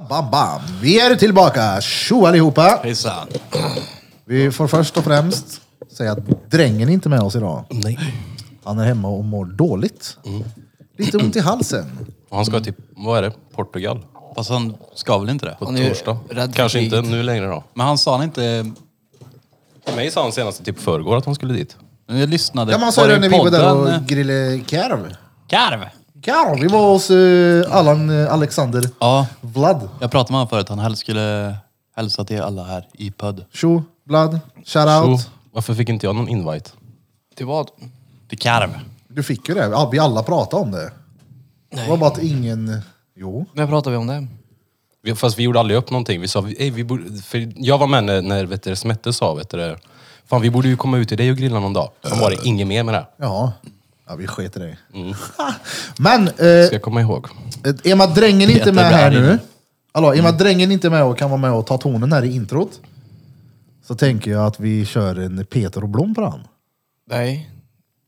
Bam, bam. Vi är tillbaka! Tjo allihopa! Hejsan. Vi får först och främst säga att drängen är inte med oss idag. Nej. Han är hemma och mår dåligt. Lite ont i halsen. Och han ska till, vad är det, Portugal? Fast han ska väl inte det? På Han är ju torsdag? rädd för Kanske inte kriget. nu längre då. Men han sa han inte... Till mig sa han senast typ förrgår att han skulle dit. Jag lyssnade Ja, man sa på det den när vi var där och podden. grillade karv. Karv! Karv! Vi var hos eh, Allan eh, Alexander Ja, Vlad. jag pratade med honom förut. Han helst skulle hälsa till alla här i podd. Tjo, Vlad. Shoutout. Så, varför fick inte jag någon invite? Till vad? Till karv. Du fick ju det. Ja, vi alla pratade om det. Det var bara att ingen... Jo. När pratar vi om det? Vi- Fast vi gjorde aldrig upp någonting. Vi sa, vi- "Ey, vi borde, för jag var med när, när vet du, Smette sa, vet du, fan vi borde ju komma ut till dig och grilla någon dag. Sen var det inget mer med det. Ja. Ja, vi sket i det. Men... eh, Ska jag komma ihåg. Eh, Emma Drängen är inte Peter med här Berg. nu. Hallå, Mm. Emma Drängen är inte med och kan vara med och ta tonen här i introt. Så tänker jag att vi kör en Peter och Blom på den. Nej,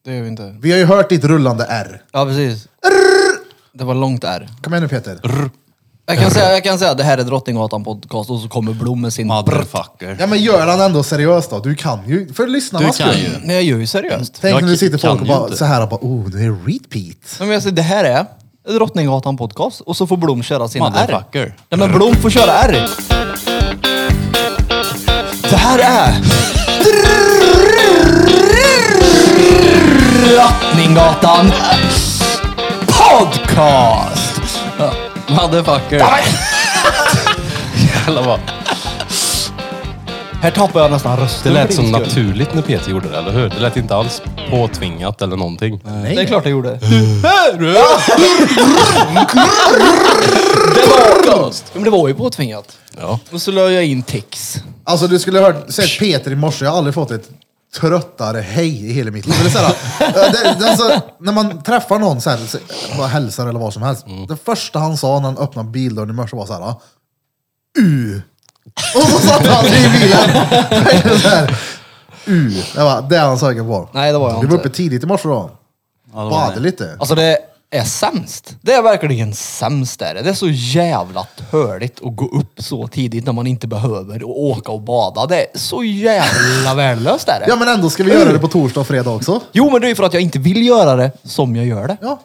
det gör vi inte. Vi har ju hört ditt rullande R. Ja, precis. Det var långt där. Kom igen nu Peter. Jag kan säga, jag kan säga att det här är Drottninggatan podcast och så kommer Blom med sin... Motherfucker. Ja men gör han ändå seriöst då. Du kan ju. För lyssnarna Du kan skull. ju. Nej, jag gör ju seriöst. Tänk Jag när det sitter kan folk och ju bara inte. så här och bara oh, det är repeat. Men jag säger, det här är Drottninggatan podcast och så får Blom köra sina R. Motherfucker. Nej, men Blom får köra R. Det här är... Drottninggatan podcast! Motherfucker. Jävlar vad. Här tappar jag nästan rösten. Det lät som natur. naturligt när Peter gjorde det, eller hur? Det lät inte alls påtvingat eller någonting. Nej. Det är klart jag gjorde. Men det var ju påtvingat. Ja. Och så la jag in text. Alltså du skulle ha hört, sett Peter i morse, jag har aldrig fått ett tröttare hej i hela mitt liv. Eller så här, eh, det, det, alltså, när man träffar någon så här, så, bara hälsar eller vad som helst. Det första han sa när han öppnade bildörren i morse var så här. ah, U. Och så satt han i bilen. så här, U. Det var det han sökte på. Nej, det var jag Du var inte. uppe tidigt i morse då. Ja, det var Bad det. lite. Alltså det är sämst. Det är verkligen sämst där. Det är så jävla töligt att gå upp så tidigt när man inte behöver och åka och bada. Det är så jävla värdelöst är det. Ja men ändå ska vi göra det på torsdag och fredag också. Jo men det är ju för att jag inte vill göra det som jag gör det. Ja.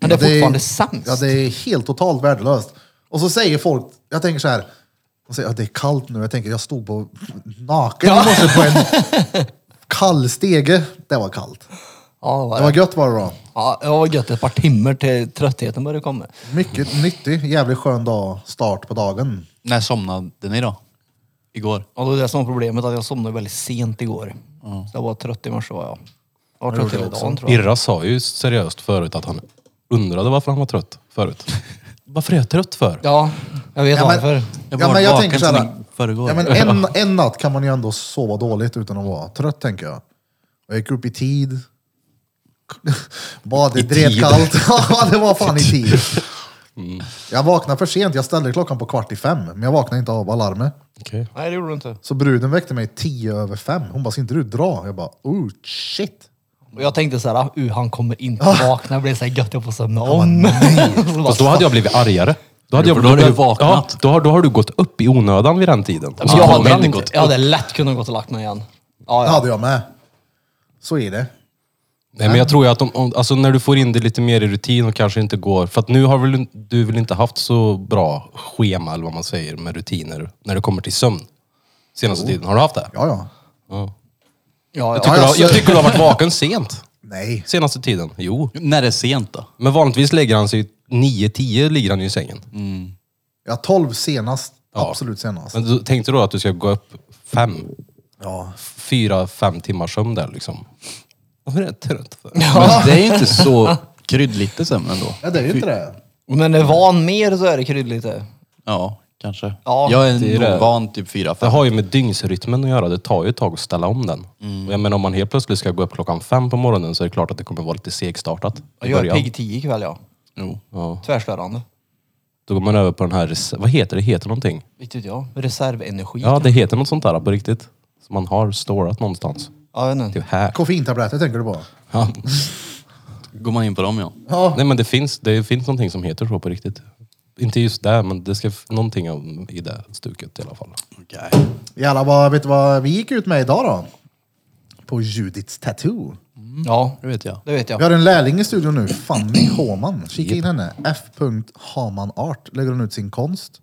Men det är fortfarande Ja, sämst. det är helt totalt värdelöst. Och så säger folk, jag tänker så här, de säger att det är kallt nu. Jag tänker, jag stod på naken i morse på en kall stege. Det var kallt. Ja, det var Det var det. gött var det då. Ja, det var gött ett par timmar till tröttheten började komma. Mycket nyttig, jävligt skön dag, start på dagen. När somnade ni då? Igår? Och då är Alltså, det som var problemet, att jag somnade väldigt sent igår. Så jag var trött i morse var jag. Jag var gjorde trött hela jag dagen tror jag. Irra sa ju seriöst förut att han undrade varför han var trött förut. Varför är jag trött för? Ja, jag vet Ja, men- varför. Jag Ja, var men jag vaken tänker så här- sen i förrgår. Ja, men en, en natt kan man ju ändå sova dåligt utan att vara trött tänker jag. Jag gick upp i tid. Badet drev kallt. Ja, det var fan i tid. Jag vaknade för sent. Jag ställde klockan på kvart i fem, men jag vaknade inte av alarmet. Okej. Nej, det gjorde du inte. Så bruden väckte mig tio över fem. Hon bara, ska inte du dra? Jag bara, oh shit. Och jag tänkte så här, uh, han kommer inte vakna. Det blir så här gött, jag får somna om. Så bara, Fast då hade jag blivit argare. Då hade, Jo, jag, för då hade du vaknat. Alltså, Ja, då, har, då har du gått upp i onödan vid den tiden. Och så jag, kommer hade du inte inte gått, jag hade lätt kunnat gå och lagt mig igen. Det Ja, ja. hade jag med. Så är det. Nej, men jag tror ju att om, om, alltså, när du får in det lite mer i rutin och kanske inte går... För att nu har väl, du väl inte haft så bra schema, eller vad man säger, med rutiner när det kommer till sömn. Senaste tiden. Har du haft det? Ja, ja. Ja. ja, tycker- ja. Jag, alltså- jag tycker du har varit vaken sent. Nej. Senaste tiden. Jo. När det är sent då? Men vanligtvis lägger han sig 9-10 ligger han ju i sängen. Jag har tolv senast. Ja. Absolut senast. Men du, tänkte du då att du ska gå upp fem, Ja. fyra, fem timmars sömn där liksom? Varför är jag trött? För? Men det är ju inte så kryddligt i sömnen då. ja, det är ju inte det. Men är van mer så är det kryddligt. det. Ja, kanske. Ja, jag det är är det. nog van typ fyra, Det fem. har ju med dygnsrytmen att göra. Det tar ju ett tag att ställa om den. Och jag menar om man helt plötsligt ska gå upp klockan fem på morgonen så är det klart att det kommer vara lite segstartat. i Jag gör början. pigg 10 ikväll ja. Jo. Ja. Tvärstörande. Då går man över på den här, res- vad heter det? Heter någonting? Vet inte jag. Reservenergi. typ. Ja, det heter något sånt där på riktigt. Som man har storat någonstans. ja jag vet inte. Typ här. Koffeintabletter tänker du på? Går man in på dem ja. Ja. Nej men det finns, det finns någonting som heter så på riktigt. Inte just det, men det ska f- någonting av, i det stuket i alla fall. Okej. Jävlar, vad, vet du vad vi gick ut med idag då? På Judiths Tattoo. Ja, Det vet jag. det vet jag. Vi har en lärling i studion nu, Fanny Håman. Kika in henne. F. Haman Art lägger hon ut sin konst.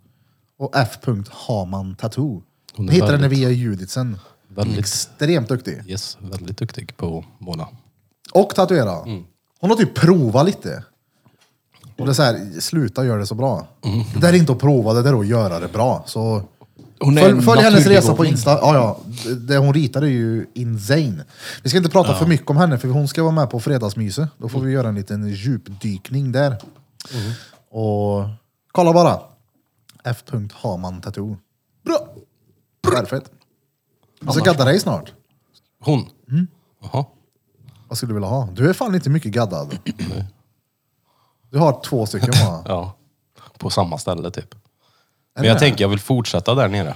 Och F. Haman Tattoo. Hon är Hittar henne väldigt- via Juditsen. Väldigt- Extremt duktig. Yes, väldigt duktig på att måla. Och tatuera. Mm. Hon har typ provat lite. Och det är så här, sluta göra det så bra. Det där är inte att prova, det där är att göra det bra. Så Hon är följ en följ hennes resa på naturbegåvning. Insta. Ja, ja. Det, det hon ritar är ju insane. Vi ska inte prata för mycket om henne, för hon ska vara med på fredagsmyset. Då får vi göra en liten djupdykning där. Mm. Och kolla bara. F. Haman Tattoo. Bra! Perfekt. Och så gaddar dig snart. Hon? Mm. Jaha. Vad skulle du vilja ha? Du är fan inte mycket gaddad. Du har två stycken va? Ja. På samma ställe typ. det Men jag det? tänker jag vill fortsätta där nere.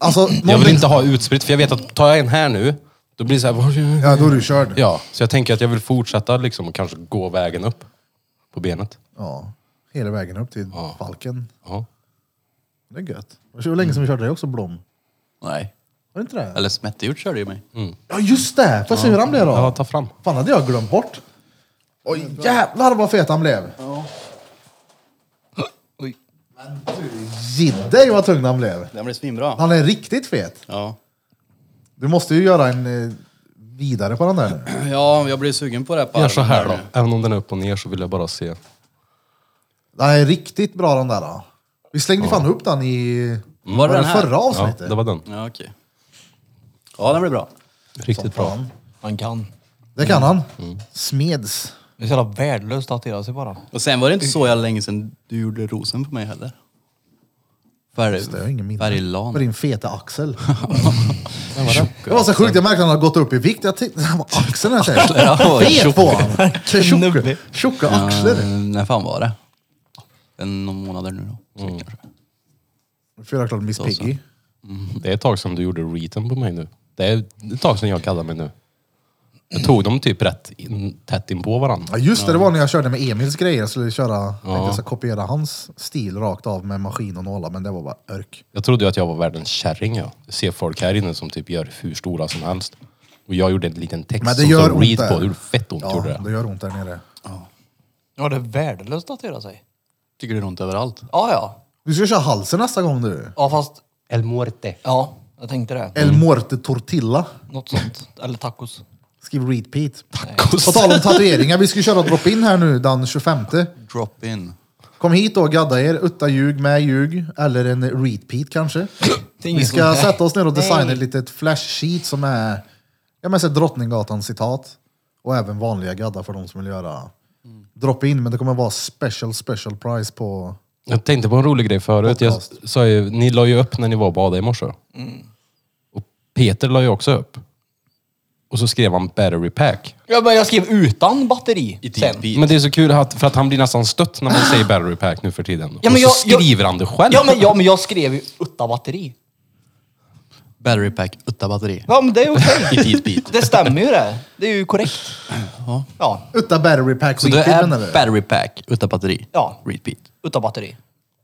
Alltså, Jag vill någonting- inte ha utspritt, för jag vet att tar jag en här nu, då blir det så här... "Var är jag?" Ja, då är du körd. Ja. Ja, så jag tänker att jag vill fortsätta liksom och kanske gå vägen upp på benet. Hela vägen upp till Falken. Ja. Det är gött. Det var länge sedan vi körde det också, Blom. Nej. Var det inte det? Eller Smettegjort körde ju mig. Ja, just det! Får jag se hur han blev då? Ja, ta fram. Fan, hade jag glömt bort. Oj, jävlar vad fet han blev! Oj. Giddej vad tung han blev! Den blev svinbra. Han är riktigt fet. Ja. Du måste ju göra en eh, vidare på den där. ja, jag blir sugen på det här på Gör så armen här där då. Även om den är upp och ner så vill jag bara se. Den är riktigt bra den där. Då. Vi slängde fan upp den i Var det det den här? förra Ja, avsnittet. det var den. nu. Ja, okej. Ja, den blir bra. Riktigt bra. Fan. Han kan. Det kan han. Smeds. Det är så jävla värdelöst att tatuera sig bara. Och sen var det inte så jävla länge sedan du gjorde rosen på mig heller. Färg, Det har ingen minne. Färglan. På din feta axel. det var så sjukt, jag märkte att han hade gått upp i vikt. Jag tänkte, han var axeln här Ja, säger. Fet tjock. på honom. Tjocka- Knubbig. Tjocka axlar. Eh, När fan var det? En någon månader nu då. Mm. Fyra klart Miss Piggy. Det är ett tag sedan du gjorde reeten på mig nu. Det är ett tag sedan jag kallade mig nu. Jag tog dem typ rätt in, tätt in på varandra. Ja just det, det var när jag körde med Emils grejer. Jag skulle köra, tänkte jag ska kopiera hans stil rakt av med maskin och nålar, men det var bara örk. Jag trodde ju att jag var världens kärring. Jag ser folk här inne som typ gör hur stora som helst. Och jag gjorde en liten text Men det som gör stod ont read där. på. Det gjorde fett ont. Ja, Gjorde det. det gör ont där nere. Ja, det är värdelöst att tatuera sig. Tycker det är ont överallt. Ja, ja. Du ska köra halsen nästa gång du. Ja, fast El muerte. ja, jag tänkte det. El Muerte Tortilla. Något sånt. Eller tacos. Skriv repeat. Tacos. På tal om tatueringar, vi ska köra drop-in här nu den 25. Drop in. Kom hit då och gadda er. Utta ljug med ljug. Eller en repeat kanske. Det är Vi ingen ska som- sätta oss ner och designa Nej. ett litet flash-sheet som är ja, men så här Drottninggatan-citat. Och även vanliga gaddar för de som vill göra Mm. drop-in. Men det kommer vara special, special price på... Jag tänkte på en rolig grej förut. Jag Podcast. sa ju, ni la ju upp när ni var och badade i morse. Mm. Och Peter la ju också upp. Och så skrev han battery pack. Ja, men jag skrev utan batteri I sen. tidbil. Men det är så kul att, för att han blir nästan stött när man säger battery pack nu för tiden. Ja, men och jag- så skriver han det själv. Ja men, ja, men jag skrev ju utan batteri. Battery pack utan batteri. Ja, men det är okej. I tidbit. Det stämmer ju det. Det är ju korrekt. Ja, Utta battery pack Så det repeat menar är du? battery pack utan batteri. Ja. Repeat. utan batteri.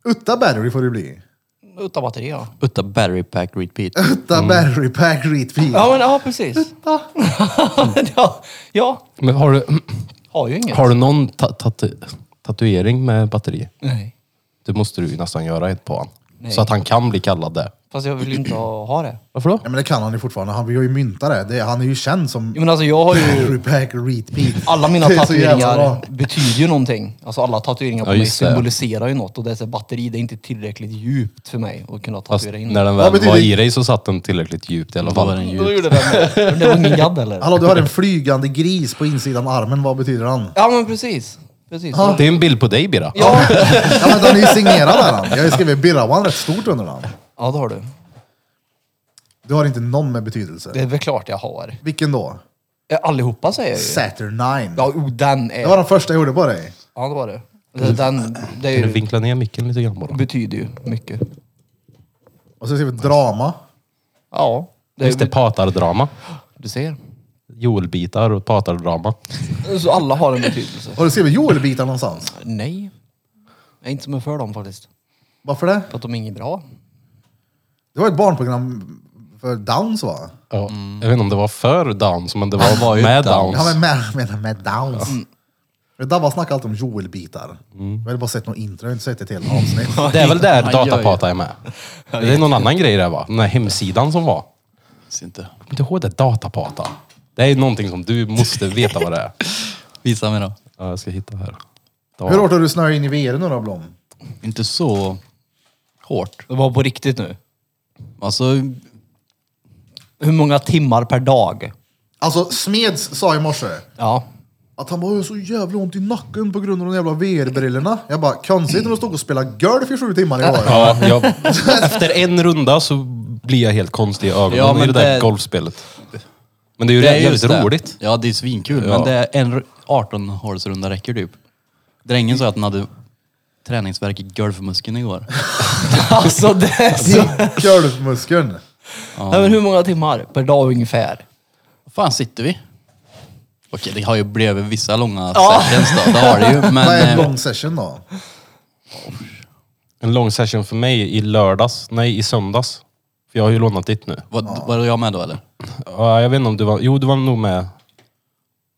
Utta battery får det bli. Utan batteri, ja. Utan battery pack repeat. Utta battery pack repeat. Mm. Ja, men ja, precis. ja, ja, Men har du, har ju inget. har du någon ta, tatu, tatuering med batteri? Nej. Det måste du ju nästan göra ett på han. Nej. Så att han kan bli kallad det. Fast jag vill ju inte ha ha det. Varför då? Ja, men det kan han ju fortfarande. Han vill ju mynta det. det. Han är ju känd som Jo, men alltså jag har ju... battery pack repeat. Alla mina Det är så jävla tatueringar bra. betyder ju någonting. Alltså alla tatueringar på Ja, mig just det. symboliserar ju något. Och det är så här, batteri, det är inte tillräckligt djupt för mig att kunna Fast tatuera in. när den Vad väl betyder- var i dig så satt den tillräckligt djupt i alla Då var fall. den Då djup. gjorde den det. Men Det var ingen gadd eller? Hallå, du har en flygande gris på insidan av armen. Vad betyder han? Ja, men precis. Precis. Det är en bild på dig Bira. Ja. Ja, men den är ju signerad där. Han. Jag har ju skrivit Birrawan rätt stort under den. ja, det har du. Du har inte någon med betydelse. Det är väl klart jag har. Vilken då? Eh, Allihopa säger jag ju. Saturn 9. Ja, oh, den Det var är... den första jag gjorde på dig. Ja, det var det. Det- Den, det är Kan du ju, vinkla ner micken lite grann bara? betyder ju mycket. Och så skrev vi drama. Ja. Det Just det, är, patardrama. du ser. Joelbitar och patardrama. Så alla har en betydelse. Och då skrev vi Joel-bitar någonstans. Nej. Jag är inte som är för dem faktiskt. Varför det? För att de är inget bra. Det var ett barnprogram för Downs va? Ja. Jag vet inte om det var för Downs, men det var, var ju med Ja Downs. men med, menar med Downs. Mm. Dabba snackar alltid om Joel-bitar. Jag har bara sett något intro, jag har inte sett ett helt avsnitt. Det är väl där Han gör ju- Datapata är med? Det är någon annan grej där va? Den där hemsidan som var. Minns inte. Kommer inte ihåg det? Datapata. Det är någonting som du måste veta vad det är. Visa mig då. Ja, jag ska hitta här. Hur hårt har du snöat in i VR nu då Blom? Inte så hårt. Det var på riktigt nu. Alltså, Hur många timmar per dag? Alltså Smeds sa i morse Ja. att han bara "Jag har så jävla ont i nacken på grund av de jävla VR-brillorna. Jag bara, konstigt när du stod och spelade golf i sju timmar igår. Ja, jag, efter en runda så blir jag helt konstig i ögonen Ja, i men det där det- golfspelet. Men det är ju jävligt just det. roligt. Ja, det är svinkul. Ja. Men det är en r- 18 hålsrunda räcker typ. Drängen sa att han hade träningsvärk i golfmuskeln igår. Alltså det är så... Golfmuskeln. Nej, men hur många timmar per dag ungefär? Var fan sitter vi? Okej, det har ju blivit vissa långa sessions då. Det har det ju. Men Vad är en eh, lång session då? En lång session för mig i lördags, nej i söndags. För jag har ju lånat ditt nu. vad, var jag med då eller? Ja, jag vet inte om du var, jo du var nog med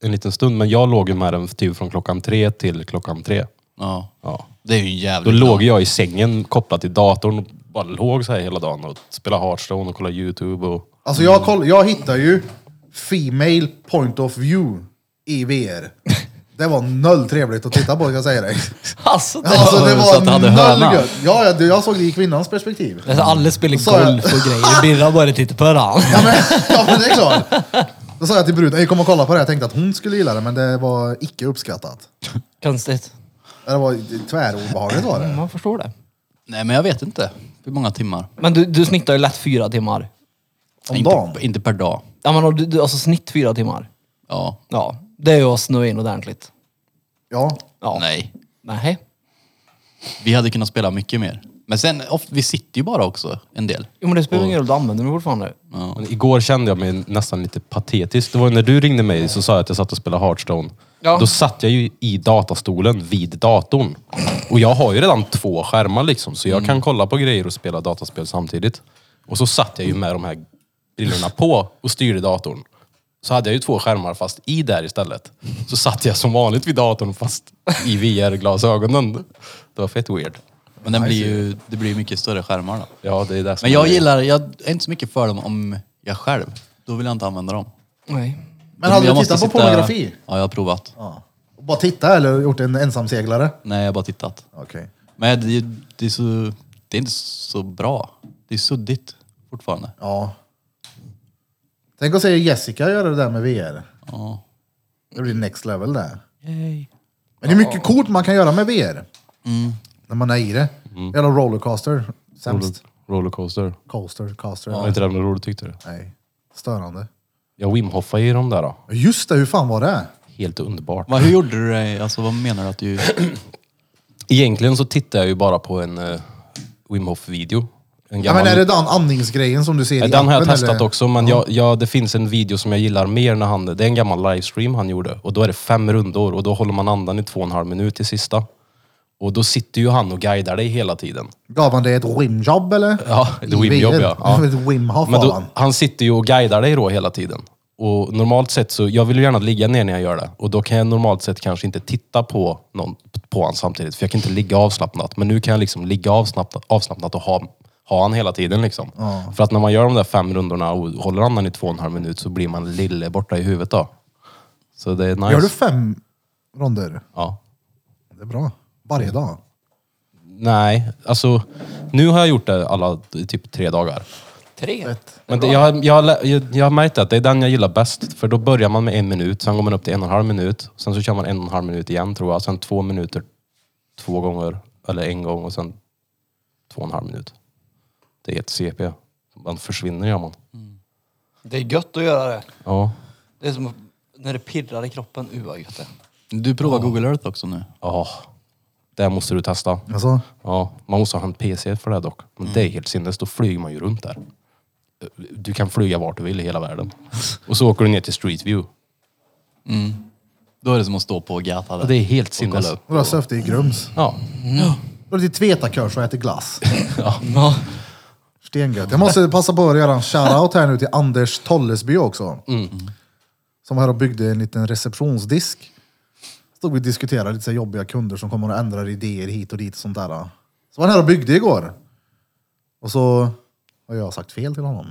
en liten stund, men jag låg ju med den typ från klockan tre till klockan tre. Ja. Ja. Det är ju en Då jävligt låg jag i sängen kopplad till datorn och bara låg så här hela dagen och spelade Hearthstone och kollade YouTube och... Alltså jag, koll, jag hittar ju Female Point of View i VR. Det var noll trevligt att titta på kan jag säga dig. Alltså det... Alltså det Ja, så var att du hade noll hörna. gött. Ja, jag, jag såg det i kvinnans perspektiv. Alltså, alla spelar Så jag- golf och grejer. Birra bara typ tittar på varandra. Ja men, ja, men det är klart. Då sa jag till bruden, jag kom och kolla på det, jag tänkte att hon skulle gilla det men det var icke uppskattat. Konstigt. Det var tvärobehagligt var det. Man förstår det. Nej men jag vet inte. Hur många timmar? Men du, du snittar ju lätt fyra timmar. Om dagen. Inte, inte per dag. Ja, men, har du, du, alltså snitt fyra timmar. Ja. Ja, det är ju att snöa in ordentligt. Ja. Ja. Nej. Nej. Vi hade kunnat spela mycket mer. Men sen, oft, vi sitter ju bara också en del. Jo men det spelar ingen roll, du använder den fortfarande. Ja. Men igår kände jag mig nästan lite patetisk. Det var när du ringde mig så sa jag att jag satt och spelade Hearthstone. Ja. Då satt jag ju i datastolen vid datorn. Och jag har ju redan två skärmar liksom, så Mm. jag kan kolla på grejer och spela dataspel samtidigt. Och så satt jag ju med de här brillorna på och styrde datorn. Så hade jag ju två skärmar fast i där istället. Så satt jag som vanligt vid datorn fast i VR-glasögonen. Det var fett weird. Men den blir ju, det blir ju mycket större skärmar då. Ja, det är det som Men är jag grejen. gillar, jag är inte så mycket för dem om jag själv. Då vill jag inte använda dem. Nej. Men hade jag du måste tittat på sitta- pornografi? Ja, jag har provat. Ja. Bara titta eller gjort en ensamseglare? Nej, jag har bara tittat. Okej. Men det, det, är så, det är inte så bra. Det är suddigt fortfarande. Ja. Tänk att se Jessica göra det där med VR. Ja. Det blir next level där. Men det är mycket coolt man kan göra med VR. Mm. När man är i det. Jävla rollercoaster. Sämst. Rollercoaster. Coaster, coaster. Var inte det med roligt tyckte du? Nej. Störande. Jag wimhoffade i de där då. Just det, hur fan var det? Helt underbart. Vad, hur gjorde du dig? Alltså vad menar du att du... Egentligen så tittar jag ju bara på en uh, Wim Hof video En Ja, gammal, Eh, men är det den andningsgrejen som du ser i den har jag appen, testat eller? också, men jag, jag, det finns en video som jag gillar mer när han... Det är en gammal livestream han gjorde och då är det fem rundor och då håller man andan i två och en halv minut i sista. Och då sitter ju han och guidar dig hela tiden. Gav han dig ett rimjobb eller? Ja, ett I Wim-jobb, VR. ja. Ja. ett Wim-hoff Men var då, han. han sitter ju och guidar dig då hela tiden. Och normalt sett så, jag vill ju gärna ligga ner när jag gör det. Och då kan jag normalt sett kanske inte titta på någon på han samtidigt, för jag kan inte ligga avslappnat. Men nu kan jag liksom ligga avslappnat, avslappnat och ha, ha han hela tiden liksom. För att när man gör de där fem rundorna och håller andan i två och en halv minut så blir man lille borta i huvudet då. Så det är nice. Gör du fem ronder? Ja. Det är bra. Varje dag. Nej, alltså nu har jag gjort det alla typ tre dagar. Tre? Men det, jag, har- jag, har lä- jag, jag har märkt att det är den jag gillar bäst. För då börjar man med en minut, sen går man upp till en och en halv minut. Sen så kör man en och en halv minut igen tror jag. Sen två minuter två gånger, eller en gång och sen två och en halv minut. Det är ett CP. Man försvinner gör man. Det är gött att göra det. Ja. Det är som att- när det pirrar i kroppen. Uh vad gött det är. Du provar Google Earth också nu. Ja. Det måste du testa. Alltså, Ja, man måste ha en PC för det dock. Men det är helt sinnes, då flyger man ju runt där. Du kan flyga vart du vill i hela världen. Och så åker du ner till Street View. Då är det som att stå på gata där. Det är helt Och kolla sinnes. upp. några söfte i Grums. Ja. Går till Tvetakurs och äter glass. Ja. Stengött. Jag måste passa på att göra en shoutout här nu till Anders Tollesby också. Som här och byggde en liten receptionsdisk. Stod vi och diskuterade lite så här jobbiga kunder som kommer och ändrar idéer hit och dit och sånt där. Så var han här och byggde igår. Och så har jag sagt fel till honom.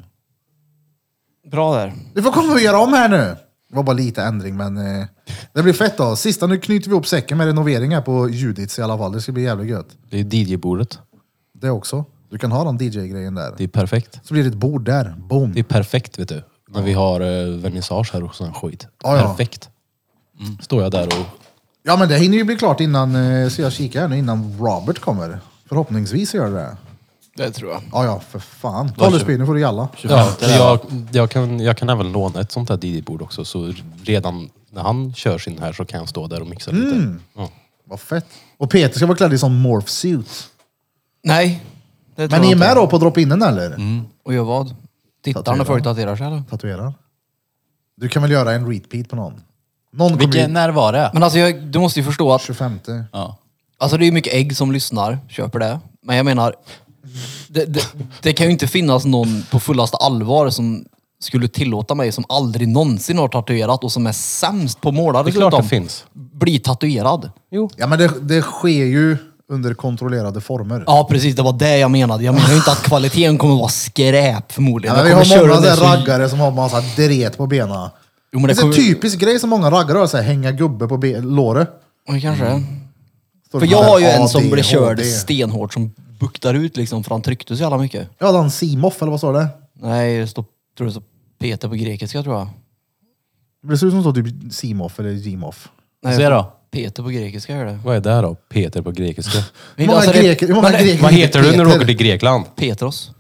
Bra där. Du får komma och göra om här nu. Det var bara lite ändring men eh, det blir fett då. Sista nu knyter vi ihop säcken med renoveringar på Judits i alla fall. Det ska bli jävligt gött. Det är DJ-bordet. Det också. Du kan ha den DJ-grejen där. Det är perfekt. Så blir det ett bord där. Boom. Det är perfekt vet du. När vi har eh, vernissage här och sån här skit. Ja, Mm. ja. Perfekt. Står jag där och... Ja men det hinner ju bli klart innan, eh, så jag kikar här nu innan Robert kommer. Förhoppningsvis gör det det. Det tror jag. Ja ja, för fan. Tollesby, nu får du jalla. Ja, jag, jag, kan, jag kan även låna ett sånt här DJ-bord också. Så redan när han kör sin här så kan jag stå där och mixa Mm. lite. Ja. Vad fett. Och Peter ska vara klädd i sån morph suit. Nej. Det Men tror ni jag är inte. med då på drop-inen eller? Mm. Och gör vad? Tittar han och följddaterar sig eller? Tatuerad. Du kan väl göra en repeat på någon? Någon kommer Vilken, ju... när var det? Men alltså jag, du måste ju förstå att 25. Ja. Alltså det är ju mycket ägg som lyssnar, köper det. Men jag menar, det, det, det kan ju inte finnas någon på fullaste allvar som skulle tillåta mig som aldrig någonsin har tatuerat och som är sämst på att måla Det är klart det dessutom, finns. Bli tatuerad. Ja men det, det sker ju under kontrollerade former. Ja precis, det var det jag menade. Jag menar ju inte att kvaliteten kommer vara skräp Ja, förmodligen. men vi Jag kommer har många köra så här den där så- raggare som har massa dret på benen. Jo, men det det är typ- en kommer... typisk grej som många raggare har, så här, hänga gubbe på be- låret. Ja, kanske. Står För det jag så här, har ju en AD, som blev körd HD. stenhårt som buktar ut liksom för han tryckte så jävla mycket. Ja, den Simoff eller vad står det? Nej, det står, tror det står Peter på grekiska tror jag. Det ser ut som det står typ Simoff eller Gimoff. Nej, Se jag- då. Peter på grekiska är det. Vad är det här då? Peter på grekiska. Hur många Alltså, det- greker, hur många men det- greker Vad heter du när du Peter? åker till Grekland? Petros.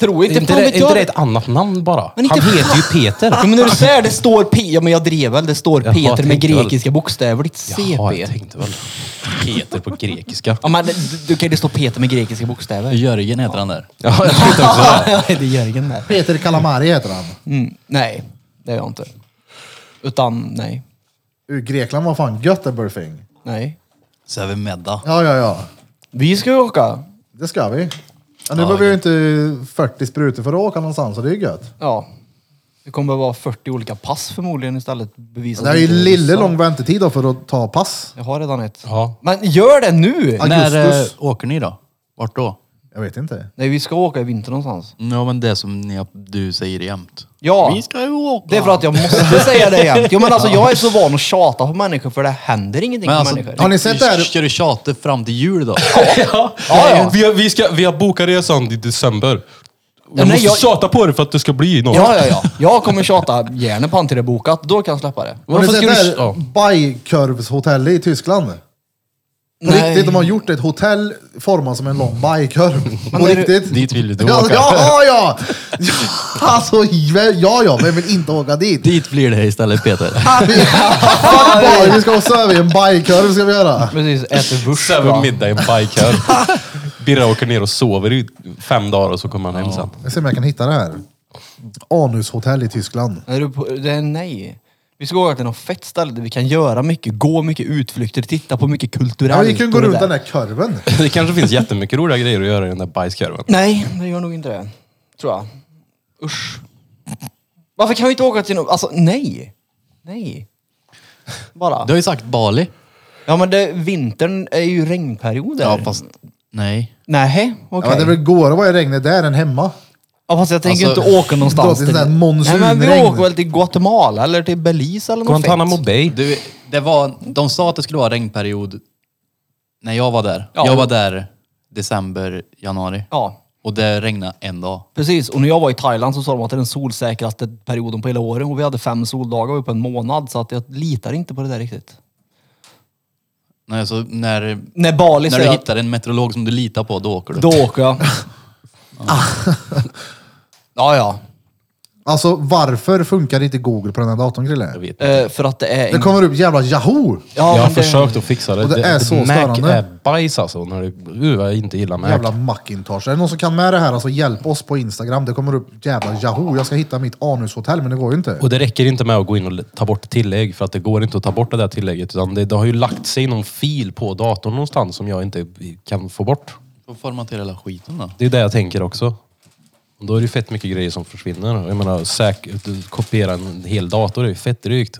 Tror inte, inte fan det, vet inte jag. det ett annat namn bara? Men Han inte- heter ju Peter. Ja, men när du säger det står P, ja men jag drev väl, det står Jaha, Peter med tänkte väl. grekiska bokstäver, ditt CP. Jaha, jag tänkte väl. Peter på grekiska. Ja men du- du kan ju det står Peter med grekiska bokstäver. Jörgen heter han där. Ja, jag tänkte också det. Nej, det är Jörgen där. Peter Kalamari heter han. Mm, nej, det är jag inte. Utan nej, Ur Grekland var fan Göteborgfing. nej. Så är vi medda. Ja, ja, ja. Vi ska ju åka. Det ska vi. Ja, nu behöver jag inte 40 sprutor för att åka någonstans, så det är ju gött. Ja. Det kommer att vara 40 olika pass förmodligen istället. Bevisa Det är att ju vi inte lille ryssar. lång väntetid då för att ta pass. Jag har redan ett. Ja. Men gör det nu! När eh, Augustus. åker ni då? Vart då? Jag vet inte. Nej, vi ska åka i vinter någonstans. Ja men det som ni, du säger jämt. Ja. Vi ska ju åka. Det är för att jag måste säga det jämt. Jo men alltså jag är så van att tjata på människor för det händer ingenting men med alltså, människor. Har ni sett det här? Ska du tjata fram till jul då? Ja, ja. Vi, har, vi, ska, vi har bokat resan i december. Jag nej, måste jag- tjata på det för att det ska bli något. Ja, ja, ja. Jag kommer tjata gärna på han till det är bokat. Då kan jag släppa det. Har ni Varför sett ska det du... här Ja. bajkorvshotellet i Tyskland? På Nej. riktigt, de har gjort ett hotell format som en lång bajkorv. På är det- riktigt. Dit vill ju du Ja, åka. ja, ja! ja. Alltså, ja, ja, vem vill inte åka dit? Dit blir det istället Peter. Fuck boy, vi ska också över i en bajkorv ska vi göra. Precis, äter wurst. Söver va? middag i en bajkör. Birra åker ner och sover i fem dagar och så kommer han hem sen. Jag ser om jag kan hitta det här. Anushotell i Tyskland. Är du på, det är nej. Vi ska åka till något fett ställe där vi kan göra mycket, gå mycket utflykter, titta på mycket kulturellt. Ja, vi kan gå och det runt där. den där korven. Det kanske finns jättemycket roliga grejer att göra i den där bajskorven. Nej, det gör nog inte det. Tror jag. Usch. Varför kan vi inte åka till något? Alltså nej. Nej. Bara. Du har ju sagt Bali. Ja men det, vintern är ju regnperioder. Ja fast nej. Nej, Ja, okej. men det är väl godare att vara i regnet där än hemma. Ja, fast jag tänker Alltså, inte åka någonstans. låter sån här Nej, men vi monsunregn. åker väl till Guatemala eller till Belize eller något Guantanamo fett. Bay. Du, det var, de sa att det skulle vara regnperiod när jag var där. Ja. Jag var där december, januari. Ja, Och det regnade en dag. precis. Och när jag var i Thailand så sa de att det är den solsäkraste perioden på hela året och vi hade fem soldagar och på en månad så att jag litar inte på det där riktigt. Nej, så när, När Bali när du säger att hittar en meteorolog som du litar på, då åker du. då åker jag. ja, ja. Alltså varför funkar inte Google på den här datorn Krille? Jag vet. Eh, för att det är... Det en- kommer upp jävla Yahoo! ja, jag har men det- försökt att fixa det. Och det är så Mac störande. är bajs alltså. När det, uh, vad jag inte gillar Mac. Jävla Macintosh. Är det någon som kan med det här, alltså hjälp oss på Instagram. Det kommer upp jävla Yahoo. Jag ska hitta mitt anushotell, men det går ju inte. Och det räcker inte med att gå in och l- ta bort tillägg för att det går inte att ta bort det där tillägget. Utan det, det har ju lagt sig i någon fil på datorn någonstans som jag inte kan få bort. Får formatera hela skiten då. Det är det jag tänker också. Och Då är det ju fett mycket grejer som försvinner. Jag menar, säk, du- kopiera en hel dator är ju fett drygt.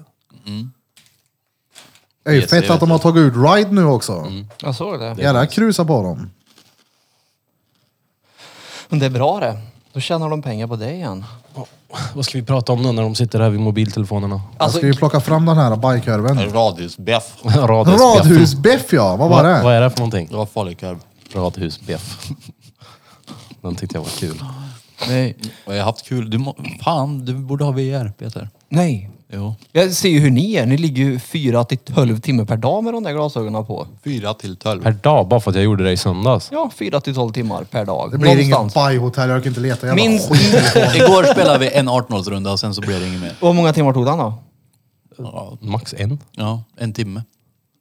Det är ju Yes, Mm, fett det att de har tagit ut Ride nu också. Jag såg det. Jävla krusa på dem. Men det är bra det. Då tjänar de pengar på det igen. Vad ska vi prata om nu när de sitter här vid mobiltelefonerna? Jag Alltså, ska ju plocka fram den här bajkorven. Radhusbeff. Radhus Radhusbeff ja, vad var Vad det? är det för någonting? Det var falukorv. Radhusbeff. Den tyckte jag var kul. nej. Och jag har haft kul. Du må, fan, du borde ha VR Peter. nej. Jo. Jag ser ju hur ni är. Ni ligger ju 4 till 12 timmar per dag med de där glasögonen på. Fyra till tolv. Per dag, bara för att jag gjorde det i söndags. Ja, 4 till 12 timmar per dag. Det blir inget bajhotell, jag kan inte leta jävla Minst... skit. Igår spelade vi en 18-årsrunda och sen så blev det inget mer. Och Hur många timmar tog den då? Ja, Max en. Ja, en timme.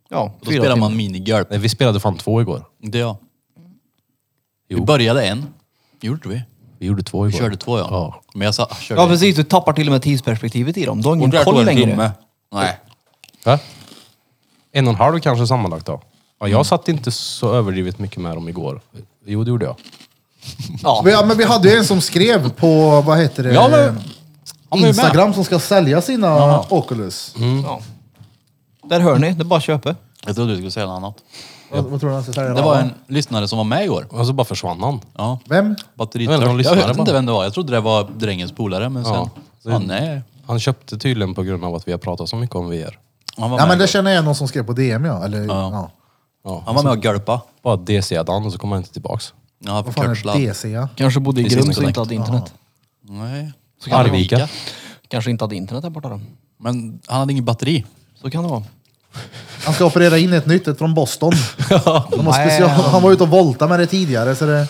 Ja, Då spelar man minigolf. Nej, Eh, vi spelade fan två igår. Det är jag. Vi Jo. började en. Gjorde vi? Vi gjorde två Vi igår. körde två ja. Ja. Men jag sa, "Ah, körde. Ja precis, du tappar till och med tidsperspektivet i dem. Du har Och ingen där tog koll en längre. timme. Nej. Va? En och en halv kanske sammanlagt då. Ja, jag Mm. satt inte så överdrivet mycket med dem igår. Jo, det gjorde jag. Ja. Men, ja, men vi hade ju en som skrev på, vad heter det, Ja, men- men med. Instagram som ska sälja sina Oculus. Mm. Ja. Där hör ni, det är bara att köpa. Jag trodde du skulle säga något annat. Vad, vad tror du han ska sälja? Det var en lyssnare som var med igår. Och så bara försvann han. Ja. Vem? Jag vet inte om Batteritörst. lyssnare Jag vet inte bara. vem det var. Jag trodde det var drängens polare men sen... Ja. Ja. nej. Han köpte tydligen på grund av att vi har pratat så mycket om VR. Han var Ja med, men det igår. känner jag igen någon som skrev på DM ja. Eller, ja. Ja, han var med och gölpa. Bara DC-dan och så kom han inte tillbaks. Ja, han Vad fick fan körslad. är DC ja? Kanske bodde i Precis, Grums och korrekt. inte hade internet. Nej. Så kan det vara. Arvika. Kanske inte hade internet där borta då. Men han hade inget batteri. Så kan det vara. Han ska operera in ett nytt, ett från Boston. De har special, han var ute och voltade med det tidigare. Så det,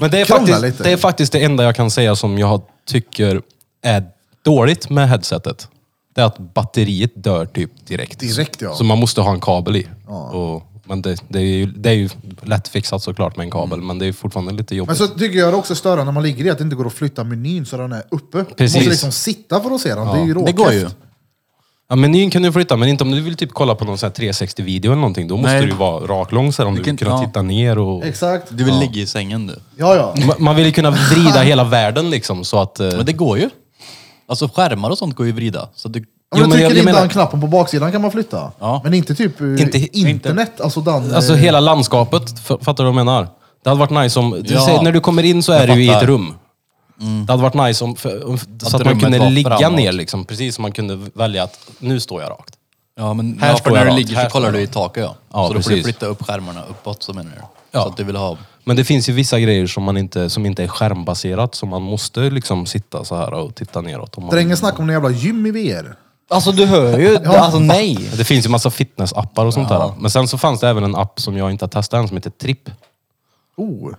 Men det är, Krångla faktiskt, lite. det är faktiskt det enda jag kan säga som jag tycker är dåligt med headsetet. Det är att batteriet dör typ direkt. Direkt, ja. Så man måste ha en kabel i. Och, men det, det, är ju, det är ju lättfixat såklart med en kabel, men det är fortfarande lite jobbigt. Mm. men så tycker jag det är också störande när man ligger i att det inte går att flytta menyn så den är uppe. Precis. Man måste liksom sitta för att se den. Det är ju Det råkast. går ju. Ja, menyn kan du flytta, men inte om du vill typ kolla på någon sån här 360-video eller någonting. Då måste Nej. du ju vara raklång så här om du vill kan- kunna ja. titta ner och... Exakt. Du vill ligga i sängen du. Ja, ja. Ma- Man vill ju kunna vrida hela världen liksom så att... eh, Men det går ju. Alltså skärmar och sånt går ju att vrida. Så du, Om du Jo, men jag- trycker jag in menar- den knappen på baksidan kan man flytta. Ja. Men inte typ eh, Inte- internet. Alltså den... Alltså eh, hela landskapet, f- fattar du vad jag menar? Det hade varit nice om, du Ja. säger, när du kommer in så Jag är du i ett fattar. Mm. rum. Det hade varit nice om, för, om, så att man rummet kunde var ligga framåt. ner liksom, precis som man kunde välja att nu står jag rakt. ja, men Här ja, står för när jag du rakt, ligger här så kollar står du i jag. taket ja. Ja, så då får du precis. flytta upp skärmarna uppåt så menar du. Ja. Så att du vill ha... Men det finns ju vissa grejer som, man inte, som inte är skärmbaserat, som man måste liksom sitta så här och titta neråt. Om man, Drängen snackar om en jävla gym i VR. Alltså du hör ju, alltså nej. Det finns ju massa fitnessappar och sånt där. Men sen så fanns det även en app som jag inte har testat än som heter Tripp. Oh.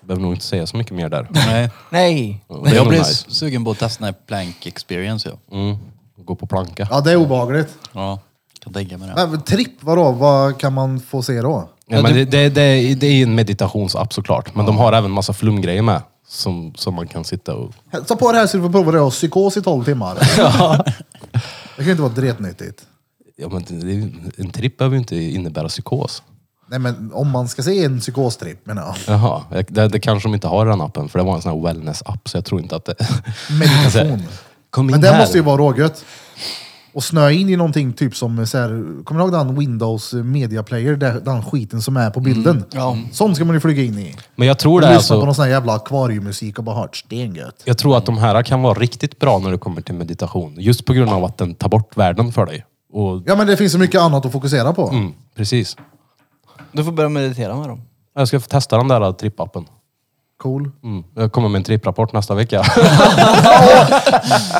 Behöver nog inte säga så mycket mer där. Nej. Nej. Det är Jag nog blir nice. sugen på att testa den här plank experience ja. Mm. Gå på planka. Ja, det är obehagligt. Ja, kan tänka mig det. Men tripp, vadå? Vad kan man få se då? Ja, men det, det, det, är- det är ju en meditationsapp såklart, men de har även massa flumgrejer med. Som, som man kan sitta och... Ta på det här så du får prova det och psykos i 12 timmar. det kan ju inte vara dretnyttigt. Ja, men det, det- en tripp behöver ju inte innebära psykos. Nej men om man ska se en psykostripp menar jag. Jaha, jag- det, det kanske de inte har i den appen, för det var en sån här wellness-app, så jag tror inte att det... Meditation. Alltså, Kom in Men det här. måste ju vara rågött. Och snöa in i någonting typ som så här, kommer du ihåg den Windows Media Player, där- den skiten som är på bilden? ja. Sånt ska man ju flyga in i. Men jag tror Och Mm. det är lyssna på alltså... någon sån här jävla akvariemusik och bara hört stengött. Jag tror att de här kan vara riktigt bra när det kommer till meditation. Just på grund av att den tar bort världen för dig. Och, Ja men det finns så mycket annat att fokusera på. mm, precis. Du får börja meditera med dem. Jag ska få testa den där trippappen. Cool. Mm. Jag kommer med en tripprapport nästa vecka.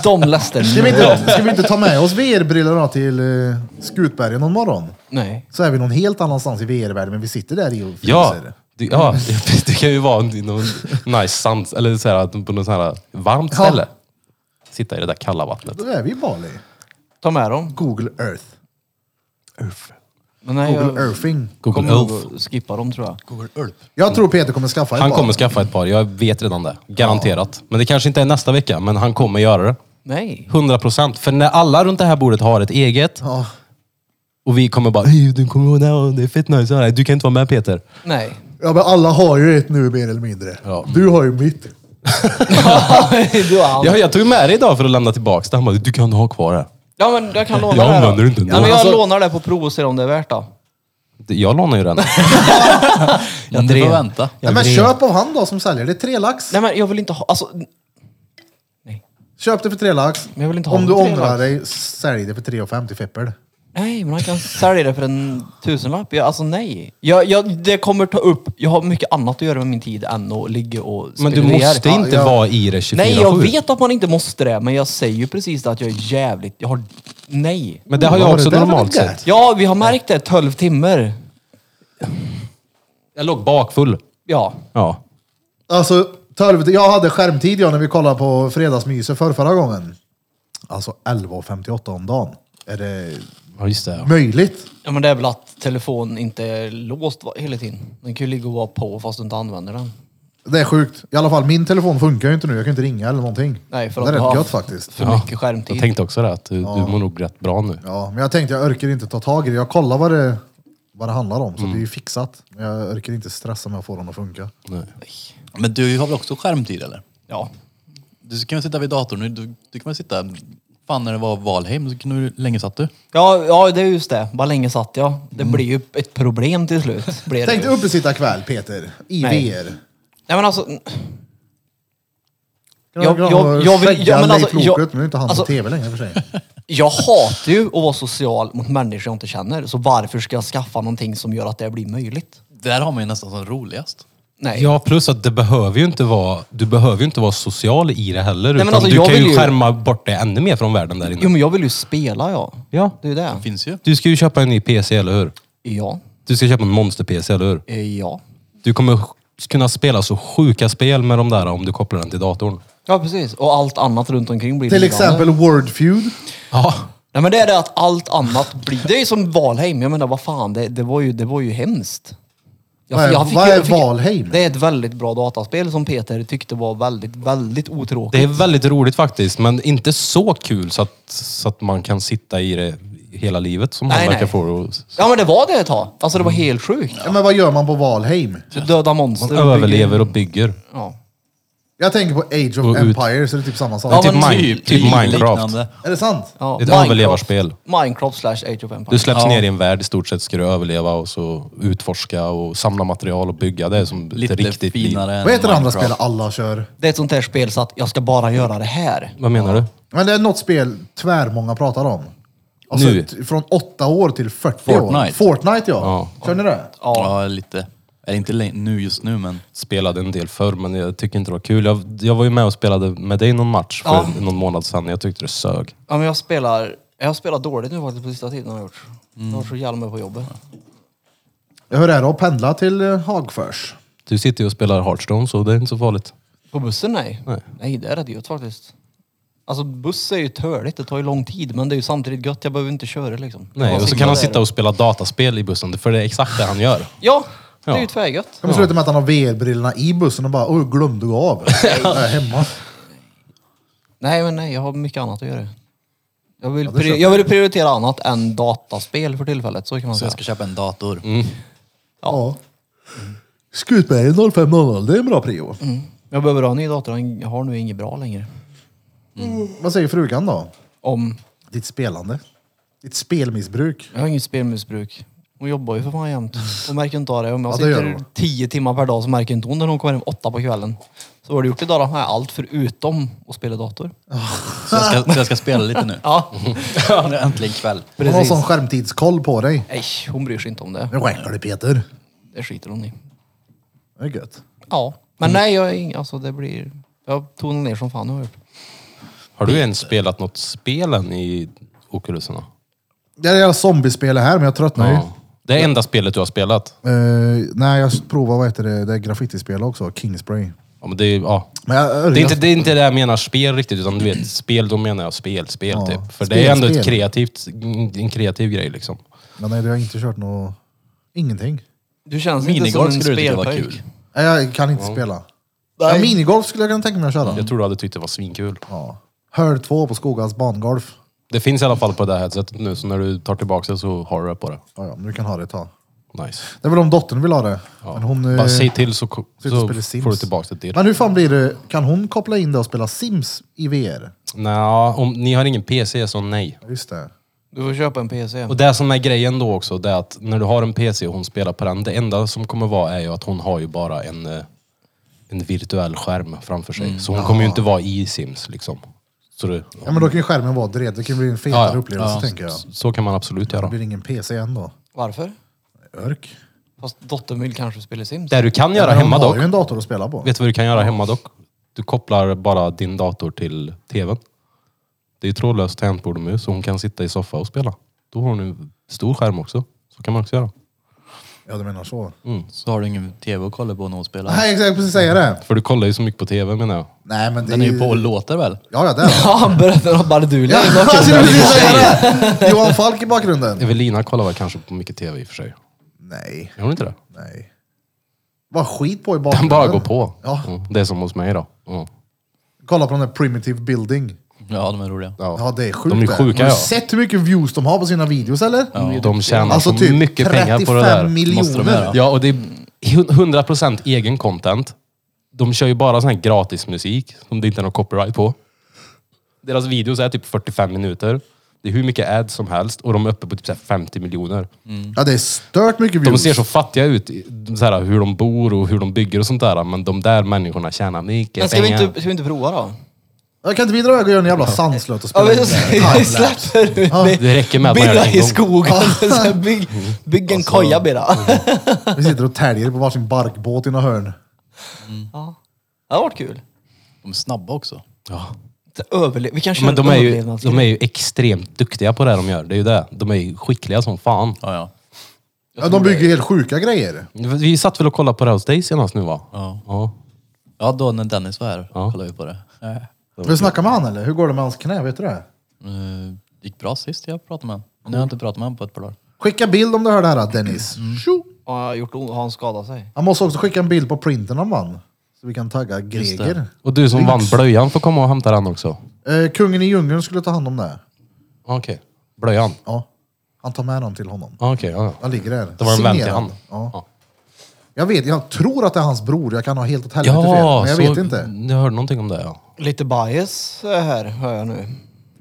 De läste Ska vi inte, ska vi inte ta med oss VR-brillorna till eh, Skutbergen någon morgon? Nej. Så är vi någon helt annanstans i VR-världen men vi sitter där i och Ja, fryser. det, ja, det kan ju vara en- någon nice sand, eller så här, på något så här varmt Ja. ställe. Sitta i det där kalla vattnet. Då är vi i Bali. Ta med dem. Google Earth. Men nej, Google jag Earthing. Google kommer nog Earth. att skippa dem tror jag. Google Earth. Jag tror Peter kommer skaffa ett Han par. kommer skaffa ett par, jag vet redan det. Garanterat. Men det kanske inte är nästa vecka, men han kommer göra det. Nej. 100 procent. För när alla runt det här bordet har ett eget Ja. och vi kommer bara "Hej, du kommer ihåg det, här? det är fett nice. Nej, Du kan inte vara med Peter. Nej. Ja, men alla har ju ett nu mer eller mindre. Ja. Du har ju mitt. du har allt. Jag, jag tog med det idag för att lämna tillbaka det. Han bara, du kan ha kvar det. Ja men jag kan låna Jag det här då. använder det inte ja, ändå. men Jag Alltså- lånar det på prov och ser om det är värt då. Det- Jag lånar ju den. Jag drev. får vänta. Nej, Jag men drev. köp av han då som säljer. Det är tre lax. Nej men jag vill inte ha, alltså, nej. Köp det för tre lax. Men jag vill inte ha Om du det för tre ångrar lax. dig, sälj det för 3,50 feppel. Nej, men han kan sälja det för en tusenlapp. Jag, alltså nej. Jag, jag, det kommer ta upp, jag har mycket annat att göra med min tid än att ligga och Men du spekulera. måste inte Ja, ja. vara i det 24-7. Nej, jag vet att man inte måste det, men jag säger ju precis det att jag är jävligt, jag har, nej. Men det har Vad jag var också det där för normalt gött? sett. Ja, vi har märkt det, 12 timmar. Jag låg bakfull. Ja. Ja. Alltså, tolv, jag hade skärmtid jag när vi kollade på Fredagsmyset för förra gången. Alltså 11.58 om dagen. Är det Ja, just det. möjligt? ja, men det är väl att telefonen inte är låst va- hela tiden. Den kan ju ligga och vara på fast du inte använder den. Det är sjukt. I alla fall, min telefon funkar ju inte nu. Jag kan inte ringa eller någonting. Nej, för det att är rätt du har- gött faktiskt. För mycket skärmtid. Jag tänkte också det, att du, du mår nog rätt bra nu. Ja, men jag tänkte jag orkar inte ta tag i det. Jag kollar vad det, vad det handlar om, så Mm. det är ju fixat. Men jag orkar inte stressa med att få den att funka. Men du har väl också skärmtid eller? Ja. Du kan väl sitta vid datorn. Du, du kan väl sitta... Fan när det var Valheim, så kunde du, länge satt du? Ja, ja, det är just det. Bara länge satt jag. Det Mm. blir ju ett problem till slut. Blir det. Tänk ju. dig uppesitta kväll, Peter. I Nej. VR. Nej men alltså, Jag, Jag- jag- jag vill- ja, men alltså, jag- nu är inte han alltså- på tv längre i och för sig. jag hatar ju att vara social mot människor jag inte känner. Så varför ska jag skaffa någonting som gör att det blir möjligt? Där har man ju nästan som roligast. Nej. Ja, plus att det behöver ju inte vara, du behöver ju inte vara social i det heller. men utan alltså, du jag kan vill ju ju- skärma bort det ännu mer från världen där inne. Jo men jag vill ju spela ja. Ja. Det är ju det. Det finns ju. Du ska ju köpa en ny PC, eller hur? Ja. Du ska köpa en monster-PC, eller hur? Eh, Ja. Du kommer sj- kunna spela så sjuka spel med de där om du kopplar den till datorn. Ja precis. Och allt annat runt omkring blir Till lidande. exempel Word Feud. Ja. Nej men det är det att allt annat blir... Det är ju som Valheim. Jag menar vad fan, det, det, var, ju, det var ju hemskt. Jag, Vad är- jag fick- vad är jag fick- Valheim? Det är ett väldigt bra dataspel som Peter tyckte var väldigt, väldigt otråkigt. Det är väldigt roligt faktiskt, men inte så kul så att, så att man kan sitta i det hela livet som Nej, han verkar nej. få. Och s- Ja men det var det ett tag. Alltså det var helt sjukt. Ja, men vad gör man på Valheim? Du dödar monster. Man och bygger- överlever och bygger. Ja. Jag tänker på Age Och of ut. Empires, så det är typ samma sak. Ja, typ men Min- Typ typ Minecraft. liknande. Är det sant? ja. Ett Minecraft- överlevarspel. Minecraft slash Age of Empires. Du släpps Ja. ner i en värld i stort sett, ska du överleva och så utforska och samla material och bygga. Det är som Lite ett riktigt liv. finare än Vad heter det andra Minecraft. spelet alla kör? Det är ett sånt här spel så att jag ska bara göra det här. Vad menar du? Men det är något spel tvärmånga pratar om. Alltså Nu. t- från 8 år till 40 år. Fortnite. Fortnite ja. Kör ni det? Ja. lite. Eller inte le- nu just nu men... Spelade en del förr, men jag tycker inte det var kul. Jag, jag var ju med och spelade med dig någon match för Ja. någon månad sedan. Jag tyckte det sög. Ja men jag spelar... Jag har spelat dåligt nu faktiskt på sista tiden har jag gjort. Jag har så jävla med på jobbet. Jag hör det här att pendla till eh, Hagfors. Du sitter ju och spelar Hearthstone, så det är inte så farligt. På bussen nej. Nej. det är rätt gött faktiskt. Alltså buss är ju töligt, det tar ju lång tid men det är ju samtidigt gött, jag behöver inte köra liksom. Nej, Bara och så kan han där sitta och spela dataspel i bussen, för det är exakt det han gör. Ja, det är Ja. ju tvärgött. Kommer sluta med att han har VR-brillorna i bussen och bara Åh, glömde gå av. Jag är hemma. Nej men nej, jag har mycket annat att göra. Jag vill, det pri- köper jag vill prioritera annat än dataspel för tillfället, så kan man Så säga. jag ska köpa en dator. Ja. Skutberg 0500, det är en bra prio. Jag behöver ha en ny dator, jag har nu inget bra längre. Vad säger frugan då? Om... Ditt spelande? Ditt spelmissbruk? Jag har inget spelmissbruk. Hon jobbar ju för fan jämt. Hon märker inte av det. Om jag Ja, det gör sitter hon. tio timmar per dag så märker inte hon när hon kommer hem åtta på kvällen. Så vad har du gjort idag då? Nej, allt förutom att spela dator. Så jag ska, så jag ska spela lite nu. Ja, Ja, Äntligen kväll. Hon har precis. sån skärmtidskoll på dig. Nej, hon bryr sig inte om det. Nu skänker du Peter. Det skiter hon i. Det är gött. Ja, men nej, jag är ing- alltså det blir... Jag tonar ner som fan nu har jag gjort. Har du ens spelat något spel än i Oculuserna? Det är det jävla zombiespelet här, men jag tröttnar ju. Det är enda spelet du har spelat? Eh, nej, jag provar vad heter det, det är graffitispel också, Kingspray. Ja, men det är, ja, Men jag Det är, inte, Örjan- det är inte det jag menar spel riktigt, utan du vet, spel, då menar jag spel, spel Ja, typ. För spel, det är ändå spel. ett kreativt, en kreativ grej liksom. Men nej, du har inte kört något... Ingenting. Du känns inte som Minigolf en skulle du tycka var spelpöjk. kul. Nej, Jag kan inte spela. Ja, minigolf skulle jag kunna tänka mig att köra. Jag tror du hade tyckt det var svinkul. Ja. Hörd 2 på Skogas bangolf. Det finns i alla fall på det här headsetet nu, så när du tar tillbaka det så har du det på det. Ja, ja, men du kan ha det ett tag. Nice. Det är väl om dottern vill ha det. Men, hon, eh, Bara säg till så, ko- sitter och så spelar Sims. får du tillbaka det direkt. men hur fan blir det? Kan hon koppla in det och spela Sims i VR? Nja, om ni har ingen PC så nej. Ja, Just det. Du får köpa en PC. Och det som är grejen då också, det är att när du har en PC och hon spelar på den, det enda som kommer vara är ju att hon har ju bara en, eh, en virtuell skärm framför sig. Mm. Så hon kommer ju inte vara i Sims liksom. Så, det, Ja, men då kan ju skärmen vara dred. Det kan bli en fetare Ja, ja. upplevelse Ja. tänker jag. så kan man absolut Det göra. blir ingen PC än då. Varför? Örk. Fast dottern vill kanske spela Sims. Det du kan göra Men hon hemma har dock, ju en dator att spela på. vet du vad du kan göra hemma dock? Du kopplar bara din dator till tvn. Det är ju trådlöst tangentbord och mus så hon kan sitta i soffa och spela. Då har hon en stor skärm också. Så kan man också göra. Ja, du menar så. Så har du ingen tv att kolla på när hon spelar. Nej, exakt. Jag precis säga det. För du kollar ju så mycket på tv menar jag. Nej, men det Den är ju på och låter väl? Ja, ja, det är det. Ja, han berättar om Barduli. Ja, alltså, jag skulle precis säga det. Johan Falk i bakgrunden. Evelina kollar väl kanske på mycket tv i och för sig. Nej, Gör hon inte det? nej. Vad skit på i Den bakgrunden. bara går på. Ja. Mm. Det är som hos mig då. Mm. Kolla på den där primitive building. Ja, de är roliga. Ja, det är sjukt. De är det. sjuka, Har du ja. sett hur mycket views de har på sina videos eller? Ja, De tjänar Alltså så typ mycket pengar på det där. 35 Måste de miljoner. göra. Ja, och det är 100% egen content. De kör ju bara sån här gratis musik som det inte är någon copyright på. Deras videos är typ 45 minuter. Det är hur mycket ads som helst och de är uppe på typ så här 50 miljoner. Mm. Ja, det är stört mycket De views. ser så fattiga ut, i- så här, hur de bor och hur de bygger och sånt där. Men de där människorna tjänar mycket Men ska vi, pengar. inte, ska vi inte prova då? Jag kan inte vi dra iväg och göra en jävla sandslöt och spela in det? vi släpper ut dig. Det räcker med att man gör Birra det i en gång. skogen. Så här, Bygg, bygg Alltså, en koja Birra. mm. Vi sitter och täljer på varsin barkbåt i något hörn. Ja. Det hade varit kul. De är snabba också. Ja. Så Överle- vi kan köra Men de är, en ju, överlevnadsgrej. de är ju extremt duktiga på det de gör. Det är ju det. De är ju skickliga som fan. Ja, ja. Ja, de bygger helt sjuka grejer. Vi satt väl och kollade på det hos dig senast nu va? Ja. ja. Ja, då när Dennis var här Ja. kollade vi på det. Vill du snacka med han eller? Hur går det med hans knä? Vet du det? Eh, gick bra sist jag pratade med honom. Nu har jag inte pratat med honom på ett par dagar. Skicka bild om du hör det här Dennis. Tjo! Ja, jag har, gjort, ont. har han skadat sig? Han måste också skicka en bild på printen han vann. Så vi kan tagga Just Greger. Och du som vann blöjan får komma och hämta den också. Ah, Eh, kungen i djungeln skulle ta hand om det. Okej. Blöjan? Ja. Han tar med den till honom. Ah, Okej, ja. Han ligger där. Det var en vän till Signerad. han. Ja. Jag vet, jag tror att det är hans bror. Jag kan ha helt åt helvete fel. Ja, Men jag så- vet inte. Jag hörde någonting om det ja. Lite bias eh, här hör jag nu.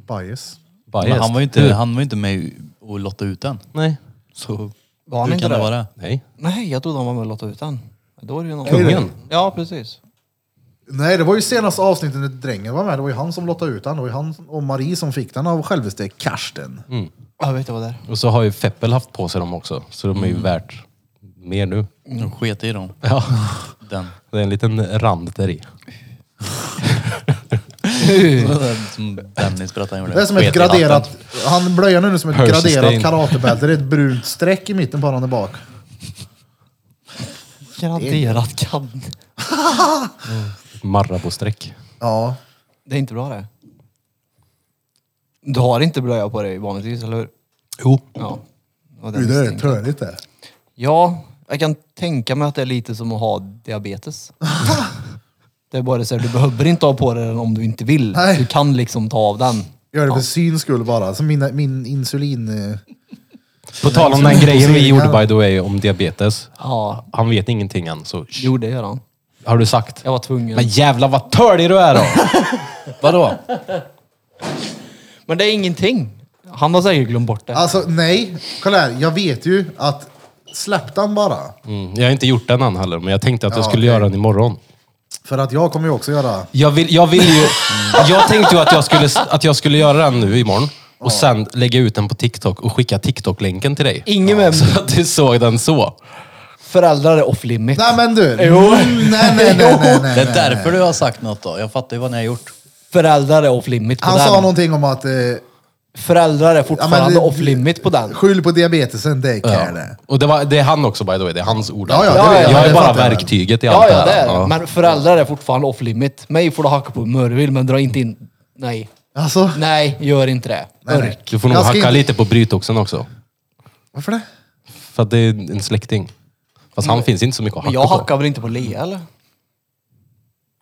Bias. Biased. Men han var ju Du- inte, han var ju inte med och lotta ut den. Nej. Så Var han hur inte kan det det? vara det? Nej. Nej, jag trodde han var med och lottade ut den. Då är det ju någon... Kungen? Ja, precis. Nej, det var ju senaste avsnittet när drängen var med. Det var ju han som lottade ut den. Det var ju han och Marie som fick den av självaste Karsten. Mm. Jag vet inte vad det är. Och så har ju Feppel haft på sig dem också. Så de är ju värt mer nu. De sket i dem. Mm. Ja. Den. Det är en liten rand där i. Som Mm. Dennis berättade han Det är gjorde. som ett Sket i graderat... Han blöjar nu som ett Percy graderat Stein. karatebälte. Det är ett brunt streck i mitten på honom där bak. Garanterat kan. Marabostreck. Ja. Det är inte bra det. Du har inte blöja på dig vanligtvis, eller hur? Jo. Ja. Och den Du, det är misstänkte. trönigt det. Ja, jag kan tänka mig att det är lite som att ha diabetes. det är bara så här, du behöver inte ha på dig den om du inte vill. Nej. Du kan liksom ta av den. Gör det för syns skull bara. Som min, min insulin... eh, På tal om den grejen vi gjorde by the way om diabetes. Ja, Han vet ingenting än så... shh. jo det gör han. Har du sagt? Jag var tvungen. Men Men, jävlar vad tördig du är då! Vadå? det är ingenting. Han har säkert glömt bort det. Alltså nej, kolla här. Jag vet ju att släpp den bara. Mm, jag har inte gjort den än heller, men jag tänkte att jag Ja, skulle okej. göra den imorgon. För att jag kommer ju också göra... Jag, vill, jag, vill ju, jag tänkte ju att jag, skulle, att jag skulle göra den nu imorgon. Och sen lägga ut den på TikTok och skicka TikTok-länken till dig. Ingen med Så att du såg den så. föräldrar är off limit. Nej men du! Jo. Nej nej nej nej nej. nej. Det är därför du har sagt något då. Jag fattar ju vad ni har gjort. Föräldrar är off limit på Han den. sa någonting om att eh, Föräldrar är fortfarande det- off limit på den. Skyll på diabetesen, det är care det. Och det, var, det är han också by the way, det är hans ord. Ja, ja, det Ja, vet jag, jag det är bara fattar jag. verktyget i Ja, allt ja, det här. är det. Men föräldrar är fortfarande off limit. Mig får du hacka på hur mycket du vill, men dra inte in... Nej. Alltså, Nej, gör inte det. nej, Örk. nej. Du får nog Jag ska hacka inte- lite på brytoxen också. Varför det? För att det är en släkting. Fast han finns inte så mycket att Men hacka jag på. hackar väl inte på Lea, eller?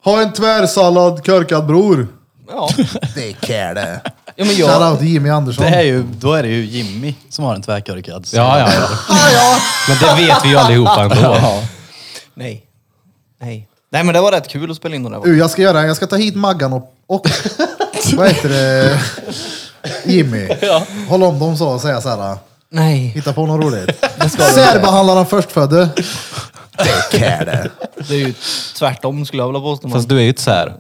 Ha en tvärsallad körkad bror. Ja. Det är care det. ja men jag... Shoutout Jimmy Andersson. Det är ju, då är det ju Jimmy som har en tvärkorkad. Så- Ja, ja, ja. Men det vet vi ju allihopa ändå. Nej. Nej. Nej, men det var rätt kul att spela in den där. Du, jag ska göra Jag ska ta hit Maggan och, och vad heter det? Jimmy. Håll om dem så och säga så här. Nej. Hitta på något roligt. Särbehandlar den förstfödde. Det är care det. Det är ju tvärtom skulle jag vilja påstå. men Fast du är ju ett sär.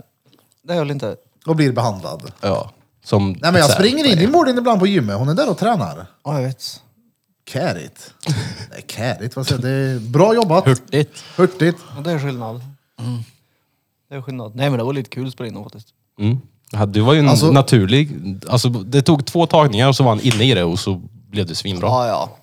Det är väl inte... Och blir behandlad. Ja. Som Nej men jag sär. springer in i Mordin ibland på gymmet. Hon är där och tränar. Ja, jag vet. Kärigt. Nej, kärigt. Vad säger jag? Det är bra jobbat. Hurtigt. Hurtigt. Ja, det är skillnad. Det är skillnad. Nej, men det var lite kul att spela in den faktiskt. Mm. Ja, Du var ju en Alltså- naturlig. Alltså, det tog två tagningar och så var han inne i det och så blev det svinbra. Ja, ja.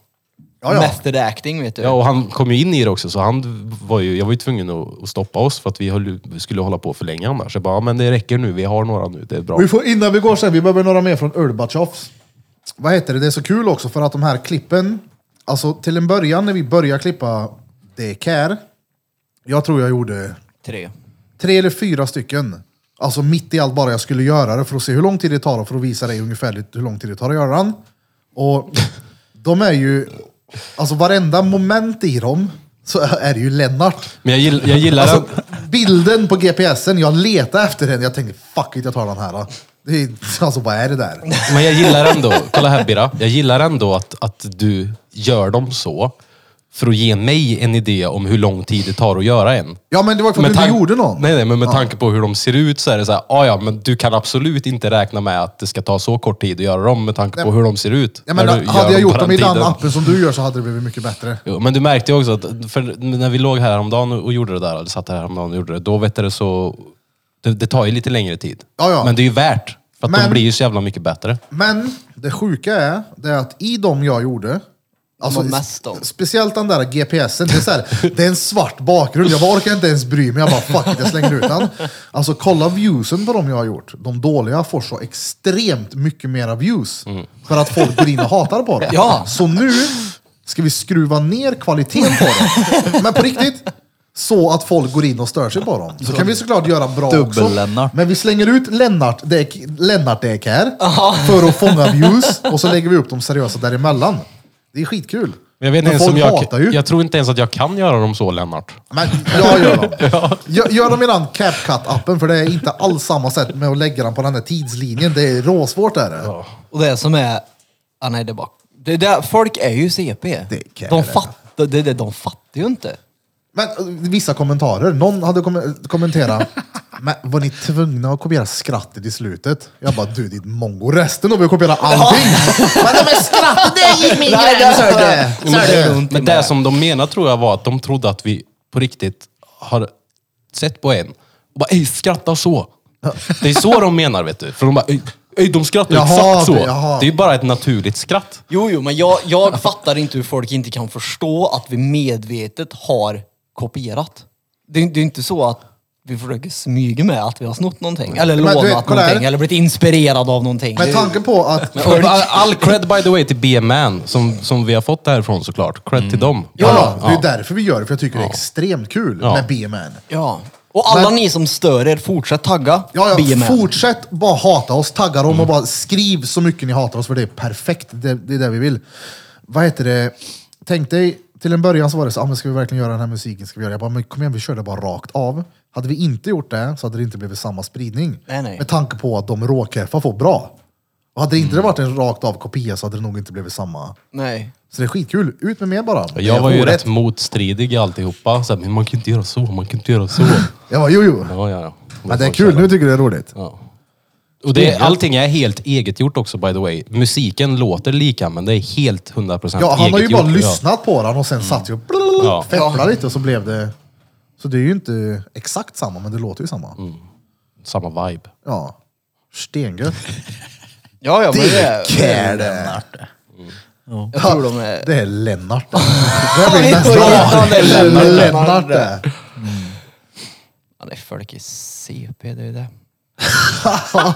Ja, ja. Mäster i acting, vet du. Ja, och han kom ju in i det också, så han var ju, jag var ju tvungen att, att stoppa oss för att vi, höll, vi skulle hålla på för länge annars. Jag bara, ja, men det räcker nu, vi har några nu, det är bra. Vi får, innan vi går sen, vi behöver några mer från Urbachoffs. Vad heter det? Det är så kul också för att de här klippen, alltså till en början när vi började klippa det care, jag tror jag gjorde Tre. tre eller fyra stycken. Alltså mitt i allt bara jag skulle göra det för att se hur lång tid det tar och för att visa dig ungefärligt hur lång tid det tar att göra den. Och de är ju, alltså varenda moment i dem så är det ju Lennart. Men jag, gill, jag gillar Alltså, den. bilden på GPSen, jag letade efter den. Jag tänkte, fuck it, jag tar den här. Då. Det är, alltså, vad är det där? Men jag gillar ändå, kolla här Bira, jag gillar ändå att, att du gör dem så för att ge mig en idé om hur lång tid det tar att göra en. Ja, men det var för att Med du inte tan- gjorde någon. Nej, nej, men med tanke på hur de ser ut så är det så här, ah, ja, men du kan absolut inte räkna med att det ska ta så kort tid att göra dem med tanke på hur de ser ut. jag menar, när du gör hade jag på gjort dem i den tiden. appen som du gör så hade det blivit mycket bättre. Jo, men du märkte ju också att för när vi låg här häromdagen och gjorde det där, eller satt här häromdagen och gjorde det, då vet du det så... Det, det tar ju lite längre tid. Ja, ja. Men det är ju värt. För att Men- de blir ju så jävla mycket bättre. Men det sjuka är, det är att i dem jag gjorde, alltså, var mest de. speciellt den där GPSen, det är, så här, det är en svart bakgrund. Jag bara orkar inte ens bry mig. Jag bara fuck it, jag slänger ut den. Alltså kolla viewsen på dem jag har gjort. De dåliga får så extremt mycket mera views för att folk går in och hatar på det. Ja. Så nu ska vi skruva ner kvaliteten på dem. Men på riktigt. Så att folk går in och stör sig på dem. Så kan vi såklart göra bra också. Dubbel-Lennart. Men vi slänger ut Lennart Däck, Lennart Däck här för att fånga views och så lägger vi upp de seriösa däremellan. Det är skitkul. Men jag vet inte Men ens folk om hatar ju. jag... Jag tror inte ens att jag kan göra dem så, Lennart. Men jag gör dem. Jag gör dem i den CapCut-appen för det är inte alls samma sätt med att lägga den på den här tidslinjen. Det är råsvårt är det. Och det som är... Ah, nej, det är bara... Det där, folk är ju CP. Det kan de, jag. fattar, det, det, de fattar ju inte. Men eh, vissa kommentarer. Någon hade kom kommenterat. Men var ni tvungna att kopiera skrattet i slutet? Jag bara, du ditt mongo. Resten av er kopierar allting. Men de är skrattet, det gick min Nej, gräns. det- hörde. Så är det ont i Men det magen. som de menade tror jag var att de trodde att vi på riktigt har sett på en och bara ej, skratta så. Det är så de menar vet du. För de bara, ej, ej de skrattar Jaha, exakt så. det- jaha. Det är ju bara ett naturligt skratt. Jo, jo, men jag, jag fattar inte hur folk inte kan förstå att vi medvetet har kopierat. Det, är- det är inte så att vi försöker smyga med att vi har snott någonting, eller Men du lånat vet, kolla här. någonting, eller blivit inspirerad av någonting. Med tanke på att Och All, all cred by the way till B-Man som, som vi har fått det härifrån såklart. Cred till dem. Mm. Ja, det är därför vi gör det, för jag tycker det är extremt kul Ja. med BMN. ja. Och alla Men- ni som stör er, fortsätt tagga Ja, ja, BMN. fortsätt bara hata oss, tagga Mm. dem och bara skriv så mycket ni hatar oss, för det är perfekt. Det, det är det vi vill. Vad heter det? Tänk dig, till en början så var det så, ah, men ska vi verkligen göra den här musiken? Ska vi göra det? Jag bara, men kom igen, vi kör det bara rakt av. Hade vi inte gjort det så hade det inte blivit samma spridning. Nej, nej. Med tanke på att de råkeffar får bra. Och hade det Mm. inte varit en rakt av kopia så hade det nog inte blivit samma. Nej. Så det är skitkul. Ut med mer bara. Det Jag är var ju orätt. rätt motstridig i alltihopa. Så här, men man kan inte göra så, man kan inte göra så. Jag bara, jo, jo. Ja, ja, ja. Men det är kul, nu tycker jag det är roligt. Ja. Och det, allting är helt eget gjort också by the way. Musiken låter lika men det är helt 100% Ja, han har ju eget bara gjort. lyssnat på den och sen satt ju och Ja. fepplade lite och så blev det... Så det är ju inte exakt Mm. samma, men det låter ju samma. Ja, samma vibe. Ja. Stengött. Ja, ja, men det är... Dick är det! Lennart. Jag tror de är... Det är Lennart. Det blir nästa Ja, det är år. Lennart. Lennart det. Han är folk i CP, det är ju det. Ja,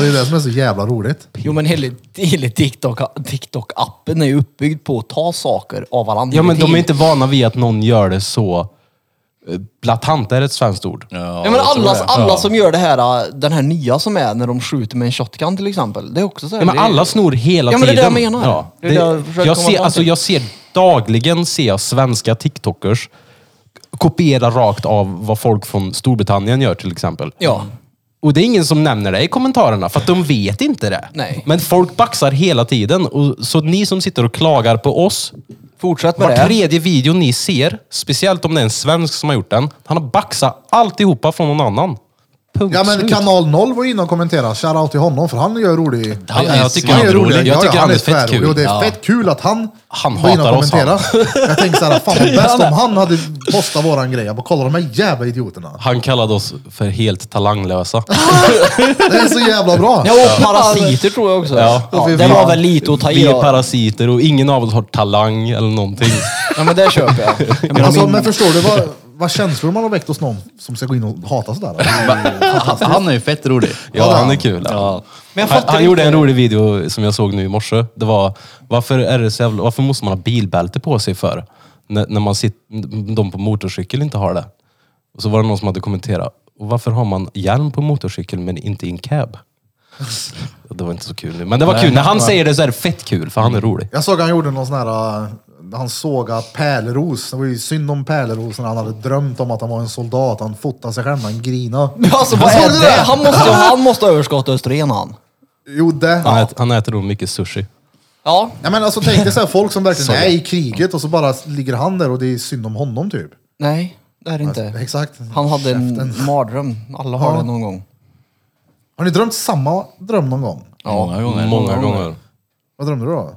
det är det som är så jävla roligt. Jo men hela, hela TikTok, TikTok-appen är ju uppbyggd på att ta saker av varandra. Ja, i men de tid. är inte vana vid att någon gör det så... eh, Blatant är ett svenskt ord. Ja, men alla, alla som gör det här, äh, den här nya som är när de skjuter med en shotgun till exempel. Det är också så här, Ja, men det är- alla snor hela Ja, men det är tiden. det jag menar. Det är det jag försöker jag, komma ser, fram alltså, till. jag ser dagligen ser jag svenska TikTokers kopiera rakt av vad folk från Storbritannien gör till exempel. Ja. Och det är ingen som nämner det i kommentarerna, för att de vet inte det. Nej. Men folk baxar hela tiden. Och, så ni som sitter och klagar på oss, Fortsätt med var det. tredje video ni ser, speciellt om det är en svensk som har gjort den, han har baxat alltihopa från någon annan. Punkt Ja men slut. kanal 0 var inne och kommenterade. Shoutout till honom för han gör rolig... Han är jag tycker Han han är är rolig. rolig. Jag Ja, tycker ja, han är fett tvärrolig. kul. Och det är Ja. fett kul att han, Han var inne och hatar oss, kommenterade. Jag tänkte såhär, fan vad bäst om han hade postat våran grej. Jag bara, kolla de här jävla idioterna. Han kallade oss för helt talanglösa. Det är så jävla bra. Ja, och parasiter tror jag också. Ja. det var väl lite att ta i Vi är då. parasiter och ingen av oss har talang eller någonting. Ja men det köper jag. men, alltså, men förstår du vad, vad känslor man har väckt hos någon som ska gå in och hata sådär? Det är ju fantastiskt. Han är ju fett rolig. Ja, han är kul. Ja. Men jag han fattar han inte- gjorde en rolig video som jag såg nu i morse. Det var, varför, är det så jävla, varför måste man ha bilbälte på sig för? När, när man sit, de på motorcykel inte har det. Och så var det någon som hade kommenterat, och varför har man hjälm på motorcykel men inte i en cab? Det var inte så kul nu, men det var kul. När han säger det så är det fett kul, för han är rolig. Jag såg han gjorde någon sån här, eh, han sågade pärleros. Det var ju synd om pärleros när han hade drömt om att han var en soldat. Han fotade sig själv, han grinade. Alltså vad Såg är du det? Han måste, han måste ha överskott Österlen han. Jo det. Han, äter, han äter nog mycket sushi. Ja. Ja, men alltså, tänk dig så här, folk som verkligen är i kriget och så bara ligger han där och det är synd om honom typ. Nej, det är Alltså, det inte. Exakt. Han hade en mardröm. Alla har det någon gång. Har ni drömt samma dröm någon gång? Många gånger. Många gånger. Vad drömde du då?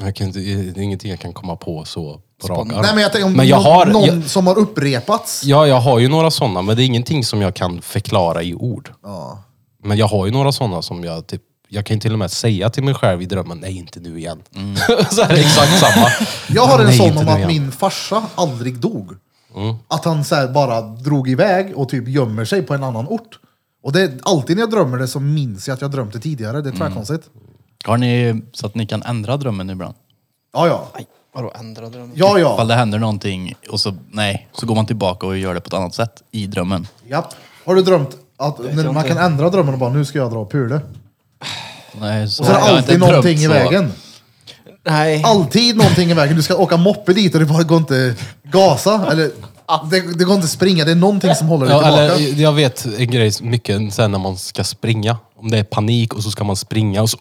Jag kan inte, det är ingenting jag kan komma på så på rak arm. Nej men jag tänker om Men jag nå- har- någon jag- som har upprepats. Ja, jag har ju några sådana, men det är ingenting som jag kan förklara i ord. Ja. Men jag har ju några sådana som jag typ, jag kan ju till och med säga till mig själv i drömmen, nej inte nu igen. så här, exakt samma. Mm. Jag har en Nej, sån inte om nu att igen. min farsa aldrig dog. Att han så här bara drog iväg och typ gömmer sig på en annan ort. Och det, alltid när jag drömmer det så minns jag att jag drömt det tidigare. Det är tvärkonstigt. Har ni så att ni kan ändra drömmen ibland? Ja, ja. Vadå ändra dröm? Ja, Ifall ja. det händer någonting och så, nej, så går man tillbaka och gör det på ett annat sätt i drömmen. Japp. Har du drömt att när man kan ändra drömmen och bara nu ska jag dra och pula? Nej, så Och så är det jag har inte alltid drömt någonting i så. vägen. Nej. Alltid någonting i vägen. Du ska åka moppe dit och det bara går inte gasa. Eller det, det går inte springa. Det är någonting som håller dig Ja, tillbaka. eller, jag vet en grej, som- mycket sen när man ska springa. Om det är panik och så ska man springa och så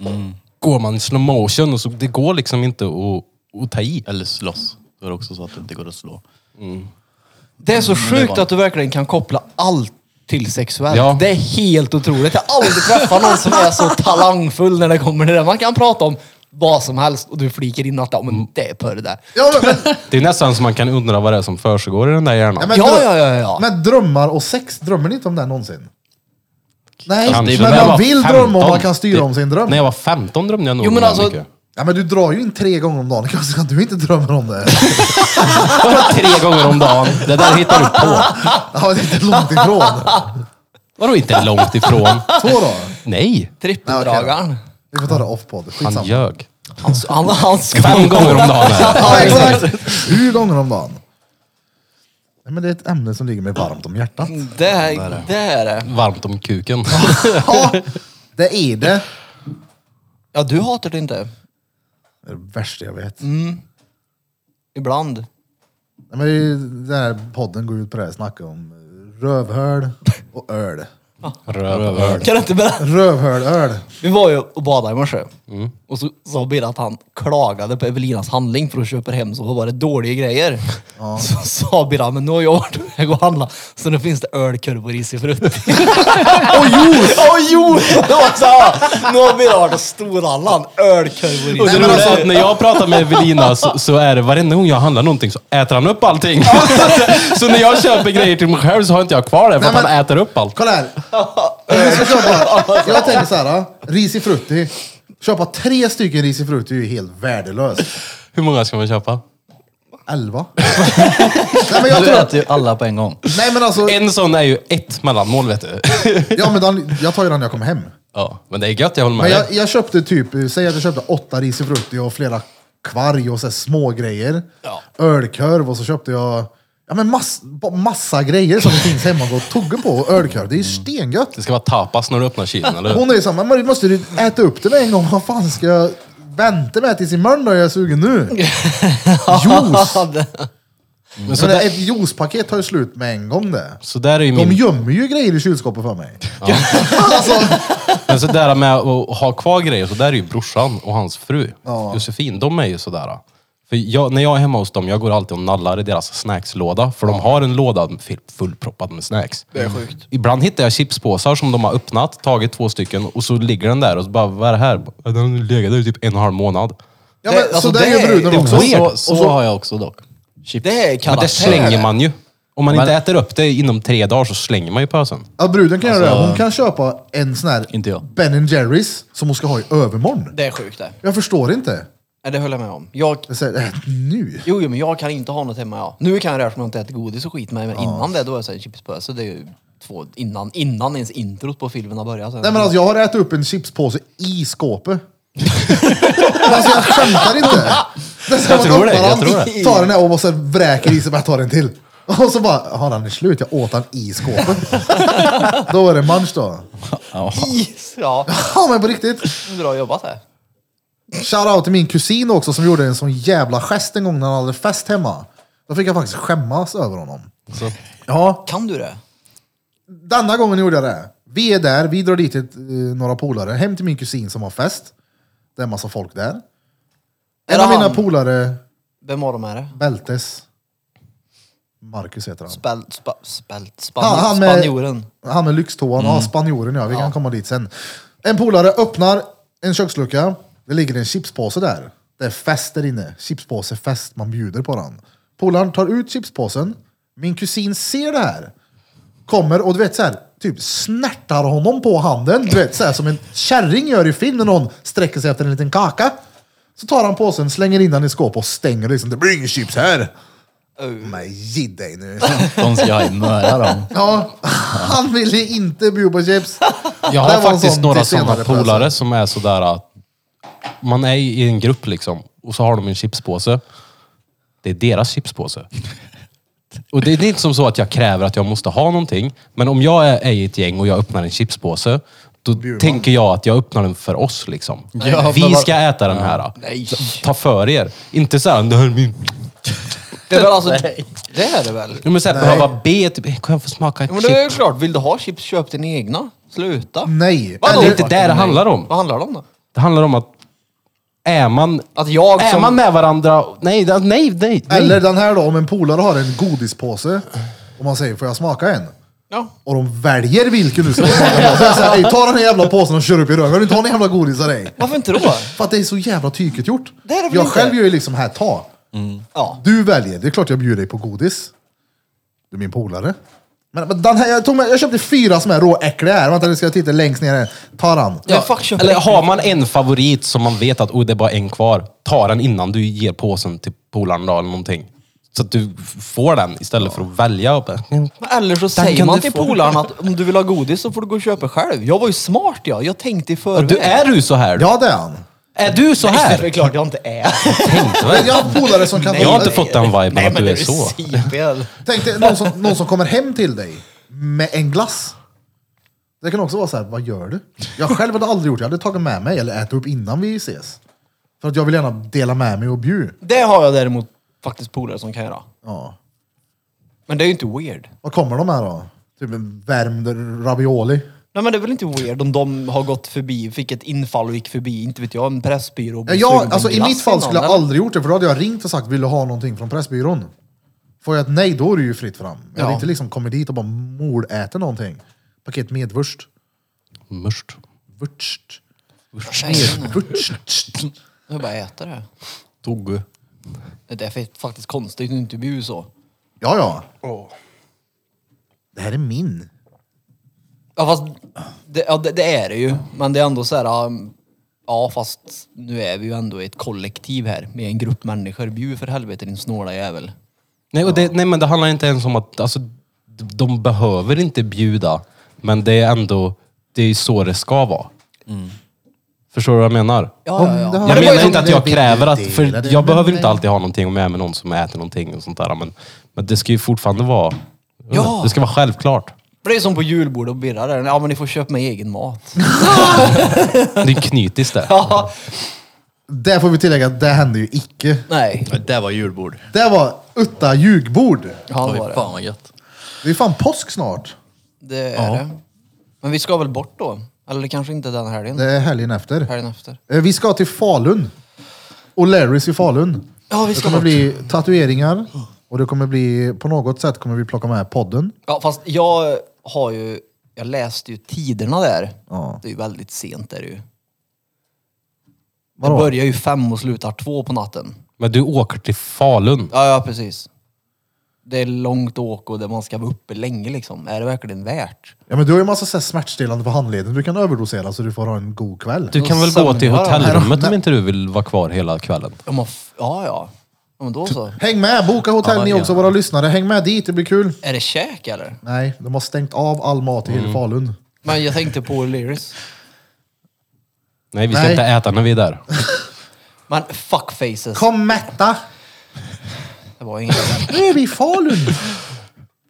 Mm. går man i slow motion och så, det går liksom inte att, att ta i. Eller slåss. Då är det också så att det inte går att slå. Mm, Det är så sjukt att du verkligen kan koppla allt till sexuellt. Ja. Det är helt otroligt. Jag har aldrig träffat någon som är så talangfull när det kommer till det. Man kan prata om vad som helst och du fliker in att ja, men det är på det där. Ja, men, men, Det är nästan så man kan undra vad det är som försiggår i den där hjärnan. Ja, men, Ja, drö- ja, ja, ja. men drömmar och sex, drömmer ni inte om det här någonsin? Nej, Kanske när men jag man var vill drömma om man 15. kan styra Det- om sin dröm. När jag var 15 drömde jag nog Jo, om men det här alltså- mycket. Ja, men du drar ju in tre gånger om dagen, kanske ska du inte drömmer om det? Tre gånger om dagen. Det där hittar du på. Ja, det är inte långt ifrån. Vadå inte långt ifrån? Två då? Nej, Trippeldragaren. Vi får ta det off podd, han skitsamma. ljög. Han, han, han ska... Fem gånger om dagen. är det. Ja, exakt. Hur gånger om dagen? Nej, men det är ett ämne som ligger mig varmt om hjärtat. Det är det. Är det. Varmt om kuken. Ja, det är det. Ja, du hatar det inte. Det är det värsta jag vet. Mm. Ibland. Nej, men det är ju- den här podden går ut på det här, snacka om rövhöl och öl. Rövhörd. Kan du inte berätta? Rövhölöl. Vi var ju och badade i morse. Och så sa Birre att han klagade på Evelinas handling för att köpa hem så var det dåliga grejer. Så sa Birre, men nu har jag varit iväg och handlat så nu finns det ölkorv och risig frukt. och juice! och juice! Det var så här, Nu har Birre varit och storhandlat ölkorv och Och det risig roliga frukt. är alltså- att när jag pratar med Evelina så, så är det varenda gång jag handlar någonting så äter han upp allting. så när jag köper grejer till mig själv så har inte jag kvar det för Nej, att han men- äter upp allt. Kolla här, Jag, ska köpa, jag tänker så här, risifrutti. Köpa tre stycken risifrutti är ju helt värdelöst. Hur många ska man köpa? Elva? nej, men jag Du tror att, äter ju alla på en gång. nej men alltså, En sån är ju ett mellanmål vet du. ja, men den, jag tar ju den när jag kommer hem. Ja, men det är gött, jag håller Men med jag, dig. jag köpte typ, säg att jag köpte åtta risifrutti och flera kvarg och så här små grejer. Ölkorv och så köpte jag ja, men mass, ba- massa grejer som finns hemma och gå och tugga på. Och ölkorv, det är ju stengött. Det ska vara tapas när du öppnar kylen, eller hur? Hon är ju såhär, men måste du äta upp det med en gång? Vad fan ska jag vänta med tills imorgon då? Jag är sugen nu. Juice! Men så, Men där, Mm. ett juicepaket tar ju slut med en gång det. så där är ju De min... gömmer ju grejer i kylskåpet för mig. Men så där med att ha kvar grejer, så där är ju brorsan och hans fru, Ja. Josefin, de är ju sådär. För jag, när jag är hemma hos dem, jag går alltid och nallar i deras snackslåda. För de har en låda full- fullproppad med snacks. Det är sjukt. Ibland hittar jag chipspåsar som de har öppnat, tagit två stycken och så ligger den där och så bara, vad är det här? Den har legat där i typ en och en halv månad. Ja, Det- men, alltså, så där det gör är- bruden det är också. weird. Så, så har jag också dock. Chips. Det är Men det karaktär. slänger man ju. Om man Men- inte äter upp det inom tre dagar så slänger man ju pösen. Ja, bruden kan göra det. Hon kan köpa en sån här Inte jag. Ben Jerrys som hon ska ha i övermorgon. Det är sjukt det. Jag förstår inte. Nej, det höll jag med om. Jag, Jag säger, ät nu. jo, jo, men jag kan inte ha något hemma. Ja. Nu kan jag det eftersom jag inte äter godis och skit. Men innan det, då är jag så här chipspåse. Det är ju två, innan, innan ens introt på filmen har börjat. Nej men alltså jag har ätit upp en chipspåse i skåpet. alltså jag skämtar inte. Det är så Jag att man tror det, öppnar jag den, tror det. Tar den här och så vräker i sig, bara tar en till. Och så bara, har den är slut, jag åt den i skåpet. då var det munch då. Is, ja. Ja men på riktigt. Bra jobbat här. Shoutout till min kusin också som gjorde en sån jävla gest en gång när han hade fest hemma. Då fick jag faktiskt skämmas över honom. Så. Ja. Kan du det? Denna gången gjorde jag det. Vi är där, vi drar dit ett, eh, några polare, hem till min kusin som har fest. Det är en massa folk där. En det av mina han? polare, Vem av dem är det? Bältes. Marcus heter han. Spel, spa, spel, span, Han, han med, spanjoren. Mm. han med lyxtåan, ja spanjoren ja, vi kan komma dit sen. En polare öppnar en kökslucka, det ligger en chipspåse där. Det är fest där inne, chipspåse fest, man bjuder på den. Polaren tar ut chipspåsen, min kusin ser det här. Kommer och du vet så här, typ snärtar honom på handen, du vet så här, som en kärring gör i film när någon sträcker sig efter en liten kaka. Så tar han påsen, slänger in den i skåpet och stänger liksom, det blir inga chips här. Men ge dig nu. De ska ha i möra dem. Ja, han ville inte bjuda på chips. Jag Det har var en faktiskt sån några till sådana senare polare present. som är sådär att man är i en grupp liksom och så har de en chipspåse. Det är deras chipspåse. Och det är inte som så att jag kräver att jag måste ha någonting. Men om jag är är i ett gäng och jag öppnar en chipspåse, då tänker jag att jag öppnar den för oss liksom. Ja, men Vi vad- ska äta den här. Nej. Ta för er. Inte såhär, det här är min. Det är väl alltså... Det är det väl? Ja, Men såhär, behöva be, typ, kan jag få smaka ett Ja, Men det är ju chips? klart, vill du ha chips, köp dina egna. Sluta. Nej. Vadå? Det är inte det det handlar om. Vad handlar det om då? Det handlar om att är man, Att jag är som- man med varandra... Nej, det- nej, nej. nej. Eller den här då, om en polare har en godispåse och man säger får jag smaka en? Ja. Och de väljer vilken du ska smaka på. Så jag säger, "Ey, ta den här jävla påsen och kör upp i röven. Vill du inte ha någon jävla godis av dig? Varför inte då? För att det är så jävla tyket gjort. Det är det väl jag inte. själv gör ju liksom här, ta. Ja. Du väljer, det är klart jag bjuder dig på godis. Du är min polare. Men, men den här, jag, tog med, jag köpte fyra som är råäckliga här. Vänta nu ska jag titta längst ner här. Ta den. Men fuck, köp Eller ägg. har man en favorit som man vet att oh, det är bara en kvar, ta den innan du ger påsen till polaren då, eller någonting. Så att du f- får den istället för att välja. och bara, "Mm." Eller så Den säger kan man du till få. polaren att om du vill ha godis så får du gå och köpa själv. Jag var ju smart jag. Jag tänkte i Ja, förväg. Du, är du så här? Ja det är han. Är du så Det är här? klart jag inte är. Tänkte väl. Jag har polare som kan... Jag har inte fått den viben att du är så. simpel. Tänk dig någon som, någon som kommer hem till dig med en glass. Det kan också vara så här, vad gör du? Jag själv hade aldrig gjort det. Jag hade tagit med mig eller ätit upp innan vi ses. För att jag vill gärna dela med mig och bjuda. Det har jag däremot faktiskt polare som kan göra. Ja. Men det är ju inte weird. Vad kommer de här då? Typ en värmd ravioli? Nej men det är väl inte weird om de har gått förbi, fick ett infall och gick förbi, inte vet jag, en pressbyrå. och Ja, blev sugen jag, på alltså, I glass mitt fall innan, skulle jag eller? aldrig gjort det, för då hade jag ringt och sagt, vill du ha någonting från Pressbyrån? Får jag ett nej, då är det ju fritt fram. Jag hade Ja. inte liksom kommit dit och bara moläter någonting. Paket medvurst. Mörst. Vurst. Nej, nej. Vurst. Jag bara äter det. Tog. Det är faktiskt konstigt när du inte bjuder så. Ja, ja. Det här är min. Ja fast det, ja, det, det är det ju. Men det är ändå så här, um, ja fast nu är vi ju ändå i ett kollektiv här med en grupp människor. Bjud för helvete din snåla jävel. Nej, och det, nej men det handlar inte ens om att, alltså, d- de behöver inte bjuda, men det är ändå, det är ju så det ska vara. Förstår du vad jag menar? Ja, ja, ja. Om det här- Jag det var menar ju inte som att jag det- kräver att, dela för det jag med behöver mig. inte alltid ha någonting och med mig någon som äter någonting och sånt där. Men, men det ska ju fortfarande vara, Ja. det ska vara självklart. För det är som på julbordet och Birra där. Ja men ni får köpa mig egen mat. Det är knytis det. Ja. Där får vi tillägga att det hände ju icke. Nej, Det var julbord. Det var utta ljugbord. han Oj, var det. fan vad gött. Det är fan påsk snart. Det är det. Men vi ska väl bort då? Eller kanske inte den helgen? Det är helgen efter. Helgen efter. Eh, Vi ska till Falun. Och Larrys i Falun. Ja, vi Det ska kommer bort. bli tatueringar. Och det kommer bli, på något sätt kommer vi plocka med podden. Ja fast jag har ju, jag läste ju tiderna där. Ja. Det är ju väldigt sent är det ju. Det Vadå? börjar ju fem och slutar två på natten. Men du åker till Falun. Ja, ja precis. Det är långt åk och där man ska vara uppe länge liksom. Är det verkligen värt? Ja, men du har ju massa så här smärtstillande på handleden. Du kan överdosera så du får ha en god kväll. Du kan väl gå till Sömnigare. hotellrummet Nej, om nej. inte du vill vara kvar hela kvällen? Ja, man f- ja, ja. ja men då så. Häng med, boka hotell Ja, ni också, ja. våra lyssnare. Häng med dit, det blir kul. Är det käk eller? Nej, de har stängt av all mat i Mm. hela Falun. Men jag tänkte på Lyris. Nej, vi ska Nej. inte äta när vi är där. Men fuck faces. Kom mätta! Det var inget. Nu är vi i Falun!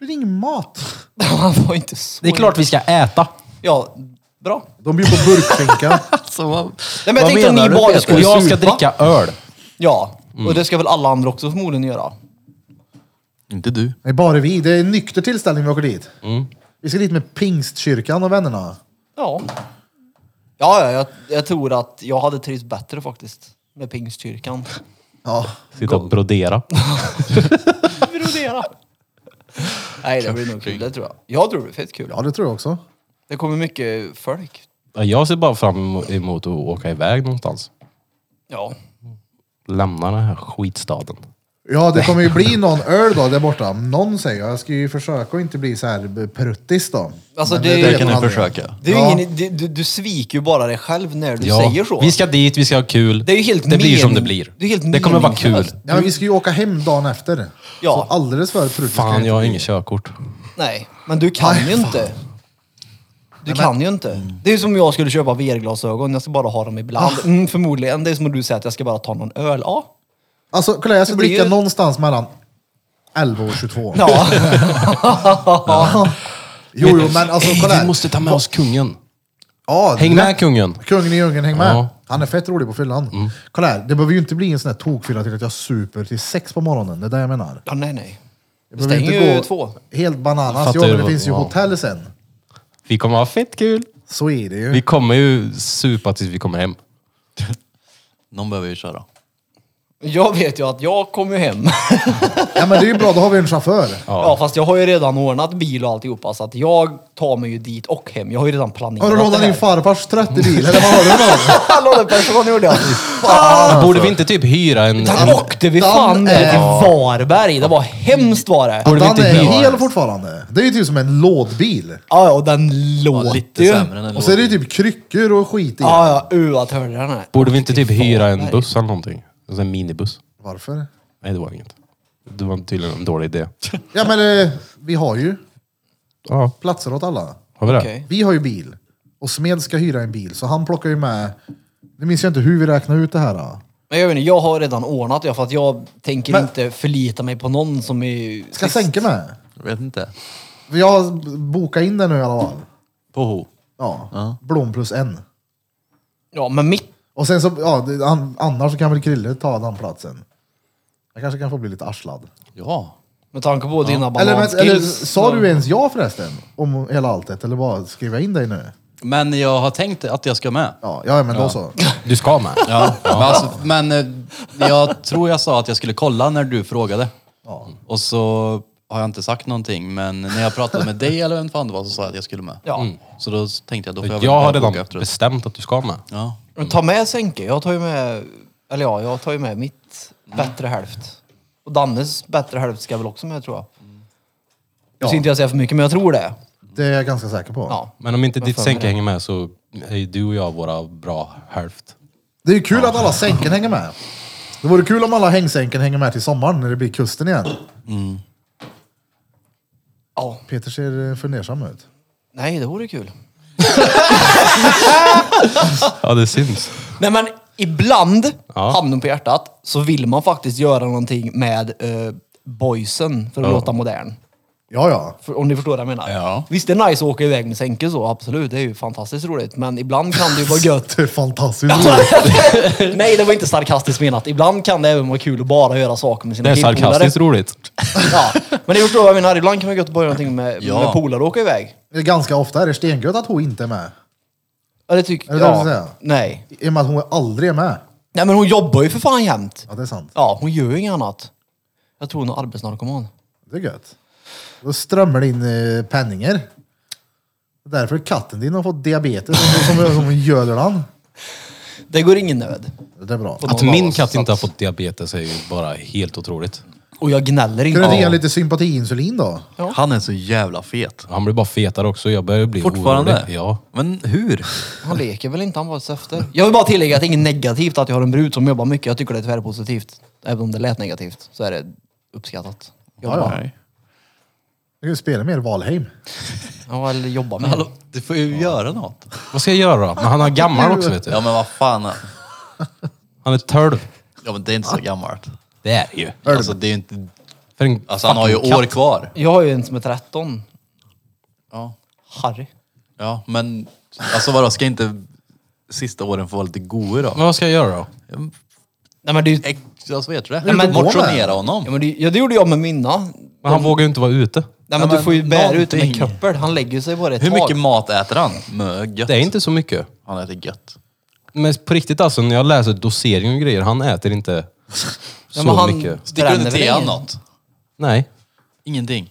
Det blir ingen mat. Han var inte så... Det är klart vi ska äta. Ja, bra. De bjuder på burkskinka. Alltså, vad, men jag tänkte om ni bara Och skulle- jag ska supa? dricka Mm. öl. Ja, och det ska väl alla andra också förmodligen göra. Inte du. Nej, bara vi. Det är en nykter tillställning vi åker dit. Mm. Vi ska dit med pingstkyrkan och vännerna. Ja. Ja, ja jag, jag tror att jag hade trivts bättre faktiskt. Med pingstkyrkan. Ja. Sitta och brodera. Brodera. Nej, det blir nog kul. Det tror jag. Jag tror det blir fett kul. ja, det tror jag också. Det kommer mycket folk. Ja, Jag ser bara fram emot att åka iväg någonstans. Ja. Lämna den här skitstaden. Ja, det kommer ju bli någon öl då där borta. Någon säger jag. Jag ska ju försöka att inte bli så här pruttis då. Alltså, Men det är ju- vet Det kan man du aldrig. försöka. Det är ju Ja. ingen, du, du, du sviker ju bara dig själv när du säger så. Vi ska dit, vi ska ha kul. Det är ju helt det blir men- som det blir. det är helt kommer vara kul. meningslöst. Ja, men vi ska ju åka hem dagen efter. Ja. Så alldeles för pruttis. ska Fan, inte jag har bli. inget körkort. Nej, men du kan ju inte. Du kan ju inte. Det är ju som om jag skulle köpa VR-glasögon. Jag ska bara ha dem ibland. Mm, förmodligen. Det är som om du säger att jag ska bara ta någon öl. Ja. Alltså, kolla jag ska Det blir dricka ju- någonstans mellan 11 och 22. Ja. Jo, jo, men alltså Ey, kolla här. vi måste ta med oss kungen. Ja, Häng lätt. med kungen. Kungen i djungeln, häng med. Ja. Mm. Han är fett rolig på fyllan. Kolla här, det behöver ju inte bli en sån här tokfylla till att jag super till sex på morgonen. Det är det jag menar. ja nej, nej. Jag Det stänger ju två. helt bananas. Fattar Ja, men det du? finns ju Wow. hotell sen. Vi kommer ha fett kul. Så är det ju. Vi kommer ju supa tills vi kommer hem. Alltså. Någon behöver ju köra. Jag vet ju att jag kommer ju hem. Ja, men det är ju bra, då har vi en chaufför. Ja. fast jag har ju redan ordnat bil och alltihopa så att jag tar mig ju dit och hem. Jag har ju redan planerat Har du lånat det din här. farfars 30 bil, eller vad har du någon? Låneperson gjorde jag. Borde vi inte typ hyra en... Där åkte vi fan eh. ner till Varberg. Det var hemskt var det. Borde vi Den inte är hyra? hel fortfarande. Det är ju typ som en lådbil. Ja, ja, och den Ja, låter lite ju. sämre än en Och så är det ju låt. typ kryckor och skit i. Ja, ja, uh att hörde den här. Borde vi inte typ hyra en buss eller någonting? Alltså en minibuss. Varför? Nej, det var inget. Det var tydligen en dålig idé. Ja men eh, vi har ju Ja, platser åt alla. har vi det? Okej. Vi har ju bil. Och Smed ska hyra en bil, så han plockar ju med... Nu minns jag inte hur vi räknade ut det här. Då. Men jag vet inte, jag har redan ordnat det för att jag tänker Men- inte förlita mig på någon som är... Ska jag sänka med? Jag vet inte. Jag bokar in det nu i alla fall. På Ho. Ja. Blom plus en. Ja, men mitt... Och sen så, ja, det- an, annars så kan väl Krille ta den platsen. Jag kanske kan få bli lite arslad. Ja. Med tanke på dina Eller, men, bananskills. eller sa du ens ja förresten? Om hela alltet? Eller bara skrev jag in dig nu? Men jag har tänkt att jag ska med. Ja, ja men då så. Du ska med. Ja. Men, alltså, men eh, jag tror jag sa att jag skulle kolla när du frågade. Ja. Och så har jag inte sagt någonting, men när jag pratade med dig eller vem fan det var så sa jag att jag skulle med. Mm. Ja. Så då tänkte jag, då får jag, väl Jag har boka redan efteråt. bestämt att du ska med. Ja. Men ta med sänke. Jag tar ju med... Eller ja, jag tar ju med mitt bättre hälft. Och Dannes bättre hälft ska väl också med tror jag. Nu ska inte jag säga för mycket, men jag tror det. Det är jag ganska säker på. Ja. Men om inte ditt fan sänke hänger med så är ju du och jag våra bra hälft. Det är ju kul att alla sänken hänger med. Det vore kul om alla hängsänken hänger med till sommaren när det blir kusten igen. ja. Peter ser eh, fundersam ut. Nej, det vore kul. Ja, det syns. Nej men ibland, Ja. handen på hjärtat, så vill man faktiskt göra någonting med eh, boysen för att Ja. låta modern. Ja, ja. För, om ni förstår vad jag menar. Ja. Visst det är nice att åka iväg med sänke så, absolut. Det är ju fantastiskt roligt. Men ibland kan det ju vara gött. Det är fantastiskt roligt. Nej, det var inte sarkastiskt menat. Ibland kan det även vara kul att bara göra saker med Det sina är killpolare. sarkastiskt roligt. Ja, men ni förstår vad jag menar. Ibland kan det vara gött att bara göra någonting med, Ja. med polare och åka iväg. Det är ganska ofta är det stengött att hon inte är med. Ja, det tycker Är det det du säger? jag. Nej. I och med att hon aldrig är med. Nej, men hon jobbar ju för fan jämt. Ja, det är sant. Ja, hon gör ju inget annat. Jag tror hon är arbetsnarkoman. Det är gött. Då strömmar det in eh, penningar. Därför katten din har fått diabetes som, som, som göder den. Det går ingen nöd. Det är bra. Att någon av min oss, katt så inte har att- fått diabetes är ju bara helt otroligt. Och jag gnäller inte. Kunde du inte ge lite sympatiinsulin då? Han är så jävla fet. Han blir bara fetare också. Jag börjar bli Fortfarande? orolig. Ja. Men hur? Han leker väl inte, han var ett efter. Jag vill bara tillägga att det är inget negativt att jag har en brud som jobbar mycket. Jag tycker det är tyvärr positivt. Även om det lät negativt så är det uppskattat. Ja, ja. Nej. Du kan ju spela mer Valheim. Ja, eller jobba med. Hallå, du får ju göra något. Vad ska jag göra då? Men han är gammal också vet Ja du. men vad fan. Han är 12. Ja men det är inte så gammalt. Det är ju. Alltså det är ju inte... För en Alltså han har ju fucking katt. år kvar. Jag har ju en som är 13. Ja. Harry. Ja men alltså vadå, ska inte sista åren få vara lite goa då? Men vad ska jag göra då? Nej men det är ju... Ex- Alltså vet du det? Nej, men- Motionera Ja, honom. men det, ja, det gjorde jag med mina. Men han vågar ju inte vara ute. Nej, men Ja, du får ju men bära ut med någonting. köppel. Han lägger sig bara ett Hur tag. mycket mat äter han? Mö, gött. Det är inte så mycket. Han äter gött. Men på riktigt alltså, när jag läser dosering och grejer, han äter inte så Ja, men han- mycket. Sticker du Bränner inte till väl honom ingen? något? Nej. Ingenting.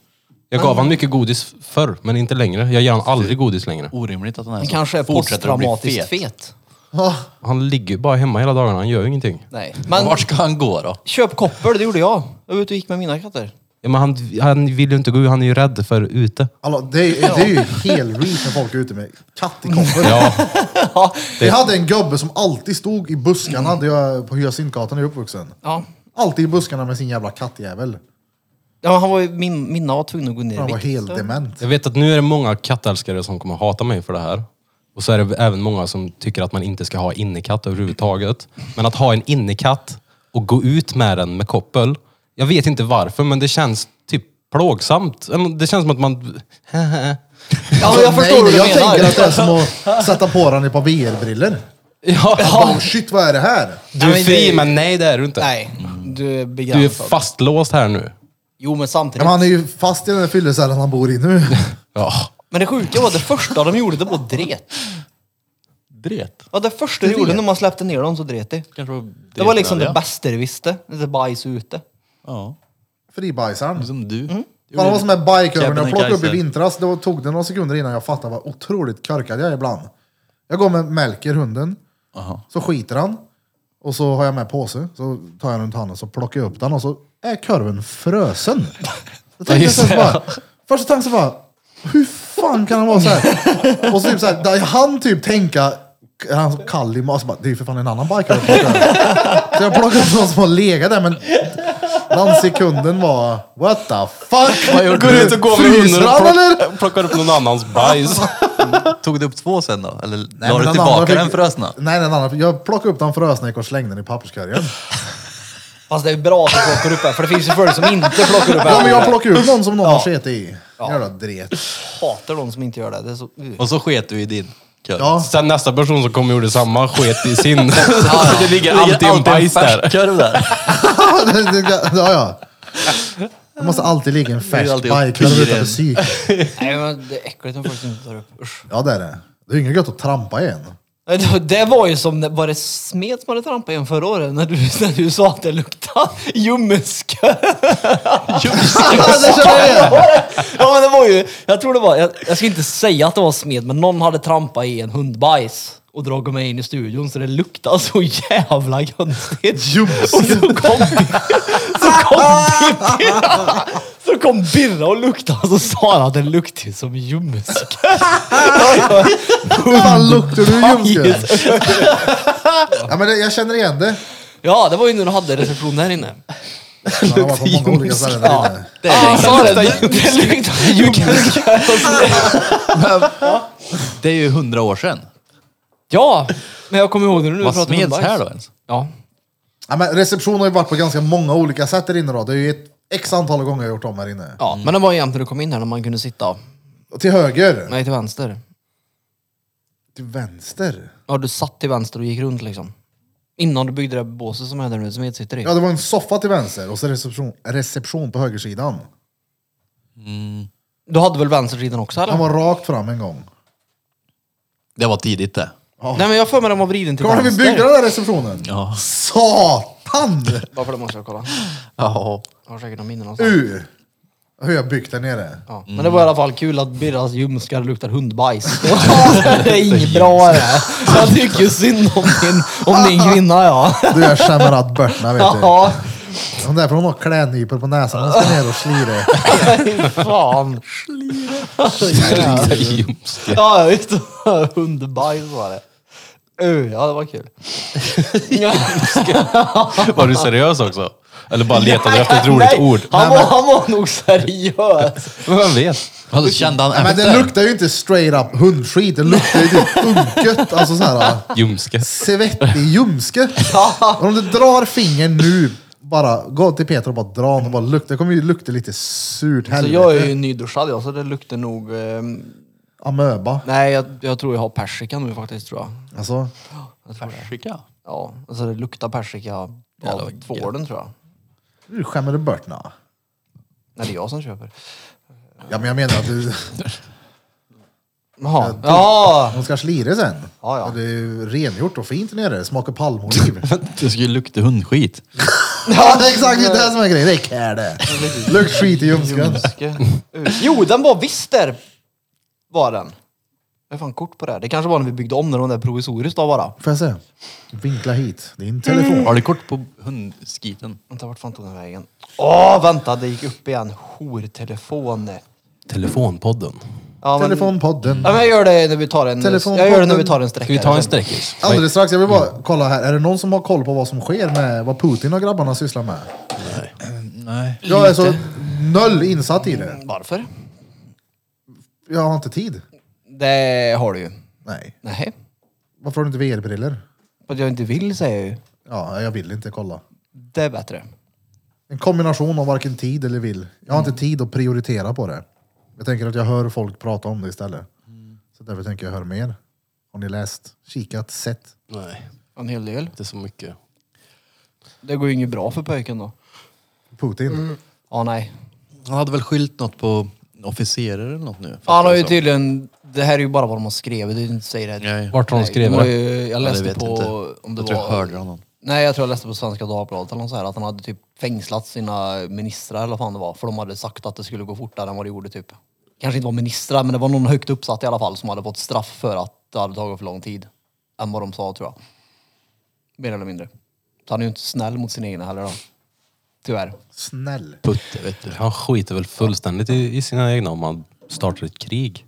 Jag gav han mycket godis förr, men inte längre. Jag ger han aldrig godis längre. Orimligt att han är Han så. kanske är Fortsätter att bli posttraumatiskt fet. Ja, Han ligger ju bara hemma hela dagarna, han gör ju ingenting. Nej. Men Vart ska han gå då? köp koppel, det gjorde jag. Jag var ute och gick med mina katter. Ja, men han, han vill ju inte gå ut, han är ju rädd för ute. Alltså, det, är- det är ju hel reach när folk är ute med katt i koppel. Ja, Vi hade en gubbe som alltid stod i buskarna där jag, på Hyacintgatan när jag är uppvuxen. Ja. Alltid i buskarna med sin jävla kattjävel. ja han var ju, min, mina var tvungna att gå ner i Han var vikt. helt dement. jag vet att nu är det många kattälskare som kommer hata mig för det här. Och så är det även många som tycker att man inte ska ha innekatt överhuvudtaget. Men att ha en innekatt och gå ut med den med koppel. Jag vet inte varför, men det känns typ plågsamt. Eller Det känns som att man... Ja, men jag Alltså, nej, förstår vad Jag du menar. tänker att det är som att sätta på den ett par VR-brillor. ja, Oh shit, vad är det här? du är Nej, men fri, det- men nej det är du inte. Nej, du är Du är begränsad. fastlåst här nu. Jo, men samtidigt. Ja, men han är ju fast i den där fyllecellen han bor i nu. Ja. Men det sjuka var det första de gjorde, det var dret. Dret. Ja, det första de gjorde när man släppte ner dem så dret det. Kanske var Det var liksom det bästa de visste. Lite bajs ute. Ja, Fribajsaren. som du. Mm. Fan vad som är bikeövern. Jag plockade upp i Kebnekaise. vintras. Det var- tog det några sekunder innan jag fattade vad otroligt körkad jag är ibland. Jag går med Melker, hunden. Aha. Så skiter han. Och så har jag med påse. Så tar jag runt handen och så plockar jag upp den och så är korven frösen. Då tänkte jag så här, bara, första tanken så bara, hur fan kan han vara så här? Och så typ så här, där han typ tänka, är han så kall i magen? Så bara, Det är ju för fan en annan bike jag plockar upp. Så jag plockade upp någon som har legat där men den sekunden var, what the fuck? Går ut och går med Fryser hunden och han eller? plock, plockar upp någon annans bajs. Tog du upp två sen då? Eller Nej, la men du den tillbaka andra fick- den frösna? Nej, den andra. Jag plockade upp den frösna och slängde den i papperskorgen. Fast det är bra att du plockar upp här, för det finns ju folk som inte plockar upp Ja, men jag här. plockade upp någon som någon har sett i. Jävla dret. Jag hatar de som inte gör det. det är så... uh. Och så sket du i din korv. Ja. Sen nästa person som kom och gjorde samma sket i sin. Så det ligger alltid en alltid bajs där. färskkorv där. Det- det- det- ja, ja. Det måste alltid ligga en Det är färsk alltid bajkorv pyren. utanför psyk. Nej, men det är äckligt när folk som inte tar upp. Usch. Ja, det är det. Det är inget gött att trampa igen. Nej, det- Det var ju som, var det smet som hade trampat igen förra året? När du, när du sa att det luktade ljumske. ja men det var ju, jag tror det var, jag, jag ska inte säga att det var smet, men någon hade trampat i en hundbajs och dragit mig in i studion så det luktade så jävla konstigt. Ljumske. Och så kom, så kom Pippi, så så kom Birra och luktade och så sa han att den luktade som ljumske. Fan luktar du ljumske? ja, men det, jag känner igen det. Ja, det var ju när du hade reception här inne. Man har varit på många olika ställen där inne. Det ah, han sa det! Det det luktar ljumske. Det är ju hundra år sedan. Ja, men jag kommer ihåg när du nu Vad pratade smeds bajs. här då ens? Ja. Ja, men reception har ju varit på ganska många olika sätt där inne. Då. Det är ju ett x antal gånger jag har gjort om här inne. ja, men det var jämt när du kom in här när man kunde sitta. Och Till höger, Nej, till vänster. till vänster. Ja, du satt till vänster och gick runt liksom. Innan du byggde det här båset som är där nu, som Ed sitter i. Ja, det var en soffa till vänster och så reception, reception på högersidan. Du hade väl vänstersidan också eller? Han var rakt fram en gång. Det var tidigt det. Nej men jag har för mig den var vriden till Kommer du ihåg när vi vänster. byggde den där receptionen? Ja. Satan! Bara för det måste jag kolla. Ja. Jag har säkert någon minne någonstans. U! Hur jag byggt där nere. Ja. Men det var i alla fall kul att Birras ljumskar luktar hundbajs. det är inget bra det här. Jag tycker ju synd om din, om din kvinna ja. Du, jag känner att börtna vet du. Ja, Hon därför hon har klädnypor på näsan. Hon ska ner och slira. fy fan. Luktar ljumske. Ja, just det. Hundbajs var det. Uh, ja, det var kul. Var du seriös också? Eller bara letade efter ett roligt Nej, ord? Han, Nej, var, men- han var nog seriös. Men vem vet? Alltså, kände han Nej, men det luktar ju inte straight up hundskit. Det luktar ju typ unket. Alltså så här Ljumske. svettig ljumske. Och om du drar fingern nu, bara gå till Peter och bara dra honom och bara lukta. Det kommer ju lukta lite surt Så helvete. jag är ju nyduschad jag, så det luktar nog... Eh, Amöba. nej, jag, jag tror jag har persika nu faktiskt tror jag. Alltså, jag tror det. Persika. Ja, alltså det luktar persika av Jävlar, vad tvålen tror jag. nu skämmer du bort nå. Nej, det är jag som köper. Ja men jag menar att du, Jaha. Ja! hon ska slira sen. Ja, ja. Och det är ju rengjort och fint nere. Smakar palmoliv. Det skulle lukta hundskit. ja det är exakt det som är grejen. Det är kär det. Lukt skit i ljumsken. Jo, den var visst där! Var den. Jag har fan kort på det. här. Det kanske var när vi byggde om när de där provisoriskt då bara. Får jag se? Vinkla hit din telefon. Mm. Har du kort på hundskiten? Vänta, vart fan tog den vägen? Åh, vänta, det gick upp igen. Hortelefon. Telefonpodden. Ja, men, Telefonpodden. Ja, men jag gör det när vi tar en... Telefonpodden. Jag gör det när vi tar en sträcka. Ska liksom. vi ta en sträckis? Alldeles strax, jag vill bara kolla här. Är det någon som har koll på vad som sker med vad Putin och grabbarna sysslar med? Nej. Jag är så alltså, noll insatt i det. Varför? Jag har inte tid. Det har du ju. Nej. Nej. Varför har du inte VR-briller? För att jag inte vill säger jag ju. Ja, jag vill inte kolla. Det är bättre. En kombination av varken tid eller vill. Jag har Mm. inte tid att prioritera på det. Jag tänker att jag hör folk prata om det istället. Mm. Så därför tänker jag höra mer. Har ni läst, kikat, sett? Nej, En hel del. inte så mycket. Det går ju inget bra för pojken då. Putin? Mm. Ja, nej. Han hade väl skylt något på officerare eller något nu? Han har ju typ- tydligen... Det här är ju bara vad de har skrivit, det är inte säger det. Nej. Vart har de Nej, skrivit var det? ju, jag Ja, det läste vet på... jag inte. Om det jag tror jag var, hörde honom. Nej, jag tror jag läste på Svenska Dagbladet eller något så här, att han hade typ fängslat sina ministrar eller vad fan det var. För de hade sagt att det skulle gå fortare än vad det gjorde typ. Kanske inte var ministrar, men det var någon högt uppsatt i alla fall som hade fått straff för att det hade tagit för lång tid. Än vad de sa tror jag. Mer eller mindre. Så han är ju inte snäll mot sina egna heller då. Tyvärr. Snäll. Putte vet du. Han skiter väl fullständigt i, i sina egna om man startar ett krig.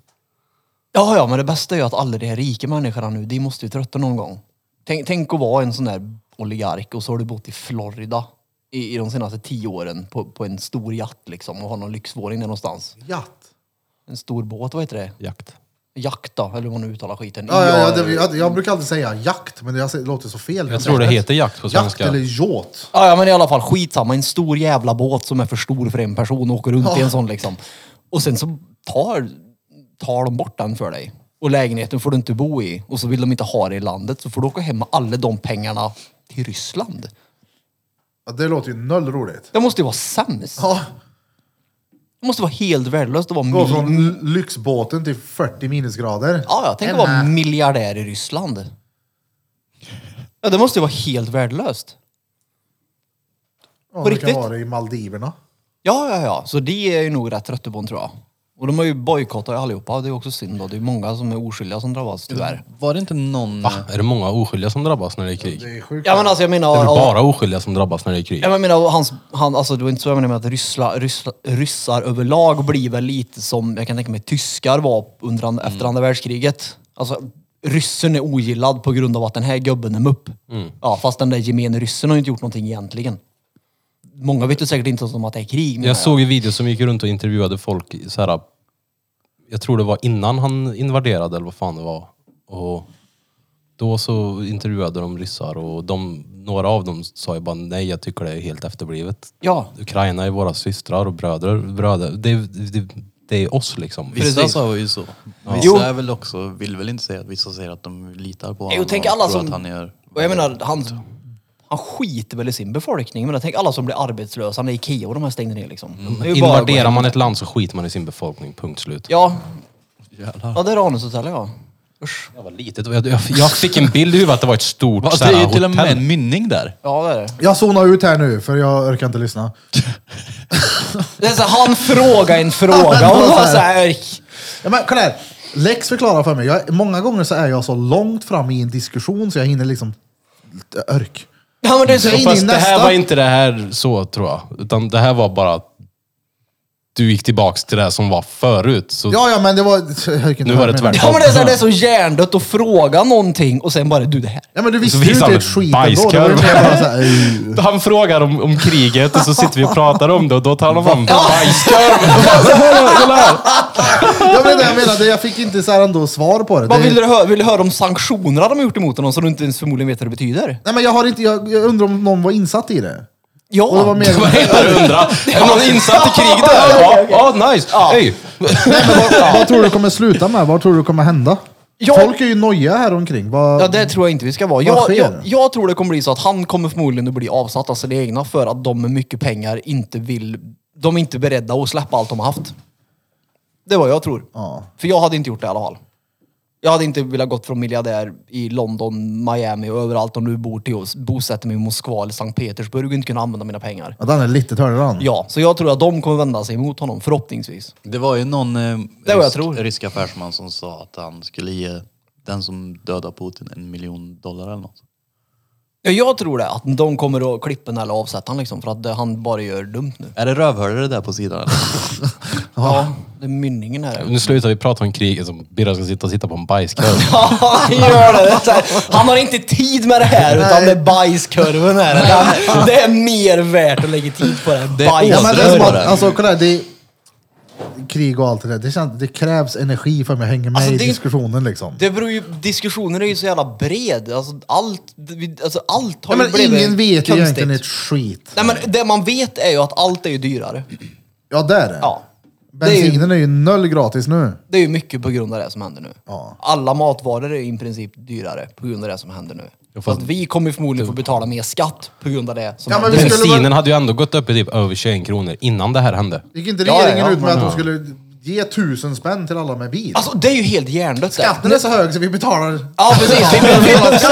Ja, ja, men det bästa är ju att alla de här rika människorna nu, de måste ju trötta någon gång. Tänk, tänk att vara en sån där oligark och så har du bott i Florida i, i de senaste tio åren på, på en stor jatt liksom och har någon lyxvåning där någonstans. Jatt. En stor båt, vad heter det? Jakt. Jakt då, eller hur man nu uttalar skiten. Ja, ja, ja, det, jag, jag brukar alltid säga jakt, men det jag säger- låter så fel. Jag tror det heter jakt på Jakt svenska. eller jåt. Ja, ja, men i alla fall skitsamma. En stor jävla båt som är för stor för en person och åker runt i en sån liksom. Och sen så tar, tar de bort den för dig. Och lägenheten får du inte bo i. Och så vill de inte ha det i landet. Så får du åka hem med alla de pengarna till Ryssland. Ja, det låter ju noll roligt. Det måste ju vara sämst. Ja, Det måste vara helt värdelöst att vara gå mil- från l- lyxbåten till 40 minusgrader. eh, ja, ja, tänk att vara miljardär i Ryssland. Ja, det måste ju vara helt värdelöst. Ja, på det kan riktigt. vara det i Maldiverna. Ja, ja, ja. Så det är ju nog rätt trötta på tror jag. Och de har ju bojkottat allihopa. Det är också synd då. Det är många som är oskyldiga som drabbas tyvärr. Var det inte någon... Va? Är det många oskyldiga som drabbas när det är krig? Det Det är sjukt. Ja men alltså jag menar... är väl bara oskyldiga som drabbas när det är krig? Ja, men Jag menar, hans, han, alltså, det var inte så jag menar med att ryssla, ryssla, ryssar överlag blir väl lite som, jag kan tänka mig, tyskar var under, and- efter andra världskriget. Alltså, ryssen är ogillad på grund av att den här gubben är mupp. Ja, fast den där gemene ryssen har ju inte gjort någonting egentligen. Många vet ju säkert inte ens om att det är krig. menar Jag såg ju videos som gick runt och intervjuade folk i så här. Jag tror det var innan han invaderade eller vad fan det var. Och då så intervjuade de ryssar och de, några av dem sa ju bara nej, jag tycker det är helt efterblivet. Ja, Ukraina är våra systrar och bröder. bröder. Det, det, det är oss liksom. Vissa sa ju så. Vissa Jo. är väl också, vill väl inte säga att vissa säger att de litar på honom Jo, tänk och alla tror som... att han gör... och jag menar, han, han skiter väl i sin befolkning. Men jag tänker alla som blir arbetslösa när Ikea och de här stängde ner liksom. Mm. De är ju bara- Invaderar man ett land så skiter man i sin befolkning, punkt slut. Ja, Jävlar. ja det är Ranhushotellet ja. Usch. Jag var litet och jag, jag, jag fick en bild i huvudet att det var ett stort Va, så det här, är ju till och hotell. med en mynning där. Ja det är det. Jag zonar ut här nu för jag orkar inte lyssna. det är så, här, han frågar en fråga och var så här, Ja, men kolla här. Lex förklarar för mig. Jag, många gånger så är jag så långt fram i en diskussion så jag hinner liksom... Örk. ja, men det är så Jag är här, inne i Fast det här nästa. var inte det här så tror jag. Utan det här var bara att du gick tillbaks till det som var förut. Så Ja, ja, men det var... Jag orkar inte Nu var höra det mer. tvärtom. ja, men det, är så här, det är så hjärndött att fråga någonting och sen bara du det här. Ja, men du visste Så ju visar inte han ett en skit ändå. Det var ju bajskorv. mer bara så här, "Ej." Han frågar om, om kriget och så sitter vi och pratar om det och då tar han fram Jag menar, jag menade, jag fick inte så här ändå svar på det. Vad det vill du höra? Vill du höra om sanktionerna de har gjort emot honom som du inte ens förmodligen vet vad det betyder? Nej, men jag, har inte, jag, jag undrar om någon var insatt i det. Ja. Och det var mer... Vad heter det undra? Är någon insatt i kriget? Ja, ja nice. Hej. Nej, men vad, vad tror du kommer sluta med? Vad tror du kommer hända? Ja. Folk är ju nojiga här omkring. Vad, Ja, det tror jag inte vi ska vara. Jag, sker? jag, jag tror det kommer bli så att han kommer förmodligen att bli avsatt av sina egna för att de med mycket pengar inte vill... De är inte beredda att släppa allt de har haft. Det var jag tror. Ja. För jag hade inte gjort det i alla fall. Jag hade inte velat gått från miljardär i London, Miami och överallt om du bor till oss, bosätter mig i Moskva eller Sankt Petersburg och inte kunna använda mina pengar. Ja, den är lite törre den. Ja, så jag tror att de kommer vända sig emot honom, förhoppningsvis. Det var ju någon eh, Det var jag rysk, tror. rysk affärsman som sa att han skulle ge den som dödar Putin en miljon dollar eller något. Ja, jag tror det, att de kommer att klippa den eller avsätta honom liksom, för att eh, han bara gör dumt nu. Är det rövhålare där på sidan? eller? Ja, det är mynningen här. Nu slutar vi prata om kriget som Birra ska sitta och sitta på en bajskorv. Ja, han gör det. det är så här, han har inte tid med det här utan det är bajskorven här. Det är- Det är mer värt att lägga tid på det här Det är Ja, men det är som bajskorven. att, alltså, kolla här, det är krig och allt det där. Det, känns, det krävs energi för mig att hänga med Alltså, i det är- diskussionen liksom. Det beror ju, diskussionen är ju så jävla bred. Alltså allt, vi- alltså, allt har ja, ju men blivit ingen vet ju konstigt. egentligen ett skit. Nej men det man vet är ju att allt är ju dyrare. Ja, det är det. Ja. Det är ju- Bensinen är ju noll gratis nu. Det är ju mycket på grund av det som händer nu. Ja. Alla matvaror är ju i princip dyrare på grund av det som händer nu. Ja, Så fast- att vi kommer förmodligen få betala mer skatt på grund av det som Ja, men händer. vi- nu. skulle Bensinen hade ju ändå gått upp i typ över 21 kronor innan det här hände. Gick inte Ja, ja, regeringen ja, ut med men- att de skulle ge tusen spänn till alla med bil? Alltså det är ju helt hjärndött det. Skatten är så hög så vi betalar... Ja precis, vi,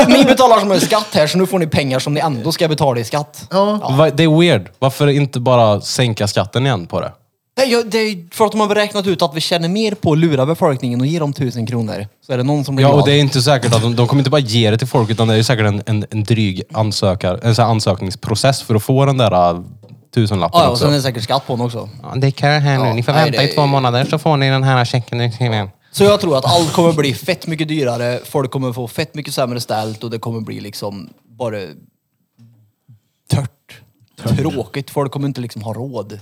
vi, ni betalar som en skatt här så nu får ni pengar som ni ändå ska betala i skatt. Ja. Va- Det är weird. Varför inte bara sänka skatten igen på det? Det är, ju- det är för att de har räknat ut att vi tjänar mer på att lura befolkningen och ge dem tusen kronor. Så är det någon som blir Ja, glad. och det är inte säkert att de, de kommer inte bara ge det till folk, utan det är ju säkert en, en, en dryg ansökar, en sån här ansökningsprocess för att få den där uh, tusenlappen ja, ja, och också. sen är det säkert skatt på den också. Ja, det är kö här nu. Ni får Ja, nej, vänta i det- två månader så får ni den här checken. i skriven. Så jag tror att allt kommer bli fett mycket dyrare, folk kommer få fett mycket sämre ställt och det kommer bli liksom bara tört. Tråkigt. Folk kommer inte liksom ha råd.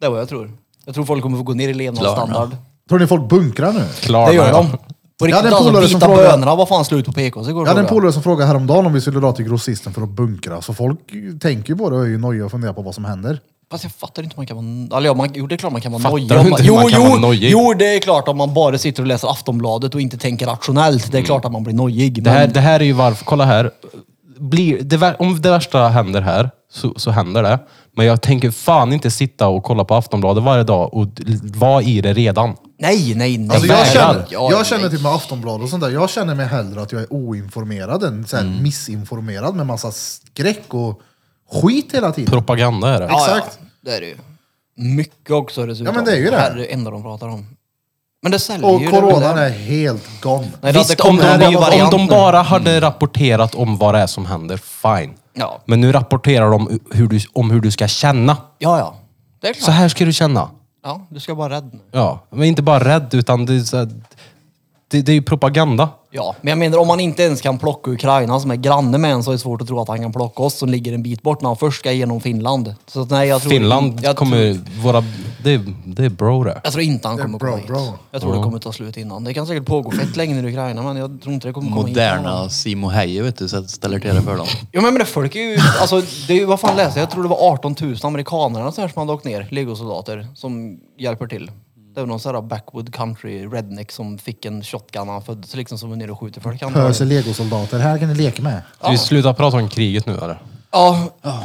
Det är vad jag tror. Jag tror folk kommer få gå ner i levnadsstandard. Tror ni folk bunkrar nu? Klar, Det nej. gör de. På Jag hade riktigt en alltså, polare som vita frågade- bönorna var fan slut på PKs igår. Jag hade en såg polare som frågade häromdagen om vi skulle dra till grossisten för att bunkra. Så folk tänker ju på det och är ju nojiga och funderar på vad som händer. Fast jag fattar inte hur man kan vara... Eller ja, man, jo, det är klart man kan vara Fattar nojig. du om inte man- hur Jo, man kan jo, vara nojig? jo, det är klart om man bara sitter och läser Aftonbladet och inte tänker rationellt. Det är klart att man blir nojig. Mm. Det här, men, det här är ju varför, kolla här. Blir, det, vär- om det värsta händer här, så, så händer det. Men jag tänker fan inte sitta och kolla på Aftonbladet varje dag och d- vara i det redan. nej, nej, nej. Alltså jag vägrar. känner, Ja, jag känner nej. typ med Aftonbladet och sånt där, jag känner mig hellre att jag är oinformerad än så här Mm. missinformerad med massa skräck och skit hela tiden. Propaganda är det. Ja, ja, exakt. det är det ju. Mycket också dessutom. Ja, men det är ju det. här är det enda de pratar om. Men det säljer Och ju. coronan är helt gone. Nej, det Visst, hade om kommit en de, ny bara, om variant de nu. bara hade rapporterat om vad det är som händer, fine. Ja. Men nu rapporterar de hur du, om hur du ska känna. Ja, ja. Det är klart. Så här ska du känna. Ja, du ska vara rädd nu. Ja, men inte bara rädd, utan det, är så här- det, det är ju propaganda. Ja, men jag menar om man inte ens kan plocka Ukraina som är granne med en så är det svårt att tro att han kan plocka oss som ligger en bit bort när han först ska genom Finland. Så att, nej, jag tror, Finland jag kommer... Tror, Våra, det, är- det är bro det. jag tror inte han Det är kommer bra, komma hit. bra. Jag tror det kommer ta slut innan. Det kan säkert pågå fett länge i Ukraina men jag tror inte det kommer komma hit. Moderna Simo Heje vet du, så att ställer till det för dem. Jo men men det folk är ju, alltså det är ju, vad fan läste jag? Jag tror det var 18 000 amerikaner eller så här som hade åkt ner, legosoldater, som hjälper till. Det var någon sån här backwood country redneck som fick en shotgun när han föddes liksom som var nere och skjuter folk. antagligen. Pöser legosoldater, här kan ni leka med. Ska vi sluta prata om kriget nu eller? Ja,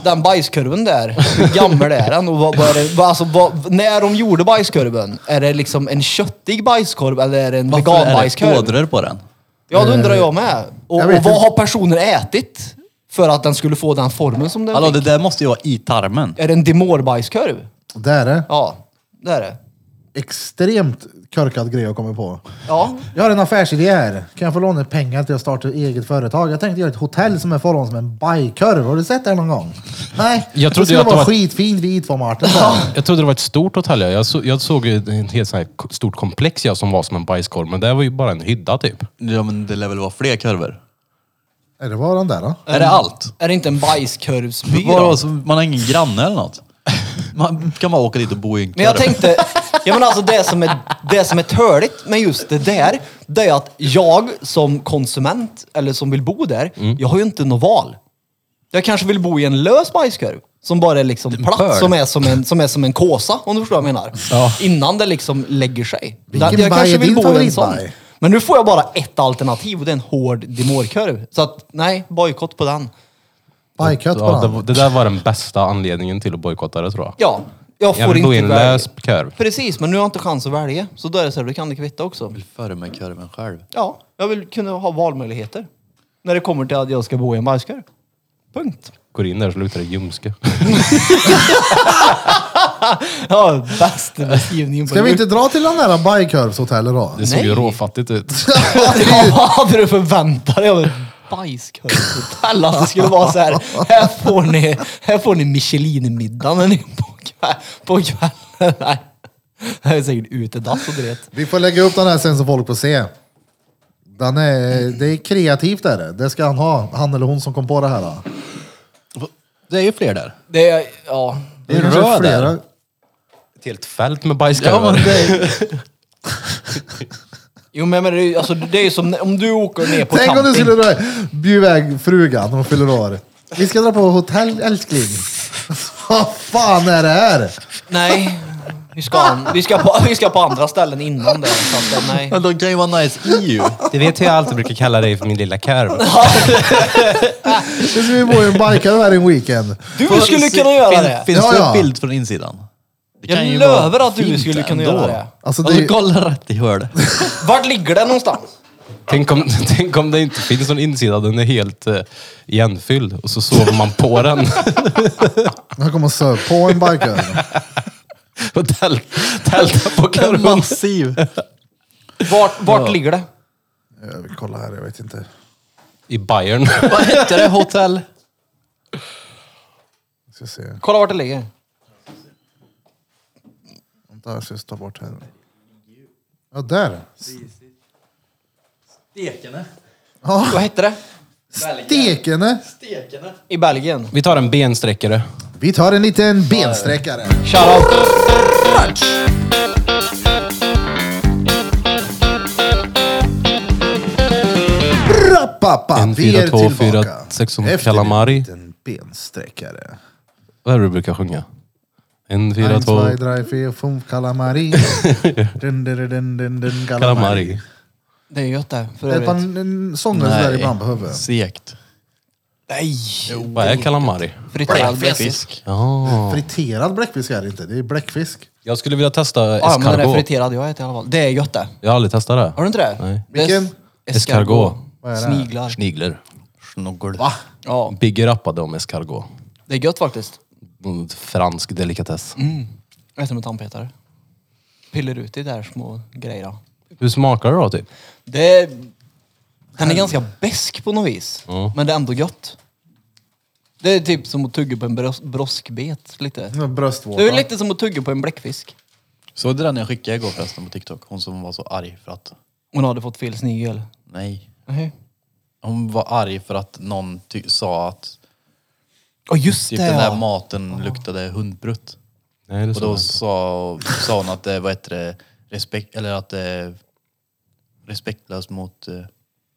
den bajskurven där. Hur gammal är den? Och vad, vad är det, vad, alltså, vad, när de gjorde bajskurven, är det liksom en köttig bajskorv eller är det en Varför är det veganbajskorv? ådror på den? Ja, det undrar jag med. Och, Jag och vet vad inte. har personen ätit för att den skulle få den formen som den Hallå, fick? det där måste ju vara i tarmen. Är det en demorbajskorv? Det är det. Ja, det är det. Extremt korkad grej jag kommer på. Ja, Jag har en affärsidé här. Kan jag få låna pengar till att starta eget företag? Jag tänkte göra ett hotell som är format som en bajkorv. Har du sett det någon gång? Nej. Jag det trodde skulle att det vara var- skitfint vid idformaten. Jag trodde det var ett stort hotell. ja. Jag, så, jag såg ju ett helt så här k- stort komplex ja, som var som en bajskorv, men det var ju bara en hydda typ. Ja, men det lär väl vara fler kurvor? Är det var den där då? Är det allt? är det inte en bajskorvsby då? Vadå, så man har ingen granne eller något? Man kan bara åka dit och bo i en Men jag kurv. tänkte, ja men alltså det som är, det som är törligt med just det där, det är att jag som konsument, eller som vill bo där, jag har ju inte något val. Jag kanske vill bo i en lös bajskorv. Som bara är liksom platt, pöl. som är som, en, som är som en kåsa, om du förstår vad jag menar. Innan det liksom lägger sig. Vilken baj jag kanske är vill din bo i en sån. favoritbaj? Men nu får jag bara ett alternativ och det är en hård demorkorv. Så att, nej, bojkott på den. Bajkött på Ja, det, var- den. det där var den bästa anledningen till att bojkotta det tror jag. Ja, jag får Jag vill inte bo i en välja. lös kurv. Precis, men nu har jag inte chans att välja. Så då är det så här, du kan det kvitta också. Före med kurven själv. Ja, jag vill kunna ha valmöjligheter. När det kommer till att jag ska bo i en bajskorv. Punkt. Går in där så luktar det ljumske. Ja, bästa beskrivningen på Ska vi inte dra till den där bajkorvshotellet då? Det såg Nej. ju råfattigt ut. Ja, vad hade du förväntat dig av ett bajskorvshotell? Att det skulle vara så här, här får ni, här får ni Michelin-middag när ni är på, kväll, på kvällen. Nej, det är säkert utedass och dret. Vi får lägga upp den här sen så folk får se. Den är, det är kreativt är det. Det ska han ha, han eller hon som kom på det här. Då. Det är ju fler där. Det är, ja. Det är En kanske röd flera- där. Ett helt fält med Ja, bajskorvar. men det, Jo men men det är ju alltså, det är ju som när- om du åker ner på Tänk om camping. du skulle dra, bjuda iväg frugan när hon fyller år. Vi ska dra på hotell älskling. Vad fan är det här? Nej, vi ska, vi, ska på, vi ska på andra ställen innan det. Så att, eh, nej. men de kan ju vara nice i ju. Du vet hur jag alltid brukar kalla dig för min lilla kurv? Nu ska vi bo i en bajkorv här i en weekend. Du skulle kunna göra fin, det! Finns Ja, det ja. en bild från insidan? Det Jag kan ju lövar vara att du fint skulle kunna ändå. göra det. Alltså, Alltså, det är- kolla rätt i hörnet. Vart ligger det någonstans? Tänk om, tänk om det inte finns någon insida, den är helt eh, igenfylld och så sover man på den. Han kommer sö på en bajkorv. och täl, tälta på kurvan. Massiv. Vart, vart ligger det? Jag vill kolla här, jag vet inte. I Bayern. Vad hette det? Hotell? Jag ska se. Kolla vart det ligger. Vänta, jag ska ta bort här. Ja, där. Stekene. Ja, Vad hette det? stekene. Stekene. I Belgien. Vi tar en bensträckare. Vi tar en liten bensträckare. Shoutout. Rappappa, En, vi fyra, är två, fyra, tillbaka. sex som Efter calamari. en liten bensträckare. Vad är det du brukar sjunga? En, fyra, Ein, två... zwei, drei, vier, fünf, calamari. dun, dun, dun, dun, dun, Calamari. Det är gött det, för Det är ett övrigt. par n- n- sånger sådär ibland på huvudet. Sekt. Nej! Vad är calamari? Friterad bläckfisk. Fisk. Ja. Friterad bläckfisk är det inte, det är bläckfisk. Jag skulle vilja testa Ja, men det är escargot. friterad jag äter i alla fall. Det är gött det. Jag har aldrig testat det. Har du inte det? Nej. Det är Vilken? es- Escargot. Vad är det? Sniglar. Snigler. Snoggel. Ja, Biggie rappade om escargot. det är gött faktiskt. Mm, Fransk delikatess. Jag äter med tandpetare. piller ut i där små grejerna. Hur smakar det då typ? Det, den är ganska besk på något vis, men det är ändå gött. Det är typ som att tugga på en bros- broskbet lite. Bröstvårta. Det är lite som att tugga på en bläckfisk. Såg du den jag skickade igår förresten på TikTok? Hon som var så arg för att... Hon hade fått fel snigel. Nej. Nej. Hon var arg för att någon ty- sa att Ja just typ det den där ja. maten luktade hundbrutt. Nej, det Och då sa sa, sa hon att det var ett eh, respekt, eller att det är respektlöst mot eh,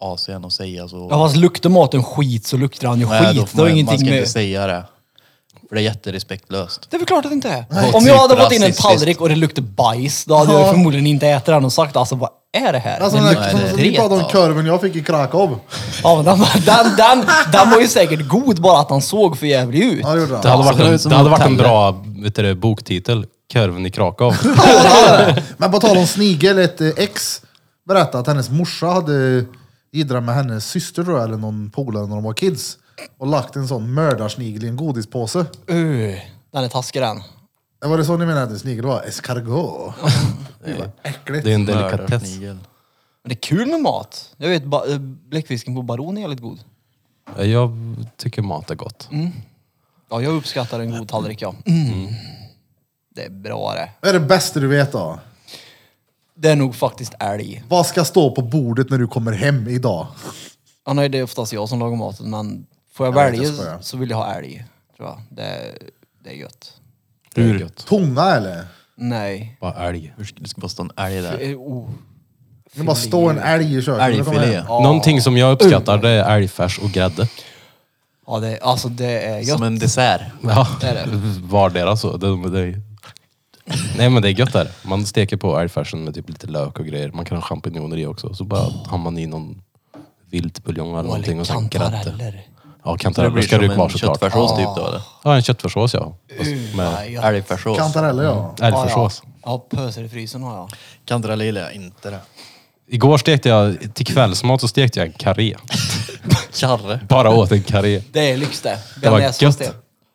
Asien att säga så. Ja fast luktar maten skit så luktar han ju Nej, då skit. får Det har man, man ingenting ska med... inte säga det. För det är jätterespektlöst. Det är väl klart att det inte är. Nej. Om jag hade Typ fått in en rasistiskt. tallrik och det luktade bajs, då hade Ja. jag förmodligen inte ätit den och sagt alltså vad är det här? Alltså, Den den luktar där, som, som dret ni pratade om av. kurven jag fick i Krakow. Ja, men den, var- den, den, den var ju säkert god bara att han såg för jävlig ut. Ja, det gjorde Det han. hade varit det är en, som det hade varit en hotellet. bra vet du, det, boktitel. Körven i Krakow. Men på tal om snigel, ett eh, ex berättade att hennes morsa hade jiddrat med hennes syster tror jag, eller någon polare när de var kids. Och lagt en sån mördarsnigel i en godispåse. Uh, den är taskig den. Det var det så ni menade att en snigel var? Escargot? Det var äckligt. Det är en delikatess. Mördarsnigel. Men det är kul med mat. Jag vet, ba- eh, bläckfisken på Baron är jävligt god. Jag tycker mat är gott. Mm. Ja, jag uppskattar en god tallrik ja. Mm. Mm. Det är bra det. Vad är det bästa du vet då? Det är nog faktiskt älg. Vad ska stå på bordet när du kommer hem idag? Ja, nej, det är oftast jag som lagar maten men får jag Jag vet, jag välja skojar. så vill jag ha älg. Tror jag. Det, är- det är gött. Hur? Tunga eller? Nej. Bara älg. Hur ska- Det ska bara stå en älg där. Eh, Oh. Det bara stå en älg i köket. när du kommer Älgfilé. hem. Någonting som jag uppskattar det är älgfärs och grädde. Ja, det, alltså det är gött. Som en dessert. Ja, Det är det. vardera så. Det, det, är- nej men det är gött där. Man steker på älgfärsen med typ lite lök och grejer. Man kan ha champinjoner i också. Så bara har man i någon viltbuljong eller någonting och sen grädde. kantareller. Ja, Så det kantareller blir ska det ju som kvar en såklart. köttfärssås typ då eller? Ja, en köttfärssås ja. Fast Nej, Med jag- Älgfärssås. Kantareller ja. älgfärssås. Ja, ja. ja, pöser i frysen har jag. Kantareller gillar jag inte det. Igår stekte jag, till kvällsmat så stekte jag en karré. Karre. Bara åt en karré. Det är lyx det. Det var Bearnaisesås gött.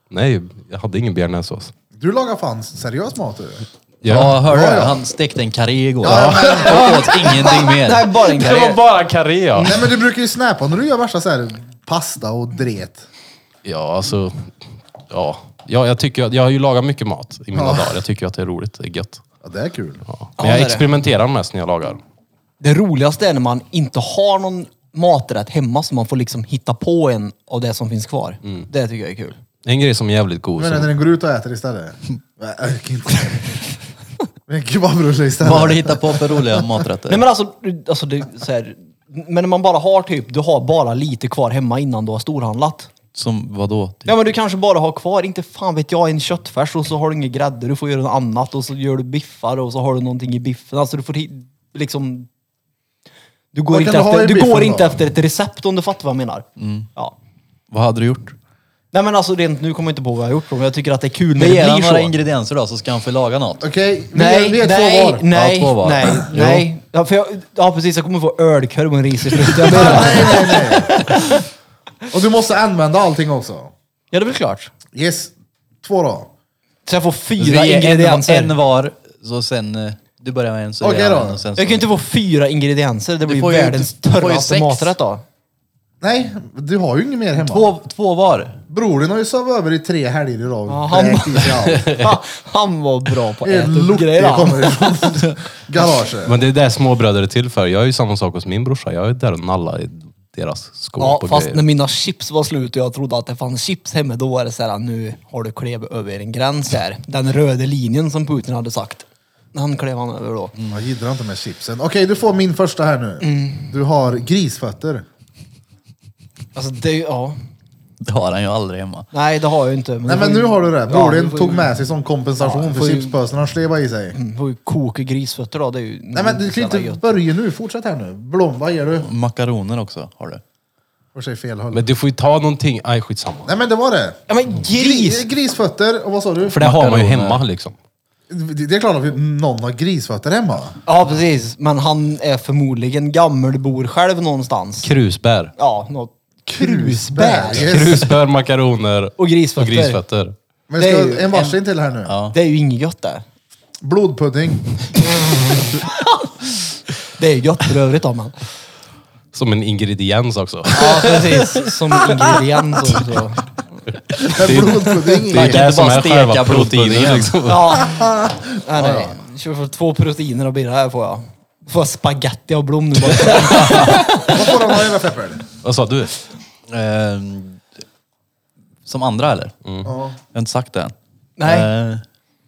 Nej, jag hade ingen bearnaisesås. Du lagar fan seriös mat du. Ja. Ja, hörde Ja, du? ja. Han stekte en karré igår. Och åt ingenting mer. Det här är bara en Det var karriär. bara karré ja. Nej men du brukar ju snäpa när du gör värsta så här pasta och dret. Ja, alltså... Ja. Ja, jag, tycker, att- jag har ju lagat mycket mat i mina Ja. dagar. Jag tycker att det är roligt. Det är gött. Ja, det är kul. Ja. Ja, Men det är jag det. experimenterar mest när jag lagar. Det roligaste är när man inte har någon maträtt hemma så man får liksom hitta på en av det som finns kvar. Mm. Det tycker jag är kul. En grej som är jävligt god. Men Som, när den går ut och äter istället. Nej, jag orkar inte. Men en kebabrulle istället. Vad har du hittat på för roliga maträtter? Nej men alltså, alltså det, är så här, men när man bara har typ, du har bara lite kvar hemma innan du har storhandlat. Som vadå? Typ? Ja men du kanske bara har kvar, inte fan vet jag, en köttfärs och så har du ingen grädde, du får göra något annat och så gör du biffar och så har du någonting i biffen. Alltså du får hi- liksom... Du går, Vad inte kan du ha efter, i du går biffen inte då? Mm. efter ett recept om du fattar vad jag menar. Ja. Vad hade du gjort? Nej men alltså rent nu kommer jag inte på vad jag har gjort men jag tycker att det är kul när det Ge han blir så. några ingredienser då så ska han få laga något. Okej, vi är- Nej, vi är nej, två var. nej, Ja, två var. nej, Jo. nej. Ja, för jag, ja precis, jag kommer få ölkorv och en risig frukt. Jag menar- Nej, nej, nej. Och du måste använda allting också. ja det är väl klart. Yes, två då. Så jag får fyra Vi ingredienser. en, en var, så sen... eh, Du börjar med en, så Okej gör jag då. en och sen jag så... kan ju inte få fyra ingredienser, det blir ju får ju- världens du får ju törraste sex. maträtt då. Nej, du har ju inget mer hemma. Två, två var. Bror din har ju sovit över i tre helger idag. Ja, han- Vräkt i sig allt. Ha, han var bra på att Det är äta en upp lort grejer. det han. kommer ifrån garaget. men det är det småbröder är till för. Jag är ju samma sak hos min brorsa. Jag är där och nallar i deras skåp Ja, och fast grejer. när mina chips var slut och jag trodde att det fanns chips hemma, då var det så här, nu har du klev över en gräns här. Den röda linjen som Putin hade sagt. Den klev han över då. Jag gillar inte med chipsen. Okej, du får min första här nu. Mm. Du har grisfötter. Alltså det, ja. Det har han ju aldrig hemma. Nej, det har jag ju inte. Nej men nu har du det. Ja, Bror din får tog ju- med sig som kompensation Ja, jag för får ju- chipspösen han slevade i sig. Mm, får ju koka grisfötter då. Det är ju Nej men du kan jävla ju inte börja nu, fortsätt här nu. Blom, vad ger du? Makaroner också har du. För sig fel håll. Men du får ju ta någonting. Nej, skitsamma. Nej men det var det. Ja men gris! Gri- Grisfötter, och vad sa du? För det har man ju Makaroner. hemma liksom. Det det är klart att vi- någon har grisfötter hemma. Ja precis, men han är förmodligen gammal, bor själv någonstans. Krusbär. Ja, något Krusbär. krusbär. Yes. Krusbär, makaroner Och grisfötter. och grisfötter. Men Det är ska ju en varsin till här nu. Det är ju inget gött det. Blodpudding. Det är gött för övrigt om man. Som en ingrediens också. Ja, precis. Som ingrediens också. Blodpudding. Det är i- ju det som bara är själva steka proteinet. blodpuddingen. Liksom. Ja. Nej, nej. Kör för två proteiner och birra här får jag. Får jag spaghetti och blom nu bara. Vad får de av era feppel? Vad sa du? Ehm, som andra eller? Ja. Jag har inte sagt det än. Nej. Ehm,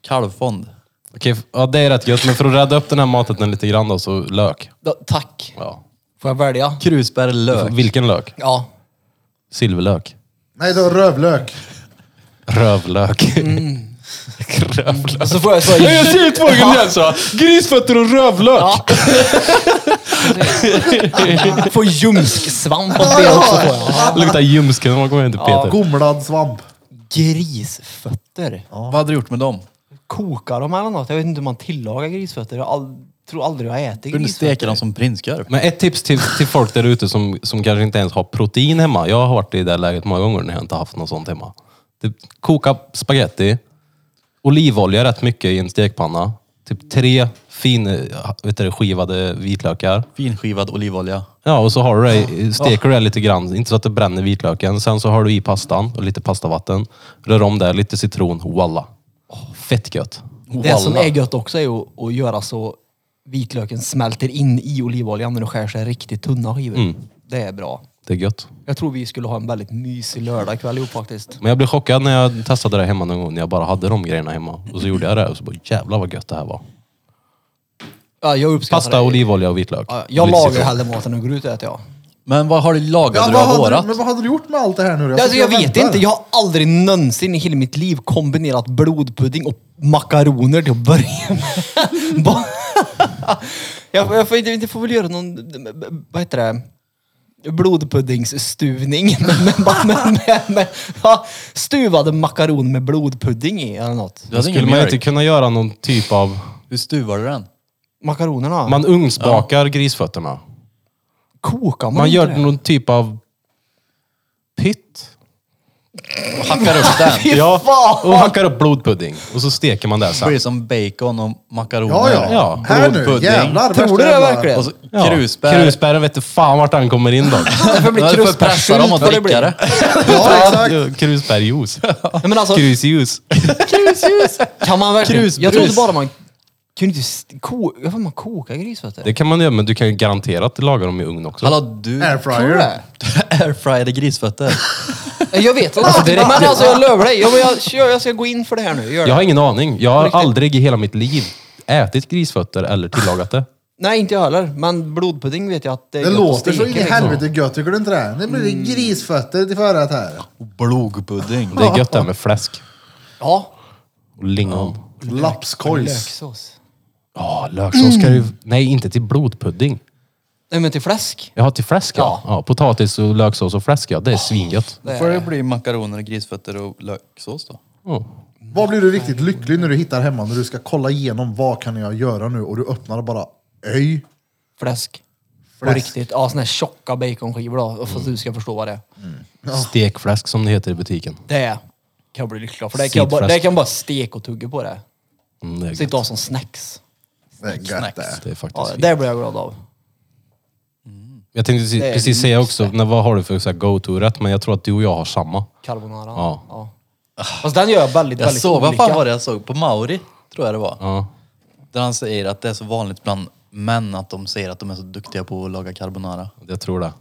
kalvfond. Okej, f- ja, det är rätt gött, men för att rädda upp den här maten lite grann då, så lök. Då, tack. Ja. Får jag välja? Krusbär lök. Vilken lök? Ja. Silverlök. Nej, då rövlök. Rövlök. rövlök. Och så får jag så... Jag ser tvungen igen så. Grisfötter och rövlök. Ja. får ljumsksvamp och det också får jag. Luktar ljumsken när man kommer hem till Peter. Gomlad svamp. Grisfötter. Vad hade du gjort med dem? Koka dem eller något. Jag vet inte hur man tillagar grisfötter. Jag all... tror aldrig jag äter Du steker grisfötter. dem som prinskorv. Men ett tips till, till folk där ute som, som kanske inte ens har protein hemma. Jag har varit i det där läget många gånger när jag inte haft något sånt hemma. Typ, koka spaghetti, olivolja rätt mycket i en stekpanna, typ tre fin, eh, vet du, det, skivade vitlökar. Finskivad olivolja. Ja, och så har du det, steker du det lite grann, inte så att det bränner vitlöken. Sen så har du i pastan och lite pastavatten. Rör om det, lite citron, voila. Fett gött. Det som Walla. är gött också är att, att göra så vitlöken smälter in i olivoljan när du skär sig riktigt tunna skivor. Det är bra. Det är gött. Jag tror vi skulle ha en väldigt mysig lördagkväll ihop faktiskt. Men jag blev chockad när jag testade det hemma någon gång, när jag bara hade de grejerna hemma. Och så gjorde jag det och så bara, jävlar vad gött det här var. Ja, jag uppskattar Pasta, det. olivolja och vitlök. Ja, jag Lite lagar citron. hellre maten och går ut och äter jag. Men vad har du lagat Ja, ja, du vad har hade vårat? du, men vad hade du gjort med allt det här nu då? Alltså, jag sitter och vet väntar. inte, jag har aldrig någonsin i hela mitt liv kombinerat blodpudding och makaroner till att börja med. Bara- jag, jag, får, inte- jag får väl göra någon, vad heter det, blodpuddingsstuvning. Men- men bara med, med, med, ja, stuvade makaroner med blodpudding i eller något. Du hade Skulle ingen man mjölk. inte kunna göra någon typ av... Hur stuvar du den? Makaronerna? Man ugnsbakar grisfötterna. kokar man, Man inte gör det? någon typ av pytt. Hackar upp den. Ja, och hackar upp blodpudding. Och så steker man det Det blir sen. som bacon och makaroner. Ja, ja. Ja, här nu, blodpudding. jävlar. Tror du det verkligen? Och så Ja. krusbär. Krusbären vet du fan vart den kommer in då. Därför Ja, blir Du får pressa dem och krusbärssylt vad det dricka blir. det. Ja, exakt. Krusbärjuice. Ja, men alltså- Krusjuice. Kan man verkligen? Krusbrus. Jag trodde bara man kunde inte st- ko- jag får man koka grisfötter. Det kan man göra, men du kan ju garanterat laga dem i ugn också. Hallå du, Tror du Airfryer. det? airfryade grisfötter. Eh, Jag vet inte. men alltså jag lövar dig. Jag, jag, kör, jag ska gå in för det här nu. Gör det. Jag har ingen aning. Jag har Riktigt. aldrig i hela mitt liv ätit grisfötter eller tillagat det. Nej, inte jag heller. Men blodpudding vet jag att det är Det gött att låter så steka, in i liksom. helvete gött, tycker du inte det? Nu blir det grisfötter till förrätt här. Blodpudding. Det är gött det här med fläsk Ja. och lingon. Lapskojs. Löksås. Ja, löksås ska du... Mm. Nej, inte till blodpudding. Nej, men till fläsk. Jaha, till fläsk ja. Ja. ja. Potatis och löksås och fläsk ja, det är svingött. Då får det bli makaroner, grisfötter och löksås då. Ja. Vad blir du riktigt lycklig när du hittar hemma när du ska kolla igenom vad kan jag göra nu och du öppnar och bara öj. Fläsk. På Fläsk. riktigt. Ja, såna här tjocka baconskivor då. För att du ska förstå vad det är. Stekfläsk som det heter i butiken. Det kan jag bli lycklig av, för. Det kan, jag bara, Sidfläsk. det kan jag bara steka och tugga på det. Mm, det, är Sitta och ha gött. som snacks. Det är gött det. det är faktiskt Ja, fint. det blir jag glad av. Jag tänkte precis- det är precis säga också, när, vad har du för så här go-to-rätt? Men jag tror att du och jag har samma. Carbonara. Ja. ja. Fast den gör jag väldigt, Jag väldigt såg, vad olika. fan var det jag såg? På Mauri, tror jag det var. Ja. Där han säger att det är så vanligt bland män att de säger att de är så duktiga på att laga carbonara. Jag tror det.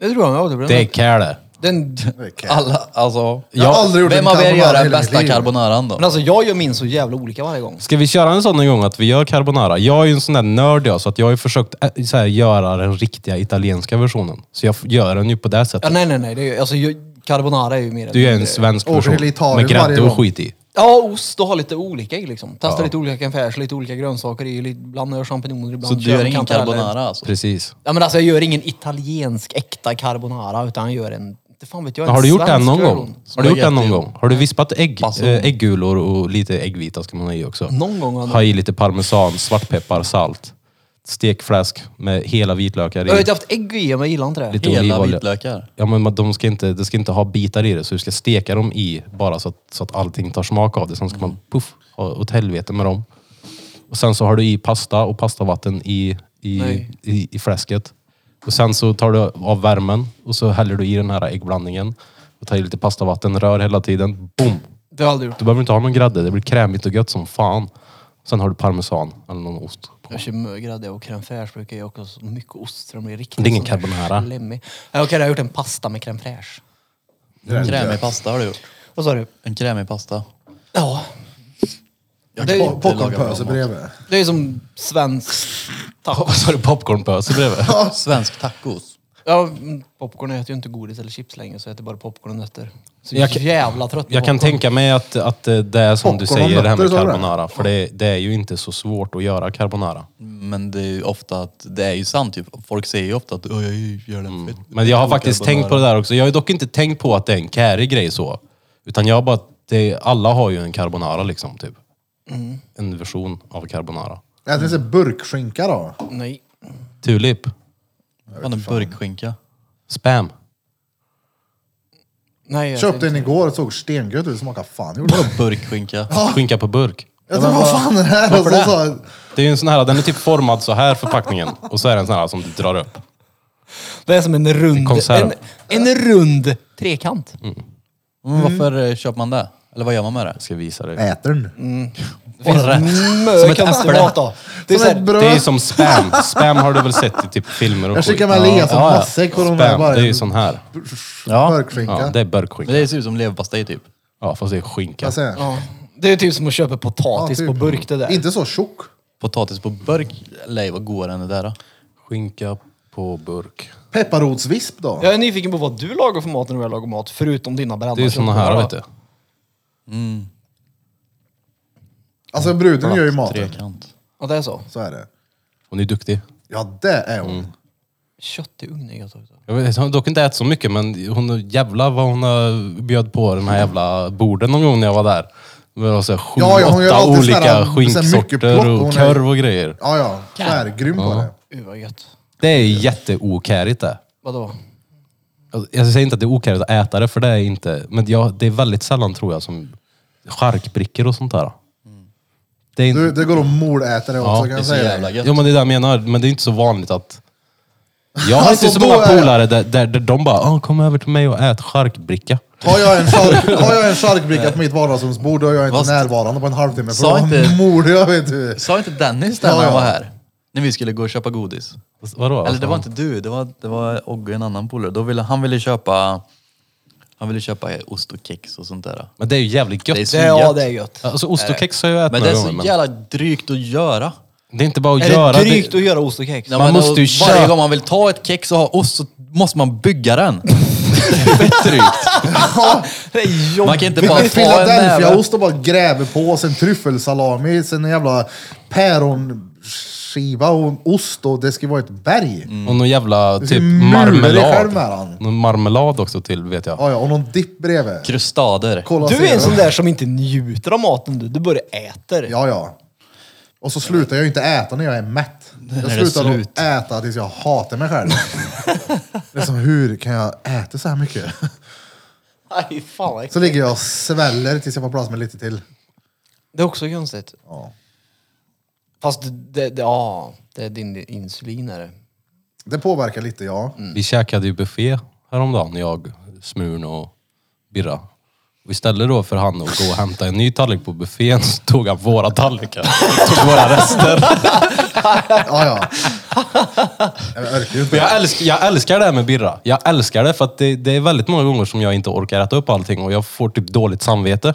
Det tror jag. Ja, det blir Det är kär det. Den, Okej. Alla, alltså. Jag har aldrig gjort en Vem av er carbonara gör i den hela mitt bästa liv. carbonaran då? men alltså jag gör min så jävla olika varje gång. Ska vi köra en sån en gång att vi gör carbonara? Jag är ju en sån där nörd jag, så att jag har ju försökt äh, så här, göra den riktiga italienska versionen. Så jag f- gör den ju på det Ja, sättet. nej, nej, nej. Det är, alltså, jag, carbonara är ju mer... Du är en svensk Åker till version Italien med varje grädde gång. och skit i. Ja, ost och har lite olika i liksom. Testar lite olika kaffärs, lite olika grönsaker i. Lite, ibland gör jag champinjoner, ibland Så du kör gör jag ingen kantareller. carbonara alltså? Precis. Ja men alltså jag gör ingen italiensk äkta carbonara utan jag gör en... Inte fan vet jag. Men har en du gjort svensk den någon version. gång? Har du gjort den någon Spaghetti. gång? Har du vispat ägg, Passion. eh, ägggulor och lite äggvita ska man ha i också? Någon gång har jag Ha i lite parmesan, svartpeppar, salt. Stekfläsk med hela vitlökar Jag har inte i. haft ägg i men jag gillar inte det. Lite Hela olivolja. vitlökar. Ja men man- de ska inte, det ska inte ha bitar i det, så du ska steka dem i bara så att, så att allting tar smak av det. Sen ska man puff, ha åt helvete med dem. Och sen så har du i pasta och pastavatten i, i, Nej. i, i fläsket. Och sen så tar du av värmen och så häller du i den här äggblandningen. Och tar i lite pastavatten, rör hela tiden. Boom! Det har jag aldrig gjort. Du behöver inte ha någon grädde, det blir krämigt och gött som fan. Sen har du parmesan eller någon ost. på. Jag kör mögrädde och crème fraîche brukar jag också. så Mycket ost så de blir riktigt Det är ingen sån där carbonara. slemmig. Nej, Okej, jag har gjort en pasta med crème fraîche. Krämig pasta har du gjort. Vad sa du? En krämig pasta. Ja. Jag Det är kan ju- inte laga bra Popcornpöse mat. bredvid. Det är som svensk... Vad sa du? Popcornpöse bredvid? Svensk tacos. Ja, mm, popcorn jag äter ju inte godis eller chips längre så jag äter bara popcorn och nötter. Så Jag jag kan- jävla trött på Jag kan popcorn. tänka mig att, att eh, det är som du Popcorn och säger det här med nötter, sa du det? carbonara. För det, det är ju inte så svårt att göra carbonara. Men det är ju ofta att, det är ju sant typ. Folk säger ju ofta att "Åh, jag gör den mm. Men jag har faktiskt tänkt på det där också. Jag har ju dock inte tänkt på att det är en kärig grej så. Utan jag har bara, det, alla har ju en carbonara liksom typ. Mm. En version av carbonara. Jag tänkte säga burkskinka då. Nej. Tulip. Fan, en burkskinka. Spam. Nej, jag Köpte äter en inte. igår och såg stengött ut. Smakade fan gjorde det. Burkskinka. Ah. Skinka på burk. Jag tänkte, vad fan är det här? Och så sa jag, Det är ju en sån här, den är typ formad så här förpackningen. Och så är det en sån här som du drar upp. Det är som en rund... Konserv. En, en rund trekant. Mm. Men varför eh, köper man det? Eller vad gör man med det? Jag ska visa dig. äter den. Det finns Som ett mycket konstig äpple. mat då. Det är Som så ett Det här, är ju bröd. som spam. Spam har du väl sett i typ filmer och Jag skickar skit. med Elias en Ja, ja. matsäck och de där Spam, bara- det är ju sån här. Ja, Burkskinka. det är burkskinka. Men det ser ut som leverpastej typ. Ja, fast det är skinka. Jag säger, ja, det är typ som att köpa potatis Ja, på typ. burk det där. Inte så tjock. Potatis på burk. Nej vad godare än det där. Då. Skinka på burk. Pepparrotsvisp då. Jag är nyfiken på vad du lagar för mat när du lagar mat, förutom dina brända Det är ju såna här, vet du. Alltså bruden gör ju maten. Trekant. Ja, det är så. Så är det. Hon är duktig. Ja, det är hon. Kött i ugn är gött också. Jag vet, hon har dock inte ätit så mycket, men hon jävla vad hon har bjöd på den här jävla borden någon gång när jag var där. Det var så här sju, Ja, ja, hon gör åtta alltid olika sån här- sån här mycket plock, skinksorter hon och är- korv och grejer. Ja, ja. Så är det. Grym på det. Uh, vad gött. Det är jätteokärigt det. Vadå? Alltså, Jag säger inte att det är okärigt att äta det, för det är inte. Men jag, det är väldigt sällan tror jag som charkbrickor och sånt där. Det är inte, Mm. Du, det går att moläta det också Ja, kan Det är jag så säga. jävla dig. gött. Jo men det är det jag menar, men det är inte så vanligt att... Jag har Alltså, inte så då många är- polare där, där, där de bara "Ah, kom över till mig och ät charkbricka. Har jag en chark- har jag en charkbricka på mitt vardagsrumsbord då är jag inte Vad- närvarande på en halvtimme. För Sa då inte- mord jag vet du. Sa inte Dennis det Ja, när ja. han var här? När vi skulle gå och köpa godis. Alltså, Vadå? Eller det var inte du, det var, det var Ogge, en annan polare. Då ville, han ville köpa han ville köpa ost och kex och sånt där. Men det är ju jävligt gött. Det är så Det, ja, gött. det är gött. Alltså ost och kex har jag ätit Men det några är gånger. så Men jävla drygt att göra. det är inte bara att Är göra det drygt att göra ost och kex? Ja, Man men måste och ju Varje köpa- gång man vill ta ett kex och ha ost så måste man bygga den. Det är jobbigt. Man kan inte Vi bara med ta en näve. Philadelphiaost och bara gräver på, sen tryffelsalami, sen en jävla päronskiva och ost och det ska vara ett berg. Mm. Och någon jävla ser typ mulen i marmelad. skärmen. Någon marmelad också till vet jag. Ja, ja, och någon dipp bredvid. Krustader. Kolla Du är sedan. en sån där som inte njuter av maten du. Du bara äter. Ja, ja. Och så slutar jag ju inte äta när jag är mätt. Jag är det slutar att slut. äta tills jag hatar mig själv. det är som, hur kan jag äta så här mycket? Aj, fan vad äckligt. Så ligger jag och sväller tills jag får plats med lite till. Det är också konstigt. Ja. Fast det, det, det, ja, det är din insulin är det. Det påverkar lite, ja. Mm. Vi käkade ju buffé häromdagen, jag, Smurn och Birra. Och istället då för han att gå och hämta en ny tallrik på buffén så tog han våra tallrikar. Tog våra rester. Ja, ja. Jag orkar ju Men inte. jag, älskar, jag älskar det här med birra. Jag älskar det för att det, det är väldigt många gånger som jag inte orkar äta upp allting och jag får typ dåligt samvete.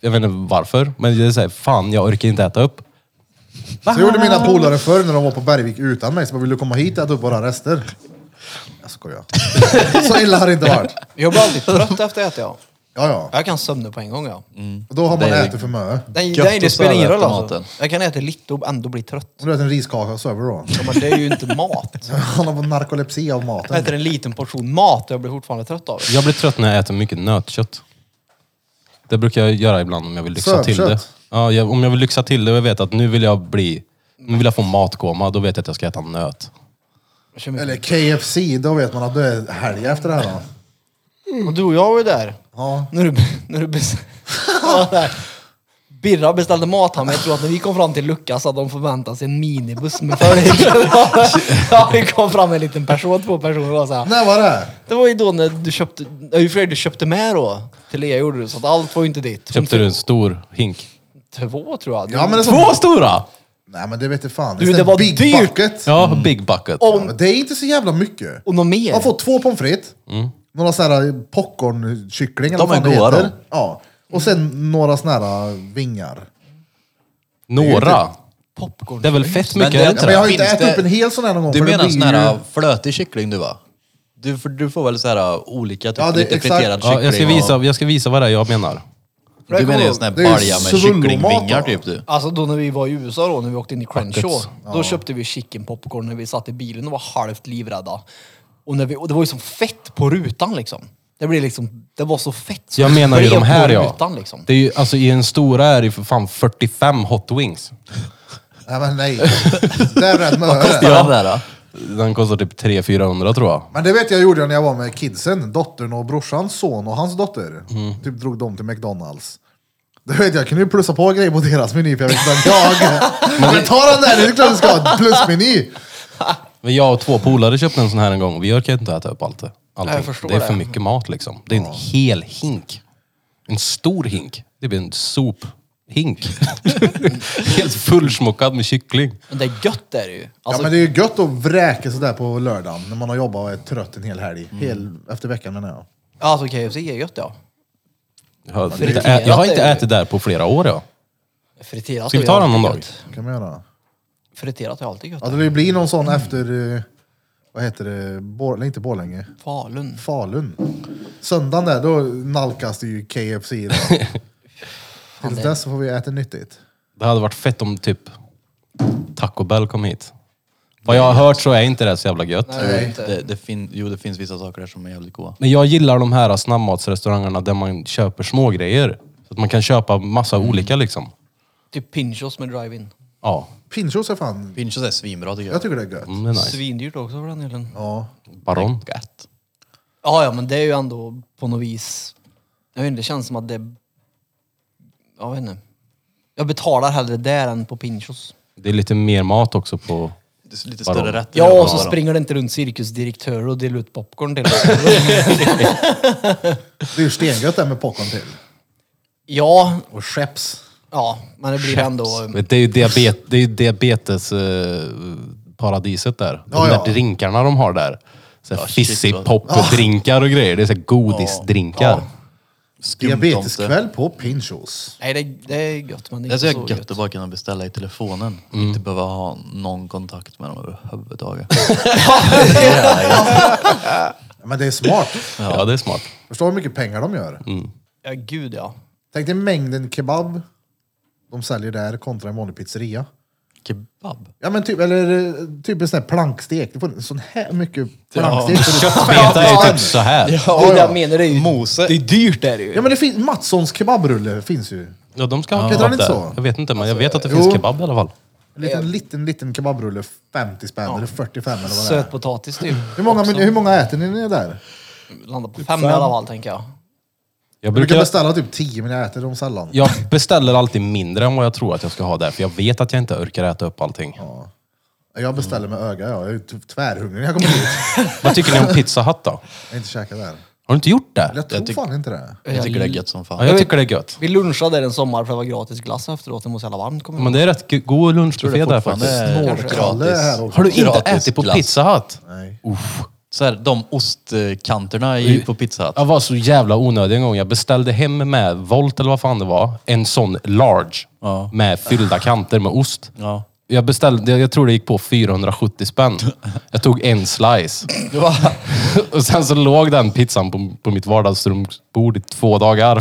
Jag vet inte varför, men det är såhär, fan jag orkar inte äta upp. Så gjorde mina polare förr när de var på Bergvik utan mig. Så bara, vill du komma hit och äta upp våra rester? Jag skojar. Så illa har det inte varit. Jag blir aldrig trött efter att äta jag. Ja, ja. Jag kan somna på en gång ja. Och Då har man Det är- ätit för mycket. Nej, Gött nej, det att spelar ingen svära roll efter alltså. maten. Jag kan äta lite och ändå bli trött. Om du äter en riskaka och sover då. Ja, Men det är ju inte mat. Han har fått narkolepsi av Jag maten. äter en liten portion mat och jag blir fortfarande trött av det. Jag blir trött när jag äter mycket nötkött. Det brukar jag göra ibland om jag vill lyxa till det. Sövkött? Ja, jag, om jag vill lyxa till det och jag vet att nu vill jag bli, nu vill jag få matkoma, då vet jag att jag ska äta nöt. Jag kör mycket. Eller KFC, då vet man att du är helg efter det här då. Och du och jag var ju där. Ja. När du, när du bes- Ja, där. Birra beställde mat han, men jag tror att när vi kom fram till luckan så hade de förväntat sig en minibuss med följare. ja, vi kom fram en liten person, två personer och var så här. När var det? Det var ju då när du köpte, ja, ju fler du köpte med då. Till Lea gjorde du, så att allt var ju inte ditt. Hon Köpte du en stor hink? fick Två tror jag. Ja, men det är så... Två stora! Nej men det vet jag fan. Du, It's det that var big dyrt. bucket. Ja, big bucket. Ja, men det är inte så jävla mycket. Och något mer. Jag har fått två pommes frites. Några sådana här popcornkyckling eller Mm. De vad är fan det goda, heter. de. Ja. Och sen några såna här eh, vingar. Några. Popcorn. Det är väl fett Men mycket? det- Ja, är det inte men jag har ju det? inte Finns ätit det- upp en hel sån här någon gång. Du för det menar blir sån ju- här flötig kyckling du va? Du, får- du får väl så här uh, olika typer, Ja, det- lite exakt. friterad Ja, kyckling. jag, ska och- visa, jag ska visa vad det är jag menar. Du menar en sån här Det är ju balja med svullomat, kycklingvingar va? typ du? Alltså då när vi var i USA då, när vi åkte in i Crenshaw, Buckets. då köpte vi chicken popcorn när vi satt i bilen och var halvt livrädda. Och, när vi, och det var ju som fett på rutan liksom. Det blev liksom, det var så fett. Så Jag menar ju spred de här på ja. rutan, liksom. Det är ju, alltså, I en stora är det ju för fan 45 hot wings. Nej men nej. Det är rätt Ja. möre. Den där, då? Den kostar typ 300-400 tror jag. Men det vet jag gjorde jag när jag var med kidsen. Dottern och brorsans son och hans dotter. Mm. Typ drog dem till McDonalds. Det vet jag, jag kunde ju plussa på grejer på deras meny för jag visste att jag... Men ta den där, det är klart du ska ha en plusmeny! Men jag och två polare köpte en sån här en gång och vi orkar inte äta upp allt det. Allting. jag förstår det är det. för mycket mat liksom. Det är en hel hink. En stor hink. Det blir en sophink. Helt fullsmockad med kyckling. Men det är gött det är det ju. Ja Alltså, men det är ju gött att vräka sådär på lördagen när man har jobbat och är trött en hel helg. Hel, efter veckan menar jag. alltså KFC är gött ja. Jag har, inte, Friterat ä- jag har inte är det. ätit där på flera år. Ja. Friterat Ska vi är ta den alltid någon dag? gött. Vad kan man göra? Friterat är alltid gött. Ja, det blir någon sån efter, eh, vad heter det, Bor- nej, inte Borlänge, Falun. Falun. Söndagen där, då nalkas det ju KFC. Då. Tills dess så får vi äta nyttigt. Det hade varit fett om typ Taco Bell kom hit. Vad jag har hört så är inte det så jävla gött. Nej. Det, det fin, jo, det finns vissa saker där som är jävligt goda. Men jag gillar de här snabbmatsrestaurangerna där man köper små grejer. Så att man kan köpa massa olika liksom. Typ Pinchos med drive-in. Ja, Pinchos är fan, Pinchos är svinbra tycker jag. jag tycker det är gött. mm, det är nice. Svindyrt också för den delen. Ja. Baron. Gött. Ja, ja, men det är ju ändå på något vis... Jag vet inte, det känns som att det... Jag vet inte. Jag betalar hellre där än på Pinchos. Det är lite mer mat också på... Det är lite Vadå? större rätter. än Ja, vad och så det var. springer det inte runt cirkusdirektörer och delar ut popcorn till oss. Det är ju stengött där med popcorn till. Ja, Och skeps. ja, men det blir ändå... Det är ju diabet, det är ju diabetes eh, paradiset där. De Ja, där ja. drinkarna de har där. Så här Ja, shit, vad- Fizzy-pop-drinkar och grejer. Det är så här godisdrinkar. Skumtomte. Diabeteskväll på Pinchos. Nej, det, det är gött, men det är Det är så inte jävla så gött att gött. bara kunna beställa i telefonen. Inte behöva ha någon kontakt med dem överhuvudtaget. Men det är smart. Ja. det är smart. Förstår hur mycket pengar de gör. Ja, gud ja. Tänk dig mängden kebab de säljer där kontra en vanlig pizzeria. Kebab? Ja men typ, eller eh, typ en sån här plankstek. Du får sån här mycket plankstek. Ja. Köttbeta är ju typ så här. Ja, det jag menar det är ju... Mose. Det är dyrt det är det ju. ja men det finns, Mattssons kebabrulle finns ju. Ja, de ska ha Heter han kebab inte där. så? Alltså, Jag vet inte, men jag vet att det finns jo. kebab i alla fall. En liten, liten, liten kebabrulle, 50 spänn eller 45 eller vad det är. Sötpotatis typ. Hur många, men, hur många äter ni när ni är där? Landar på Typ fem i alla fall, tänker jag. Jag Jag brukar brukar, beställa typ 10 men jag äter dem sällan. jag beställer alltid mindre än vad jag tror att jag ska ha där, för jag vet att jag inte orkar äta upp allting. Jag beställer med öga, ja. jag är ju typ tvärhungrig när jag kommer dit. Vad tycker ni om Pizza Hut då? Jag har inte käkat där. Har du inte gjort det? Jag tror fan inte det. Jag tycker det är gött som Ja, fan. jag tycker det är gött. Vi lunchade där en sommar för det var gratis glass efteråt. Det måste jävla varmt kommer jag Men det är rätt g- god det lunchbuffé där fortfarande faktiskt. är Kalle är här också. Har du inte Gratis ätit på glass. Pizza Hut? Nej. Så här, de ostkanterna i, på Pizza Hut. Jag var så jävla onödig en gång. Jag beställde hem med Volt, eller vad fan det var, en sån large Ja. med fyllda kanter med ost. Ja. Jag beställde, jag- jag tror det gick på 470 spänn. Jag tog en slice. Och sen så låg den pizzan på, på mitt vardagsrumsbord i två dagar.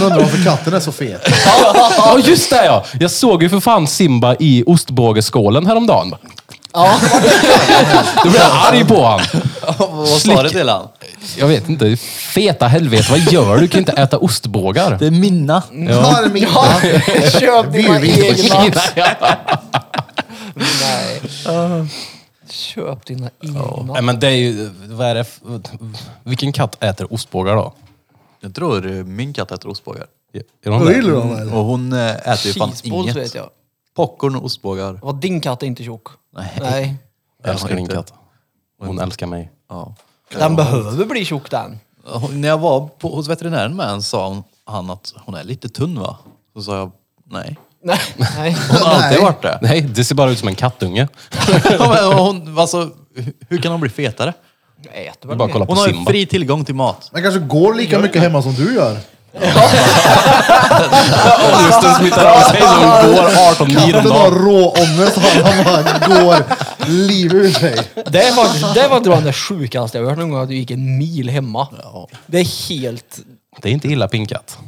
Man undrar varför katten är så fet. Ja, just det ja! Jag såg ju för fan Simba i ostbågeskålen häromdagen. Då blev jag arg på han. Vad sa Slick. du till han? Jag vet inte. Feta helvete, vad gör du? Du kan inte äta ostbågar. Det är mina. Ta den, Mika. Köp dina Vi är inte egna. Ja. Nej. Köp dina egna. Nej, men det är ju... Vad är det? f- Vilken katt äter ostbågar då? Jag tror eh, min katt äter ostbågar. Är hon Då gillar där? du honom eller? Och hon eh, äter ju fan Cheeseballs inget. vet jag. Popcorn och ostbågar. Vad din katt är inte tjock. Nej. Nej. Jag älskar Jag din inte. katt. Hon älskar mig. Ja. Den behöver bli tjock den. Och När jag var på, hos veterinären med henne sa hon, han att hon är lite tunn va? Så sa jag nej. Nej. Nej. Hon har alltid Nej. varit det. Nej, det ser bara ut som en kattunge. Ja, men hon, alltså, hur- hur kan hon bli fetare? Jag äter Du väl bara mer. kolla på Hon har ju Simba. fri tillgång till mat. Den kanske går lika mycket hemma som du gör. Ångesten smittar av sig så hon går 18 mil om Katten har dagen. råångest och han bara går liv ur sig. Det är faktiskt, det var inte bland det sjukaste jag har hört någon gång, att du gick en mil hemma. Det är helt... Det är inte illa pinkat.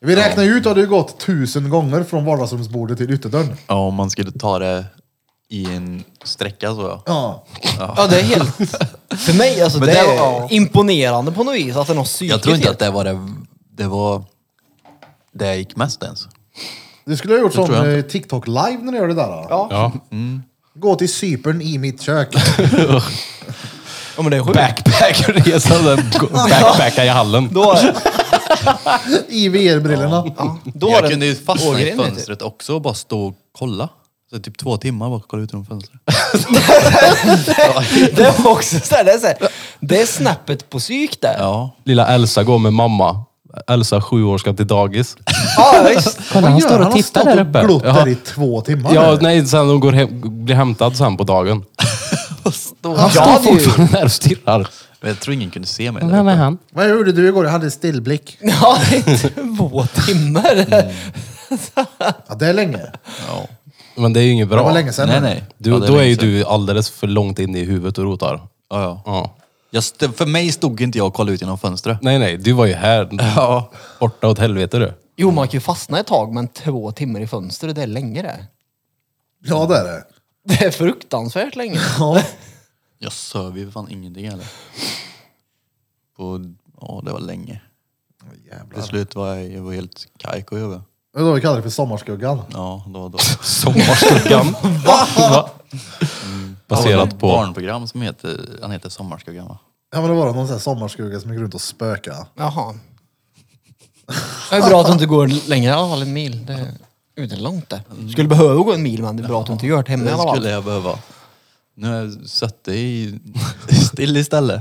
Vi räknar ju ut att du gått tusen gånger från vardagsrumsbordet till ytterdörren. Ja, om man skulle ta det i en sträcka så ja. Ja. Ja, det är helt... För mig, alltså, det, Men det är var- imponerande på något vis att den har psyket Jag tror inte helt. att det var det, det var det jag gick mest ens. Du skulle ha gjort tror jag sån eh, TikTok live när du gör det där. Då. Ja. Gå till Cypern i mitt kök. Ja, men det är sjukt. Backpackerresan, där gå- backpacka i hallen. Då, I VR-brillorna. då har jag den- kunde ju fastna i Ågren, vet du. fönstret också och bara stå och kolla. Så typ två timmar bara kolla ut genom fönstret. Det var också så här, det är så här, Det är snäppet på psyk det. Ja, Ja. Lilla Elsa går med mamma. Elsa, sju år, ska till dagis. visst. Kolla, Vad gör han har stått och glott där i två timmar. Ja, nu. nej, sen hon går hem, blir hämtad sen på dagen. han Ja, stod det är ju- Fortfarande där och stirrar. Men jag tror ingen kunde se mig. Där. uppe. han? Vad gjorde du igår? Jag hade stillblick. Ja, det är två timmar. Mm. Ja, det är länge. Ja. Men det är ju inget Det var bra. länge sedan. Nej, nej. Du, Ja, det då är länge ju sedan. du alldeles för långt inne i huvudet och rotar. Ja, ja. Ja. Jag st- för mig stod inte jag och kollade ut genom fönstret. Nej, nej, du var ju här. Ja. Borta åt helvete du. Jo, man kan ju fastna ett tag, men två timmar i fönstret, det är länge det. Ja, det är det. Det är fruktansvärt länge. Ja. Jag söv ju för fan ingenting heller. På, ja, det var länge. Till slut var jag, jag var helt kajko i huvudet. Det är då vi kallar det för sommarskuggan. Ja, då, då. Sommarskuggan. Va? Mm. Baserat Ett på... barnprogram som heter, han heter Sommarskuggan va? Ja, men det var någon sån här sommarskugga som gick runt och spöka. Jaha. Det är bra att du inte går längre i alla fall, en mil. Det är ju inte långt det. Du skulle behöva gå en mil, men det är bra att du inte gör det hemma i Mm. Det alla skulle fall. jag behöva. Nu har jag suttit i, still istället.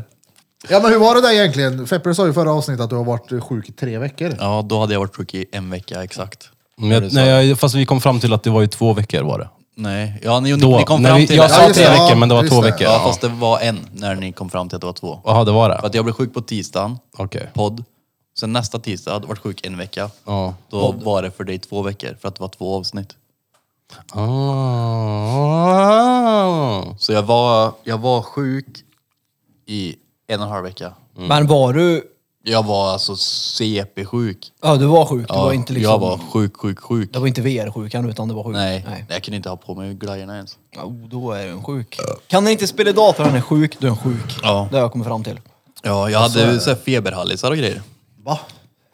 Ja, men hur var det där egentligen? Fepper sa ju i förra avsnittet att du har varit sjuk i tre veckor. Ja, då hade jag varit sjuk i en vecka exakt. Men Mm, jag, nej, jag, fast vi kom fram till att det var ju två veckor var det. Nej, ja ni, Då, ni kom när fram vi, till jag det. Ja, sa just tre det, veckor, ja, men det var just två det. veckor. Ja, Ja, fast det var en när ni kom fram till att det var två. Jaha, det var det? För att jag blev sjuk på tisdagen, Okej. podd. Sen nästa tisdag hade jag varit sjuk en vecka. Ja. Då var det för dig två veckor, för att det var två avsnitt. Ah. Så jag var, jag var sjuk i en och en halv vecka. Men var du... Jag var alltså CP-sjuk. Ja, du var sjuk. Du var inte liksom... Jag var sjuk, sjuk, sjuk. Det var inte VR-sjukan, utan du var sjuk. Nej, jag kunde inte ha på mig glajjorna ens. Ja, oh, då är den sjuk. Kan den inte spela idag för den är sjuk, då är den sjuk. Ja. Det har jag kommit fram till. Ja, jag alltså- hade så här feberhallisar och grejer. Va?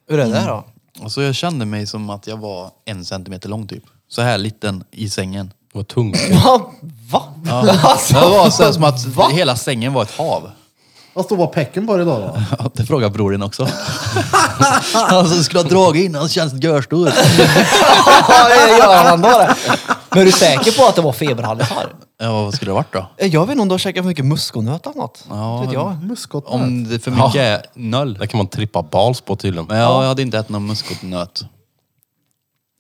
Hur är det Mm. där då? Och så jag kände mig som att jag var en centimeter lång typ. Så här liten i sängen. Det var tungt. Va? Va? Alltså, Det var så här som att hela sängen var ett hav. Vad står bara pecken på dig idag då? Ja, det frågar bror din också. Han som skulle ha dragit in, han känns görstor. ja, det gör han då det. Men är du säker på att det var feberhallisar? Ja, vad skulle det varit då? Eh, Jag vet inte om du har käkat för mycket muskonöt eller något. Ja, Det vet jag. Muskotnöt? Om det för mycket är noll. Det kan man trippa bals på tydligen. Men ja, jag hade inte ätit någon muskotnöt.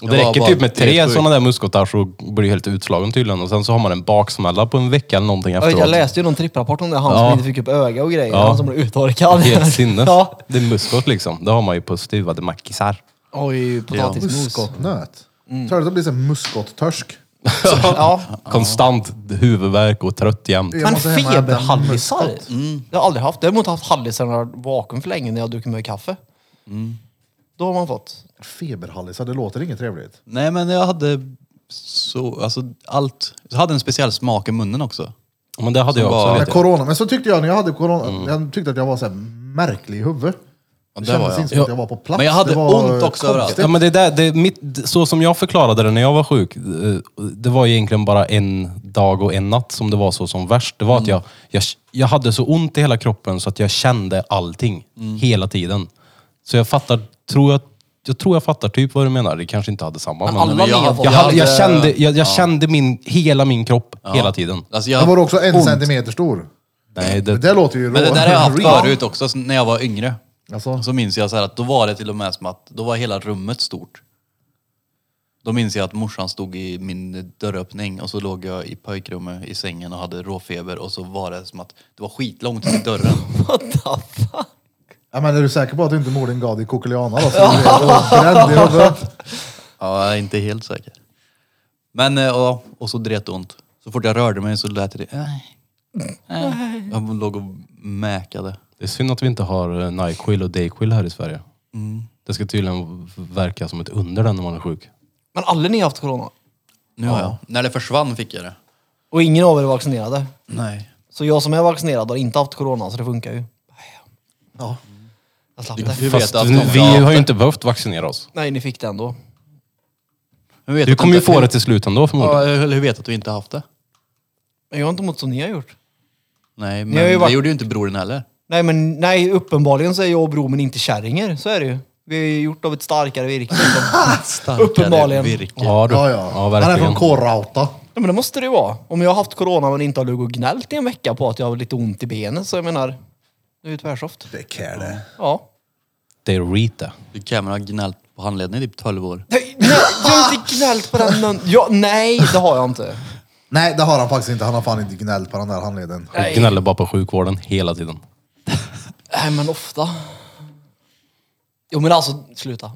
Och det Jag var räcker bara typ med tre helt sjuk. sådana där muskotar så blir det helt utslagen tydligen. Och sen så har man en baksmälla på en vecka eller någonting Ja, efteråt. Jag läste ju någon tripprapport om det, han Ja. som inte fick upp öga och grejer. Ja. Han som blev uttorkad. Helt sinnes. Ja. Det är muskot liksom. Det har man ju på stuvade mackisar. Oj, potatismos. Muskotnöt? Mm. Tror du att det blir så här muskottorsk? Ja. Konstant huvudvärk och trött jämt. Jag Men måste hem och äta feberhallisar? muskot. Jag har aldrig haft. Däremot har jag haft hallisar när jag har varit vaken för länge när jag har druckit mycket kaffe. Mm. Då har man fått. Feberhallisar, det låter inget trevligt. Nej, men jag hade så, alltså allt. Jag hade en speciell smak i munnen också. Men det hade Som jag också. bara- vet Men, du. corona, men så tyckte jag när jag hade corona, Mm. jag tyckte att jag var så här märklig i huvudet. Det, det var kändes jag. inte som att jag var på plats. Men jag hade det var ont också överallt. Ja, men det där, det, är mitt, så som jag förklarade det när jag var sjuk, eh, det var egentligen bara en dag och en natt som det var så som värst. Det var att jag, jag, jag hade så ont i hela kroppen så att jag kände allting hela tiden. Så jag fattar, tror jag, jag tror jag fattar typ vad du menar. Det kanske inte hade samma. Men alla jag, jag- lever. jag, hade- jag hade- kände, jag, jag kände min, hela min kropp hela tiden. Alltså Den var jag, också en centimeter stor. Nej, Det det, där låter ju men det rå- där har jag haft real. förut också, så när jag var yngre. Alltså. Så minns jag så här att då var det till och med som att då var hela rummet stort. Då minns jag att morsan stod i min dörröppning och så låg jag i pojkrummet i sängen och hade råfeber och så var det som att det var skitlångt till dörren. Ja, men är du säker på att du inte mår din gad i kokeliana då? Så du är bränd i huvudet. Ja, jag är inte helt säker. Men eh, ja, och så det ont. Så fort jag rörde mig så lät det... Äh, äh. Jag låg och mäkade. det är synd att vi inte har eh, Nyquil och Dayquil här i Sverige. Det ska tydligen verka som ett under den när man är sjuk. Men alla ni har haft corona. Nu har jag. När det försvann fick jag det. Och ingen av er är vaccinerade. Nej. Så jag som är vaccinerad har inte haft corona, så det funkar ju. Ja. Jag slapp det. Hur Fast vet att vi har ju inte behövt vaccinera oss. Nej, ni fick det ändå. hur vet Du att kommer ju inte- få det till slut ändå förmodligen. Ja, eller hur vet att du inte haft det? Men jag har inte mått som ni har gjort. Nej, har men ju varit- det gjorde ju inte brodern heller. Nej, men nej, uppenbarligen så är jag och Bromen inte kärringar. Så är det ju. Vi är ju gjort av ett starkare virke. liksom. Starkare Uppenbarligen. Virke. Ja, du. Ja, ja ja. Han är verkligen. från K-Rauta. Ja, men det måste det ju vara. Om jag har haft corona men inte har legat och gnällt i en vecka på att jag har lite ont i benet, så jag menar, det är ju tvärsoft. Det kan det. Ja. Det är Rita. Du Cameron har gnällt på handleden i typ 12 år. Nej, nej, jag har inte gnällt på den nön- ja, Nej, det har jag inte. Nej, det har han faktiskt inte. Han har fan inte gnällt på den där handleden. Jag gnäller bara på sjukvården hela tiden. Nej, men ofta. Jo, men alltså, sluta.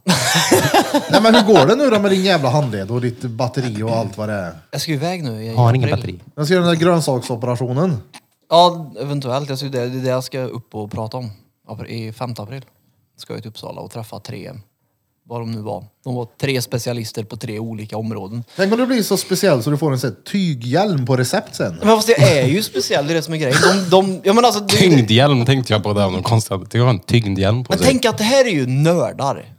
Nej, men hur går det nu då med din jävla handled och ditt batteri och allt vad det är? Jag ska ju iväg nu. i Har ingen april. batteri. Jag ska göra den där grönsaksoperationen. Ja, eventuellt. Jag ska, det, det är det jag ska upp och prata om. Apr- I 5 april ska jag till Uppsala och träffa tre, vad de nu var. De var tre specialister på tre olika områden. Tänk om du blir så speciell så du får en sån här tyghjälm på recept sen. Men fast jag är ju speciell, det är det som är grejen. De, de, ja, men alltså, det, Tyngdhjälm tänkte jag på där av någon konstig anledning. Jag har en tyngdhjälm på Men Alltså- sig. tänk att det här är ju nördar.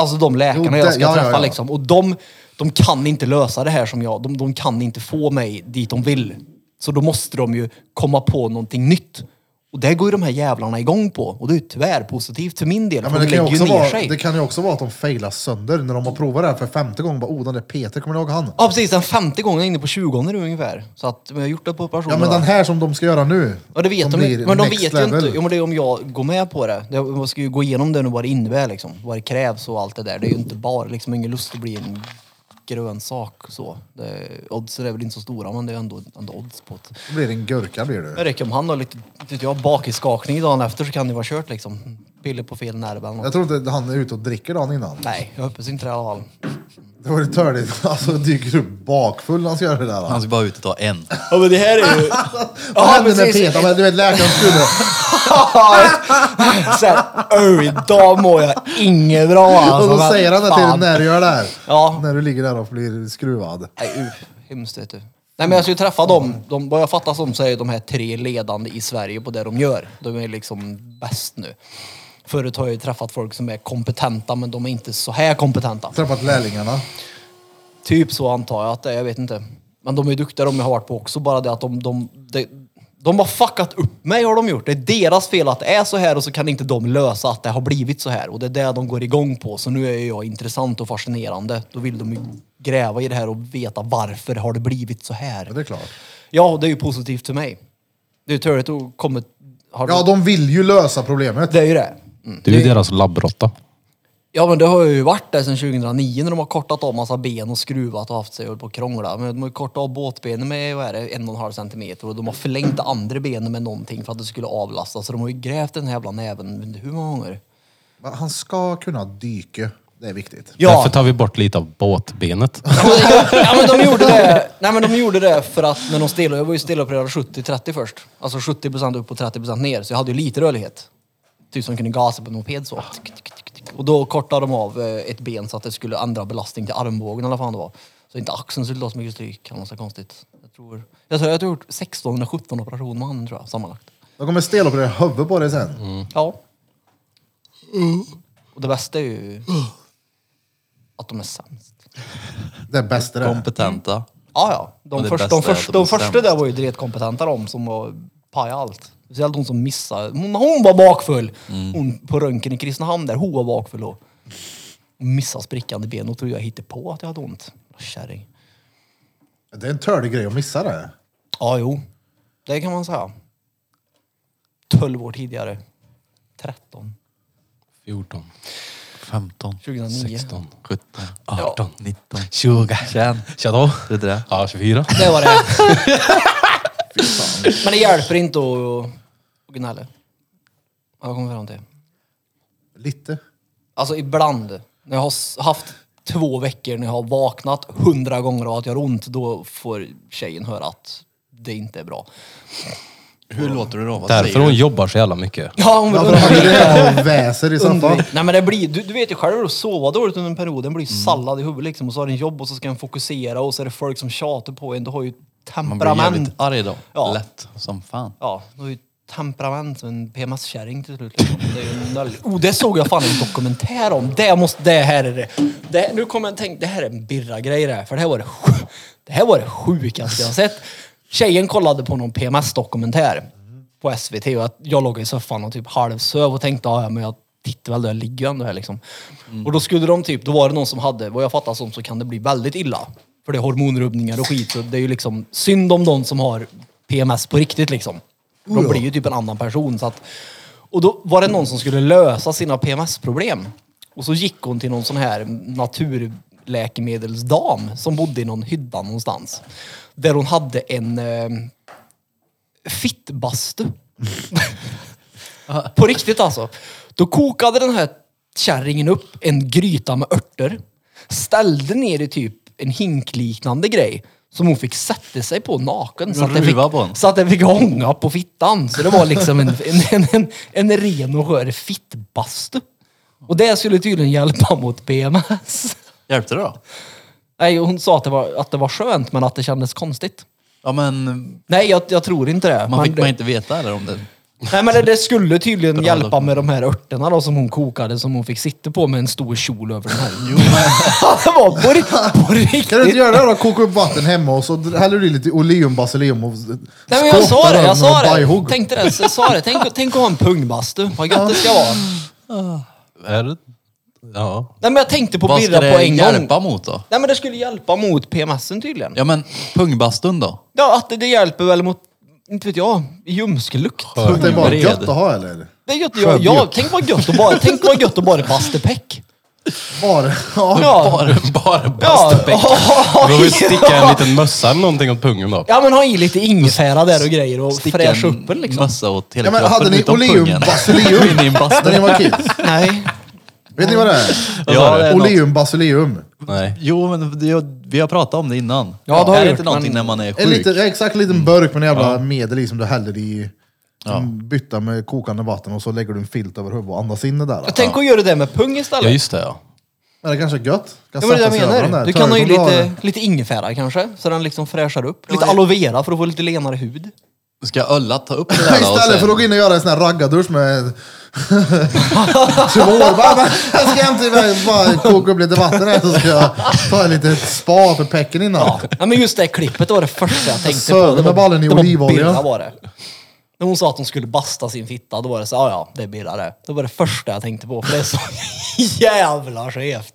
Alltså de läkarna Jo, det- jag ska ja, ja, träffa ja. liksom. Och de, de kan inte lösa det här som jag. De, de kan inte få mig dit de vill. Så då måste de ju komma på någonting nytt. Och det går ju de här jävlarna igång på. Och det är ju tyvärr positivt för min del. Ja, för men det, de kan ju lägger också ju ner vara, sig. det kan ju också vara att de failar sönder när de har provat det här för femte gången. Bara, oh, den där Peter, kommer du ihåg han? Ja precis, den femte gången jag är inne på 20 nu ungefär. Så att men jag har gjort det på operationer. Ja, men den här som de ska göra nu. Ja det vet som de ju. blir Men de next vet ju inte. level. Jo, men det är om jag går med på det. Jag jag ska ju gå igenom det nu vad det innebär liksom. Vad det krävs och allt det där. Det är ju inte bara liksom ingen lust att bli en grön sak så. Det, oddsen är väl inte så stora men det är ändå, ändå odds på det. Det blir en gurka blir Det du. räcker om han har lite, tyckte jag, bakiskakning dagen efter så kan det vara kört liksom. Piller på fel nerv eller Jag något. tror inte han är ute och dricker dagen innan. Nej, jag hoppas inte det i alla fall. Det var ju törligt. Alltså dyker upp bakfull när han ska göra det där. Han Alltså, ska bara ut och ta en. Ja men det här är ju... Vad hände med Peter? Men Du vet läkaren skulle... Såhär, öj, idag mår jag inget bra alltså. och då men säger han det till dig fan. när du gör det här. Ja. När du ligger där och blir skruvad. Nej, uh, hemskt vet du. Nej men jag ska ju träffa dem. De, vad jag fattar som så är de här tre ledande i Sverige på det de gör. De är liksom bäst nu. Förut har jag ju träffat folk som är kompetenta men de är inte så här kompetenta. Träffat lärlingarna. Typ så antar jag att det är, jag vet inte. Men de är ju duktiga de jag har varit på också, bara det att de... De, de, de har fuckat upp mig har de gjort. Det är deras fel att det är så här och så kan inte de lösa att det har blivit så här. Och det är det de går igång på. Så nu är ju jag intressant och fascinerande. Då vill de ju gräva i det här och veta varför har det blivit så Ja, här. det är klart. Ja, det är ju positivt för mig. Det är ju turligt att komma... Har Ja, de vill ju lösa problemet. Det är ju det. Mm. Du är deras labbrotta. Ja men det har ju varit där sedan 2009 när de har kortat av massa ben och skruvat och haft sig och hållit på och krångla. Men de har ju kortat av båtbenen med vad är det, en och en halv centimeter och de har förlängt det andra benet med någonting för att det skulle avlastas. Så de har ju grävt den här jävla näven men hur många gånger? Han ska kunna dyka. Det är viktigt. Därför tar vi bort lite av båtbenet. ja, men de gjorde det. Nej men de gjorde det för att när de stelade, jag var ju stelopererad 70-30 först. Alltså 70% upp och 30% ner. Så jag hade ju lite rörlighet. Typ som kunde gasa på en moped så. Och då kortade de av eh, ett ben så att det skulle ändra belastning till armbågen eller vad fan det var. Så inte axeln skulle ta så mycket stryk. Det var så konstigt. Jag tror jag, tror, jag har gjort 16 eller 17 operationer med handen tror jag sammanlagt. De kommer steloperera huvudet på dig sen. Ja. Och det bästa är ju att de är sämst. Det är bäst det där. Kompetenta. Ja, ja. De, Och det först, bästa de, är att först, de de är första sämst. där var ju dretkompetenta de som var pajade allt. Speciellt hon som Mm. missade. Hon, hon var bakfull. Hon på röntgen i Kristinehamn där, hon var bakfull då. missar sprickan i benet och trodde jag hittade på att jag hade ont. Kärring. Det är en tördig grej att missa det. Ja, jo. Det kan man säga. 12 år tidigare. 13. 14, 15, 2009. 16, 17, 18, 19. 20. Tjen! Tjadå? Det där. Ja, 24. Det var det. Men det hjälper inte att att gnälla. Har Jag kommer fram till. Lite. Alltså ibland, när jag har s- haft två veckor när jag har vaknat hundra gånger av att jag har ont, då får tjejen höra att det inte är bra. Hur låter det då? Vad Därför säger hon du? jobbar så jävla mycket. Ja, hon vill Varför har undvika- du det? Och väser i soffan. Undvik. Nej men det blir, du, du vet ju själv hur du sover dåligt under en period. Den blir ju sallad i huvudet liksom. Och så har du en jobb och så ska en fokusera och så är det folk som tjatar på en. Du har ju Man blir temperament. jävligt arg då. Ja. Lätt som fan. Ja, du har ju temperament som en PMS-kärring till slut. liksom. Det är ju en noll- oh, det såg jag fan en dokumentär om. Det, måste, det här är det. det nu kommer jag tänka, det här är en birra-grej det här. För det här var det, sj- det, här var det sjukaste jag har sett. Tjejen kollade på någon PMS-dokumentär på SVT och att jag låg i soffan och typ halvsöv och tänkte "Ah, ja, ja, men jag tittar väl där, jag ligger ju ändå här liksom. Och då skulle de typ, då var det någon som hade, vad jag fattar som så kan det bli väldigt illa. För det är hormonrubbningar och skit. Så det är ju liksom synd om de som har PMS på riktigt liksom. För de blir ju typ en annan person. Så att, och då var det någon som skulle lösa sina PMS-problem. Och så gick hon till någon sån här naturläkemedelsdam som bodde i någon hydda någonstans. Där hon hade en eh, fittbastu. På riktigt alltså. Då kokade den här kärringen upp en gryta med örter. Ställde ner i typ en hinkliknande grej. Som hon fick sätta sig på naken. Så att, den fick, Ruva på den. så att den fick ånga på fittan. Så det var liksom en, en, en, en, en ren och skör fittbastu. Och det skulle tydligen hjälpa mot PMS. Hjälpte det då? Nej, hon sa att det, var, att det var skönt men att det kändes konstigt. Ja men, Nej, jag, jag tror inte det. man Men fick det- man inte veta eller om det... Nej men det, det skulle tydligen Bra hjälpa dokument. med de här örterna då som hon kokade som hon fick sitta på med en stor kjol över den här. Jo, det var på, ri- på Kan du inte riktigt. göra det då? Koka upp vatten hemma och så häller du i lite oleum basilium och Nej men jag sa skottar det, den jag sa med det. bajhugg. Tänkte det, så jag sa det. Tänk, tänk att ha en pungbastu, vad gött det ska vara. Är det? Ja. Nej men jag tänkte på Vad ska birra det på en gång. hjälpa mot då? Nej men det skulle hjälpa mot PMSen tydligen. Ja, Ja men, pungbastun då? att det, det hjälper väl mot, inte vet jag, ljumskelukt. Så Det är bara Bred. gött att ha eller? Det är gött, jag, jag, tänk vad gött att bara, tänk vad gött att bara bastepäck. Bara, ja. Ja, Bara, bara ja. bastupäck. Ja. Då vill sticka en liten mössa eller någonting åt pungen då. Ja men ha i lite ingefära där och grejer och fräscha upp den liksom. massa åt hela Ja, men kroppen hade ni utom oleum pungen. basilium? In i en bastu. När ni var kids. Nej. Vet ni vad det är? Ja, det är något- Oleum basilium. Nej. Jo men det- vi har pratat om det innan. det har vi är det gjort, inte någonting men- när man är En sjuk? liten, exakt en liten burk med en jävla medel i som du häller i. Som bytta med kokande vatten och så lägger du en filt över huvudet och andas in det där. Jag tänker att göra det med pung Ja, istället. just det ja. Men det kanske är gött. Kan Ja, men det sätta jag sig över den menar. där. Du kan ha i Törren som du har lite, lite ingefära kanske, så den liksom fräschar upp. Lite aloe vera för att få lite lenare hud. Ska Ölla ta upp det där då och Istället för sen- att gå in och göra en sån här raggardusch med tvål. Bara, men Jag ska hem till mig bara koka upp lite vatten här så ska jag ta en litet spa för pecken innan. Ja, men just det klippet var det första jag tänkte Söder på. Det med var, ballen i det var olivolja. Birra var det. När hon sa att hon skulle basta sin fitta, då var det så "Ah, ja ja, det är Birra det. Det var det första jag tänkte på, för det är så jävla skevt.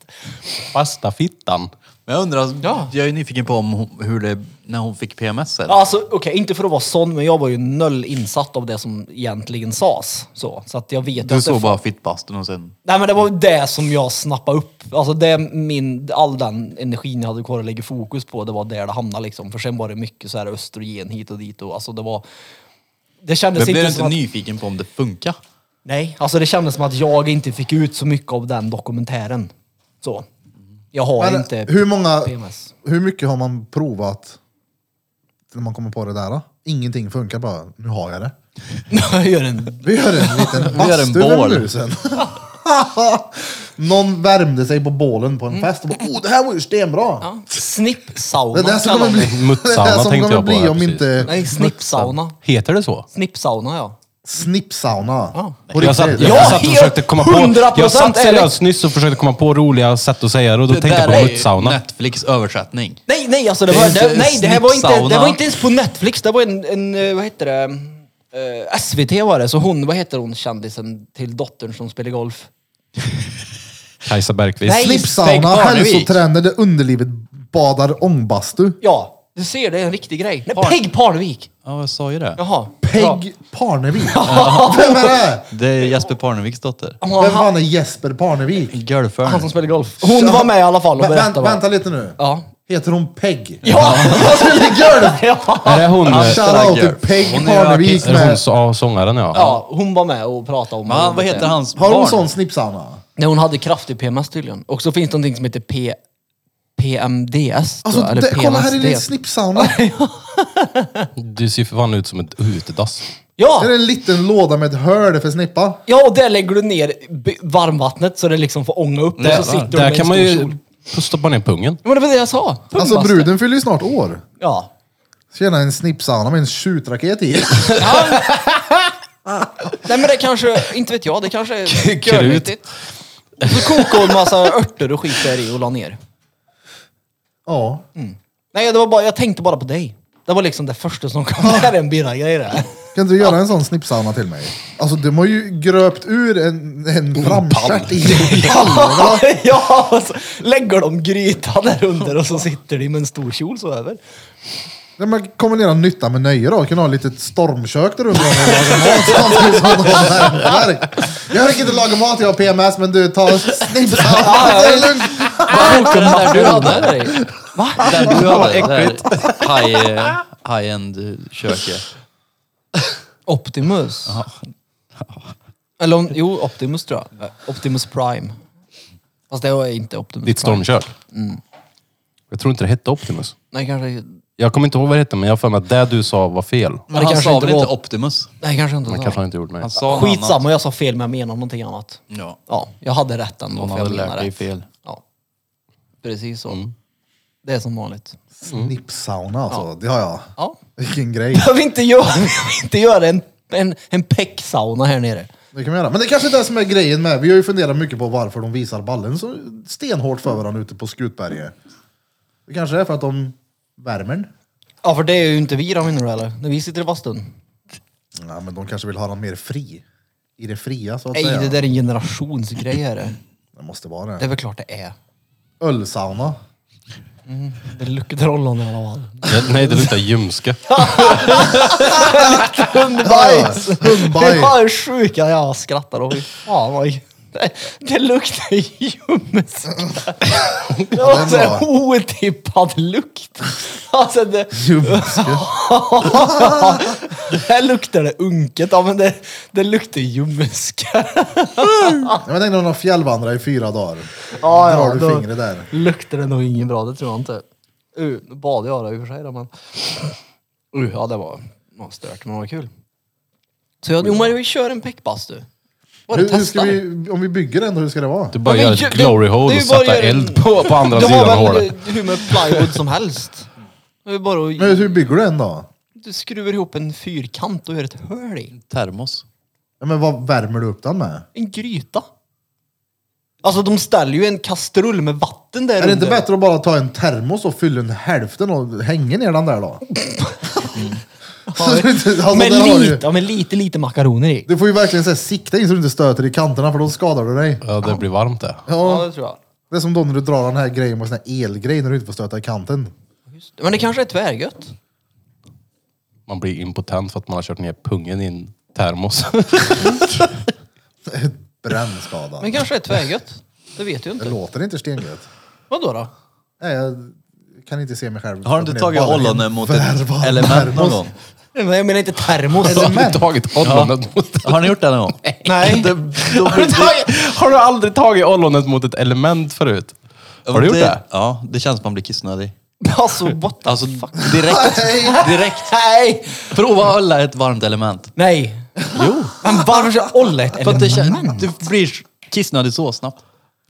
Fasta fittan. Men jag undrar, Ja. jag är nyfiken på om hon, hur det, när hon fick PMS eller? Alltså okej, inte för att vara sån, men jag var ju noll insatt av det som egentligen sas. Så, så att jag vet ju att Du det såg bara fittbastun och sen... Nej men det var det som jag snappade upp. Alltså det min, all den energin jag hade kvar att lägga fokus på, det var där det hamnade liksom. För sen var det mycket så här östrogen hit och dit och alltså det var... Det Men kändes blev du inte inte som att... nyfiken på om det funkar? Nej, alltså det kändes som att jag inte fick ut så mycket av den dokumentären. Så. Jag har Men inte... hur, många, PMS. hur mycket har man provat när man kommer på det där? Då? Ingenting funkar bara. Nu har jag det. jag gör en... Vi gör en liten Vi gör en bastu över bål. musen. Någon värmde sig på bålen på Mm. en fest och bara, oh det här var ju stenbra. Ja, Det snippsauna är det som kallar kommer de det. bli, det Muttsauna är det som tänkte kommer jag på bli här om precis. inte Nej, snippsauna. Heter det så? Snippsauna ja. snippsauna. Ja. På Jag satt, riktigt. jag Ja, satt och helt försökte komma på... 100% Jag satt är det- seriöst nyss och försökte komma på roliga sätt att säga det och då tänkte jag där på är ju muttsauna. Netflix översättning. Nej, nej, alltså det Det är var, inte det, nej, det här var inte, det var snippsauna. inte ens på Netflix. Det var en, en eh, vad heter det, Eh, SVT var det. Så hon, vad heter hon, kändisen till dottern som spelar golf? Kajsa Bergqvist. Nej. Fake Slipsauna, Barnevik. hälsoträner där underlivet badar ångbastu. Ja, du ser det är en riktig grej. Nej, Par- Peg Parnevik! Ja, jag sa ju det. Jaha. Bra. Peg Parnevik. Vem är det? Det är Jesper Parneviks dotter. Vem fan är Jesper Parnevik? Han som Golförn. spelar golf. Hon var med i alla fall och Vä- berättade. vänta, va? vänta lite nu. Ja. Heter hon Peg? Ja! Jag spelar golf! Är det hon, eh, Shoutout Girl. till Peg Hon är ju Parnevik artist. är det hon med... så, sångaren ja? ja, hon var med och pratade om... Men han, vad heter hans Har hon barn? sån snipsauna? Nej, hon hade kraftig PMS tydligen. Och så finns det någonting som heter P... PMDS tror Alltså, jag, det, kolla här är PMSD. lite snipsauna. Du ser ju för fan ut som ett utedass. Ja! Det är en liten låda med ett hål för snippa. Ja, och där lägger du ner b- varmvattnet så det liksom får ånga upp. och så sitter hon med Där en kan man stor ju kjol. stoppa ner pungen. Ja, men det var det jag sa. Alltså Pumbaste. bruden fyller ju snart år. Ja. Tjena en snipsauna med en skjutraket i. Nej men det kanske, inte vet jag, det kanske är Krut. görnyttigt. Och Så kokade hon massa örter och skit där i och la ner. Ja. Nej, det var bara, jag tänkte bara på dig. Det var liksom det första som kom. Det här är en birra-grej det här. Kan inte du göra en sån snipsauna till mig? Alltså de har ju gröpt ur en, en framstjärt i Ja, ja och så lägger de grytan där under och så sitter de med en stor kjol så över. Ja, men kombinera nytta med nöje då. Kunna ha ett litet stormkök där under. och laga mat samtidigt som de värmeverk. Jag orkar inte laga mat, jag har PMS, men du tar snipsauna. Det är lugnt. Vad heter den där du Där hade? är det. Den du hade? Äckligt. eh, High-end köket. Optimus. Eller om, jo, Optimus tror jag. Optimus Prime. Fast det var inte Optimus Ditt Prime. stormkök. Mm. Jag tror inte det hette Optimus. Nej, kanske, Jag kommer inte ihåg vad det hette, men jag har för mig att det du sa var fel. Men det han kanske sa inte väl inte var- Optimus? nej, kanske inte. Man så. kanske har inte gjort mig. Han Alltså. sa något annat. Skitsamma, jag sa fel men jag menar någonting annat. Ja. Ja, jag hade rätt ändå. Någon för hade jag menar lärt dig rätt. fel. Mm. Ja. Precis så. Det är som vanligt. Snipsauna alltså, det har jag. Ja. Vilken grej. Jag vill inte göra, jag vill inte göra en, en, en pecksauna här nere. Det kan man göra. Men det är kanske är det som är grejen med. Vi har ju funderat mycket på varför de visar ballen så stenhårt för varandra ute på Skutberget. Det kanske är för att de värmer den. Ja, för det är ju inte vi då menar du eller? När vi sitter i bastun. Ja, men de kanske vill ha den mer fri. I det fria så att Nej, säga. det där är en generationsgrej är det. det måste vara Det är det. väl klart det är. Ölsauna. Det luktar ollon i alla fall. Det- Nej, det luktar ljumske. Hundbajs! Det Hundbajs! var det sjuka jag skrattar och fy fan vad... Det, det luktar ljumsk. Det var den så här var- otippad lukt. Alltså det... Ljumske. Här luktar det unket. Ja, men det, det luktar ljumska. Jag tänkte om de fjällvandrar i fyra dagar. Ja, Drar ja, du då- fingret där. Luktar det nog ingen bra, det tror jag inte. Uh, nu badade jag då i och för sig. Då, men... uh, ja, det var något stört, men det var kul. Så jag, jo, men vi kör en peckbastu. Bara Hur, hur testa. ska vi, om vi bygger den då, hur ska det vara? Du bara Ja, men gör ju- ett det- glory det är hole och ju bara att sätta göra en- eld på, på andra Det sidan var väl hålet. eh, hur med plywood som helst. Det är bara att- Men hur bygger du den då? Du skruvar ihop en fyrkant och gör ett hål i. Termos. Ja, men vad värmer du upp den med? En gryta. Alltså de ställer ju en kastrull med vatten där Är det inte under. bättre att bara ta en termos och fylla en hälften och hänga ner den där då? Så du inte- alltså, men, där har du ju- lite, ja, men lite, lite makaroner i. Du får ju verkligen så här, sikta in så du inte stöter i kanterna för då skadar du dig. Ja, det blir varmt det. Ja, Ja, det tror jag. det är som då när du drar den här grejen med sån här elgrej när du inte får stöta i kanten. Men det kanske är tvärgött. Man blir impotent för att man har kört ner pungen i en termos. Brännskada. Men det kanske är tvärgött. Det vet du ju Det inte. låter inte stengött. Vadå då? Nej, jag kan inte se mig själv. Har du inte tagit Bara en ollonen mot ett verbal element någon termos. gång? Men jag menar inte termos. Så har du tagit ollonet mot... Har ni gjort det någon gång? Nej. Det, då Har du, tagit, har du aldrig tagit ollonet mot ett element förut? Har du gjort det? Ja, det känns som man blir kissnödig. Alltså what the Alltså fuck? direkt. direkt. Nej! Prova att hålla ett varmt element. Nej! Jo. Men varför ska jag olla ett För att det element? känns, du blir kissnödig så snabbt.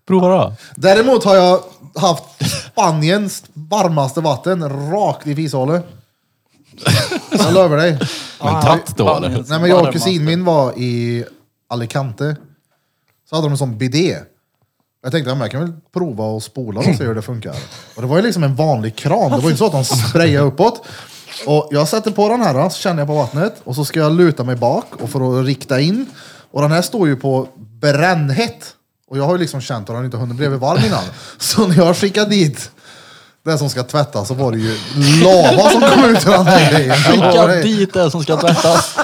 Prova då. Däremot har jag haft Spaniens varmaste vatten rakt i fishålet. Jag lovar dig. Men tatt då eller? Nej, men jag och kusin min var i Alicante. Så hade de en sån bidé. Jag tänkte, ja, men jag kan väl prova och spola och se hur det funkar. Och det var ju liksom en vanlig kran, det var ju inte så att de sprayade uppåt. Och jag sätter på den här, så känner jag på vattnet. Och så ska jag luta mig bak och för att rikta in. Och den här står ju på brännhett. Och jag har ju liksom känt att han inte hunnit bredvid varm innan. Så när jag skickade dit det som ska tvättas så var det ju lava som kom ut ur den här grejen. Jag lovar Skicka dig. dit det som ska tvättas.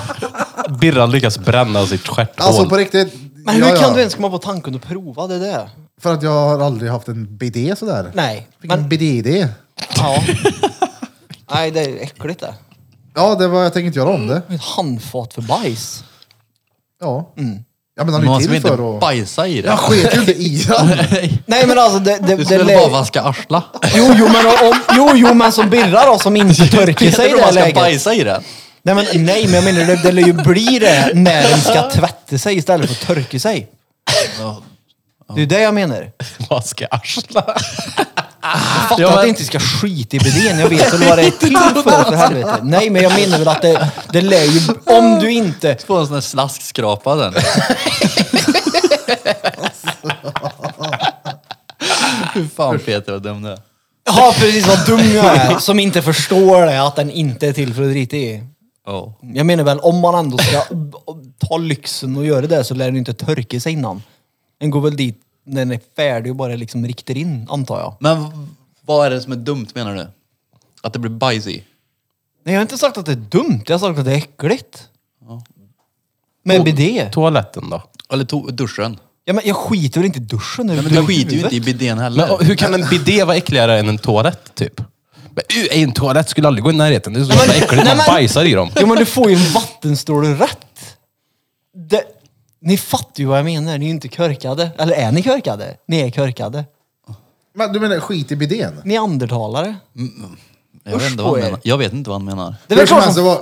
Birran lyckas bränna sitt stjärthål. Alltså på riktigt. Men hur ja, ja. kan du ens komma på tanken att prova det där? För att jag har aldrig haft en BD sådär. Nej, Fick en men- BD-idé. Ja. Nej, det är äckligt det. Ja, det var, jag tänker inte göra om det. Ett handfat för bajs. Ja. Mm. Ja men han är Man ju ska till inte för att... bajsa i det. Jag sket ju inte i den. Nej men alltså det... det, Du det skulle lä- bara vaska arsla. jo, jo, men om, jo, jo, men som Birra då som inte törker sig i Peter, det här man ska läget. bajsa i den. Nej men, nej, men jag menar det, det lär ju bli det när den ska tvätta sig istället för att törka sig. Det är ju det jag menar. Vaska arsla. Jag fattar att det inte ska skita i bidén. Jag vet väl vad det är till för, för helvete. Nej men jag menar väl att det, det lär ju... Om du inte... Få en sån här slaskskrapa den. Hur fan Peter vad dum du är. Ja precis, vad dum jag är som inte förstår det, att den inte är till för att drita i. Ja. Mm. Jag menar väl, om man ändå ska ob- ob- ta lyxen och göra det så lär den inte törka sig innan. Den går väl dit när den är färdig och bara liksom riktar in, antar jag. Men v- vad är det som är dumt menar du? Att det blir bajs i? Nej, jag har inte sagt att det är dumt. Jag har sagt att det är äckligt. Med bidé. Toaletten då? Eller to- duschen? Ja, men jag skiter väl inte i duschen nu. Nej, men du skiter ju inte i bidén Men, heller. och, hur kan en bidé vara äckligare än en toalett typ? Men, uh, en toalett skulle aldrig gå i närheten. Det är så jävla äckligt. Man bajsar i dem. Jo, men du får ju en vattenstråle rätt. Det... Ni fattar ju vad jag menar. Ni är ju inte körkade. Eller är ni körkade? Ni är körkade. Men du menar skit i bidén? Ni är andertalare. Jag vet, usch inte vad han på er. menar. jag vet inte vad han menar. Det är Hur väl som klart helst, det som... var,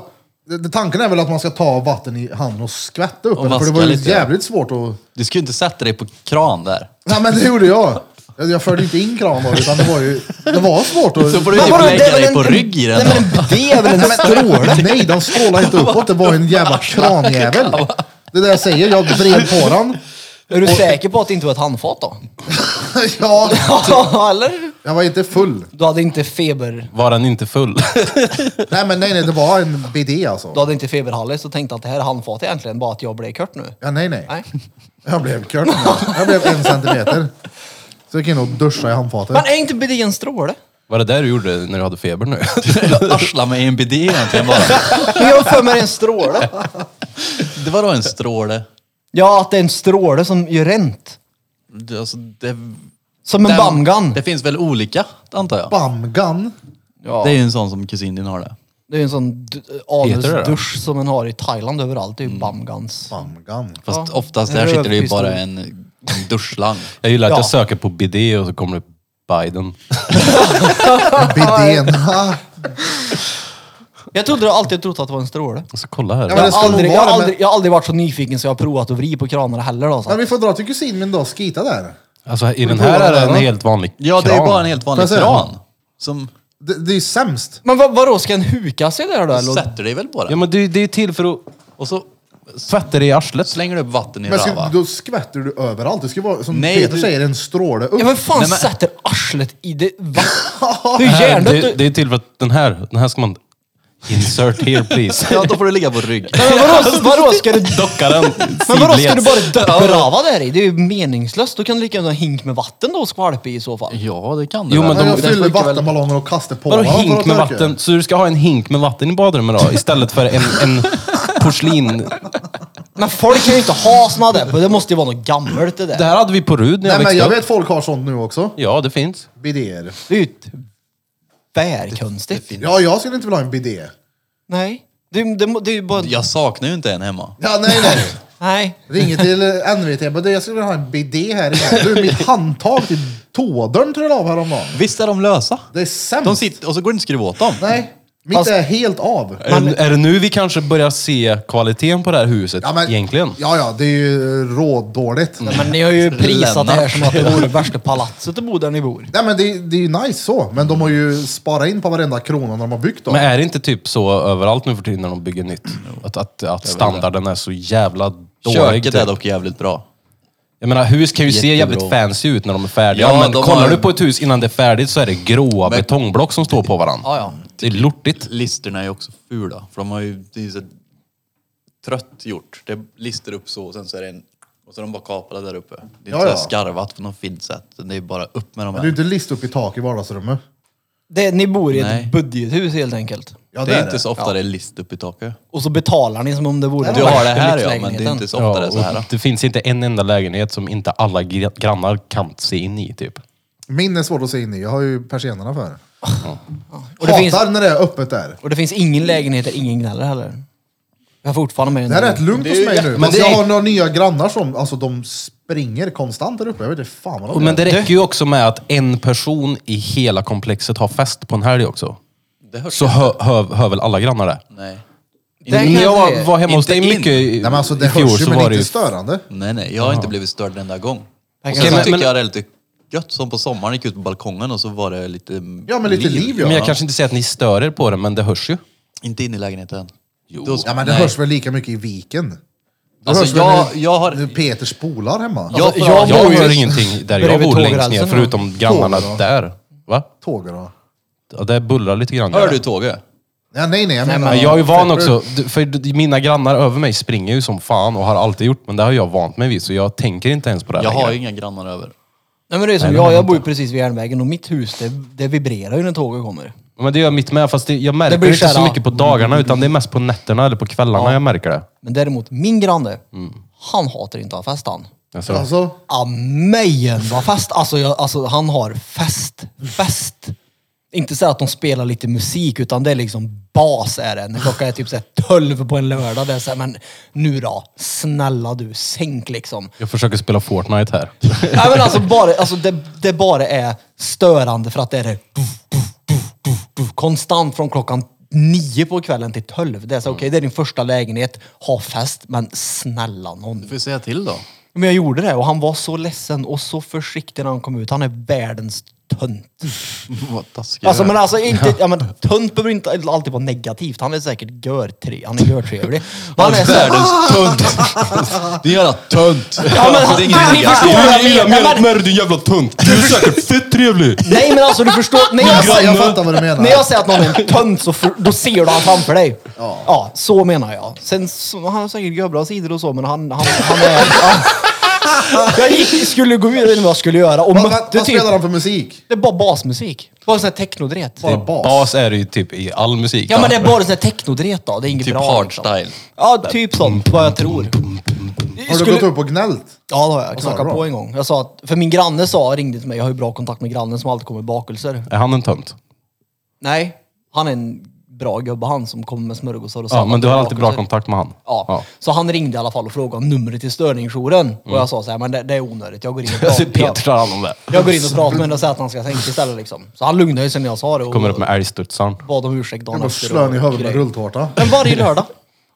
det- det- tanken är väl att man ska ta vatten i handen och skvätta upp Och den, för det vaska var ju lite, ja. jävligt svårt att... Du skulle inte sätta dig på kran där. Nej men det gjorde jag. Jag jag förde inte in kranen då, utan det var ju... Det var svårt att... Så får du Men typ vadå, lägga det- dig på rygg i den. Nej, men en bidé är väl en stråle? Nej, de strålade inte uppåt. Det var en jävla kranjävel. Det är det jag säger, jag vred på den. Är du säker på att det inte var ett handfat då? Ja, Ja, eller? jag var inte full. Du hade inte feber... Var den inte full? Nej men nej, nej, det var en bidé Du alltså. hade inte feberhallis och tänkte att det här är handfatet egentligen, bara att jag blev kört nu. Ja, nej, nej. Nej. Jag blev kört. Jag blev en centimeter. Så jag kan nog duscha i handfatet. Men är inte bidén en stråle? Var det där du gjorde när du hade feber nu? Arsla mig i en bidé egentligen bara. Men jag har för mig det är en stråle. Det var då en stråle. Ja, att det är en stråle som gör rent. Det- Alltså, det, Som en den- bamgan. Det finns väl olika, antar jag? Bamgan. Ja. Det är ju en sån som kusinen har det. Det är ju en sån d- adelsdusch som man har i Thailand överallt. Det är ju bamgans. Bamgan. Fast Ja, oftast en där sitter det ju rövpistol. bara en, en duschslang. Jag gillar att Ja. jag söker på bidé och så kommer det Biden. Bidén. Ja, Jag trodde jag alltid trott att det var en stråle. Och så Alltså, kolla här. Ja, Jag men- det ska har, nog aldrig, jag, vara har det, men- aldrig, jag har aldrig varit så nyfiken så jag har provat att vrida på kranarna heller. Då, så. Men vi får dra till kusin min dag och skita där. Alltså i den här är det en helt vanlig Ja, det är kran. bara en helt vanlig Får jag säga? kran. Som Det, det är ju sämst. Men vad, vadå, ska en huka sig där då? du Eller? sätter dig väl på Ja den. men det, det är till för att Och så tvätta dig i arslet. slänger du upp vatten i Men ska, röva. då skvätter du överallt. Det ska vara, som Nej, Peter du- säger, en stråle upp. Ja, men fan Nej, men- sätter arslet i det? Va? Det är ju Nej, hjärndött. det, du- det är till för att den här, den här ska man... Insert here please. Ja, då får du ligga på rygg. Men vadå, vadå, ska du, Docka den men vadå, ska du sidleds. bara döpa rava där i? Det är ju meningslöst. Då kan du lika gärna ha en hink med vatten då och skvalpa i i så fall. Ja, det kan du Jo, väl. men Ja, de- jag den fyller funkar väl- vattenballonger och kastar på Vadå varandra för hink att med torka. vatten? Så du ska ha en hink med vatten i badrummet då? Istället för en, en porslin... Men folk kan ju inte ha såna där. Det måste ju vara något gammalt det där. Det här hade vi på Rud när jag Nej, men växte jag upp. vet folk har sånt nu också. Ja, det finns. Bidéer. Det är ju ett bärkonstigt. Ja, jag skulle inte vilja ha en bidé. Nej. Det, det, må- det är ju bara... Jag saknar ju inte en hemma. Ja, nej, nej. Nej. Ringer till eh, NVT. Men det, jag skulle vilja ha en bidé här inne. Du, mitt handtag till tådörren trillade av häromdagen. Visst är de lösa? Det är sämst. De sitter, och så går det inte att skruva åt dem. Nej, mitt Fast- är helt av. Är, det- är det nu vi kanske börjar se kvaliteten på det här huset Ja, men- egentligen? Ja, ja, det är ju rådåligt. Men ni har ju prisat det här Lennart. som att det vore värsta palatset att bo där ni bor. Nej men det, det är ju nice så, men de har ju sparat in på varenda krona när de har byggt dem. Men är det inte typ så överallt nu för tiden när de bygger nytt? Att, att, att standarden är så jävla dålig. Köket typ. är dock jävligt bra. Jag menar, hus kan ju se Jättebra. jävligt fancy ut när de är färdiga. Ja, men de kollar har- du på ett hus innan det är färdigt så är det gråa Men- betongblock som står på varandra. Ja, ja. Det är lortigt. Typ, Listerna är ju också fula. För de har ju, det är ju så trött gjort. Det är lister upp så och sen så är det en... Och så de bara kapade där uppe. Det är Ja, inte ja. skarvat på något fint sätt. Det är bara upp med de Men här. du är inte list upp i tak i vardagsrummet. Det, ni bor i ett Nej. budgethus helt enkelt. Ja, det är inte så ofta det är list upp i taket. Och så betalar ni som om det vore Du har det här ja, men det är lyxlägenheten. inte så ofta det är så och här. då. det finns inte en enda lägenhet som inte alla gr- grannar kan se in i typ. Min är svår att se in i. Jag har ju persiennerna för. Och det Hatar finns- när det är öppet där. Och det finns ingen lägenhet där ingen gnäller heller. Jag har fortfarande med Det här är den. rätt lugnt hos mig nu. Men det jag är- har några nya grannar som alltså, de springer konstant där uppe. Jag vet inte fan vad de Men gör. det räcker ju också med att en person i hela komplexet har fest på en helg också. Det hörs Så hö, hö, hör väl alla grannar det? Nej. Det kan När jag jag säga. var hemma hos Inte dig in. mycket i, Nej, men alltså, det i fjol hörs ju så men var inte det ju... störande. Nej, nej. Jag har inte blivit störd en enda gång. Tack, Och sen men- tycker men- jag det är lite gött. Som på sommaren gick jag ut på balkongen och så var det lite Ja, men lite liv, ja. Men jag kanske inte säger att ni stör er på det, men det hörs ju. Inte in i lägenheten. Jo. Ja, men det hörs väl lika mycket i viken? Det Alltså, hörs jag- väl nu, jag har- nu Peter spolar hemma. Jag- jag Jag bor ju- hör ingenting där jag bredvid bor längst tågrälsen ner, då. förutom grannarna Tåg då. där. Va? Tågar då. Ja, det bullrar lite grann. Hör du tåget? Ja, nej, nej, jag menar... Men jag är ju van också, du- för d- mina grannar över mig springer ju som fan och har alltid gjort, men det har jag vant mig vid så jag tänker inte ens på det Jag längre. har ju inga grannar över. Nej men det är som jag, jag bor ju precis vid järnvägen och mitt hus det, det vibrerar ju när tåget kommer. Men det gör mitt med, fast det, jag märker Det blir inte så kära. mycket på dagarna utan det är mest på nätterna eller på kvällarna jag märker det. Men däremot min granne, han hatar inte att ha fest han. Alltså, Alltså, Amen vad fest! Alltså, jag, alltså han har fest, fest. Inte så här att de spelar lite musik utan det är liksom bas är det. När klockan är typ så här 12 på en lördag. Det är så här, men nu då? Snälla du, sänk liksom. jag försöker spela Fortnite här. Nej men alltså, bara, alltså det, det bara är störande för att det är det konstant från klockan nio på kvällen till tolv. Det är så okej, det är din första lägenhet, ha fest, men snälla någon. Du får ju säga till då. Men jag gjorde det och han var så ledsen och så försiktig när han kom ut. Han är världens tönt. Vad taskig Alltså du är. men alltså inte, ja men tönt behöver inte alltid vara negativt. Han är säkert görtre, han är görtrevlig. Men Han är så här, Världens tönt! Din jävla tönt! ja, men, Alltså, han, det du, är ni ingen förstår negativ. vad jag menar. Nej, men- med dig din jävla tunt! Du är säkert fett trevlig! Nej men alltså du förstår, när jag, jag, säger, jag fattar vad du menar. när jag säger att någon är en tönt så för, då ser du han framför dig. Ja. så menar jag. Sen så, han har säkert görbra sidor och så men han, han, han är... han- Jag gick, skulle gå ut, jag vet inte vad jag skulle göra och vad, vad, mötte vad typ... spelar han för musik? Det är bara basmusik. Bara sån här technodret. Bara bas. Bas är det ju typ i all musik. Ja men det är bara sån här technodret då, det är inget Typ bra. liksom. hardstyle. Ja, typ sånt vad jag tror. Har du Skulle- gått upp och gnällt? Ja, det har sa jag. Knackat du då? på en gång. Jag sa att, för min granne sa, ringde till mig, jag har ju bra kontakt med grannen som alltid kommer med bakelser. Är han en tönt? Nej, han är en bra gubbe han som kommer med smörgåsar och Ja, sallad men du och har alltid bra bakelser. kontakt med han? Ja. så han ringde i alla fall och frågade om numret till störningsjouren. Och jag sa så här, men det, det är onödigt, jag går in och Alltså pratar. Mm. Peter tar hand om det. Jag, jag går in och pratar med henne och säger att han ska sänka istället liksom. Så han lugnade sig när jag sa det och Kommer upp med älgstudsaren. bad om ursäkt Jag dagen bara slår han i huvudet med rulltårta. Men varje lördag.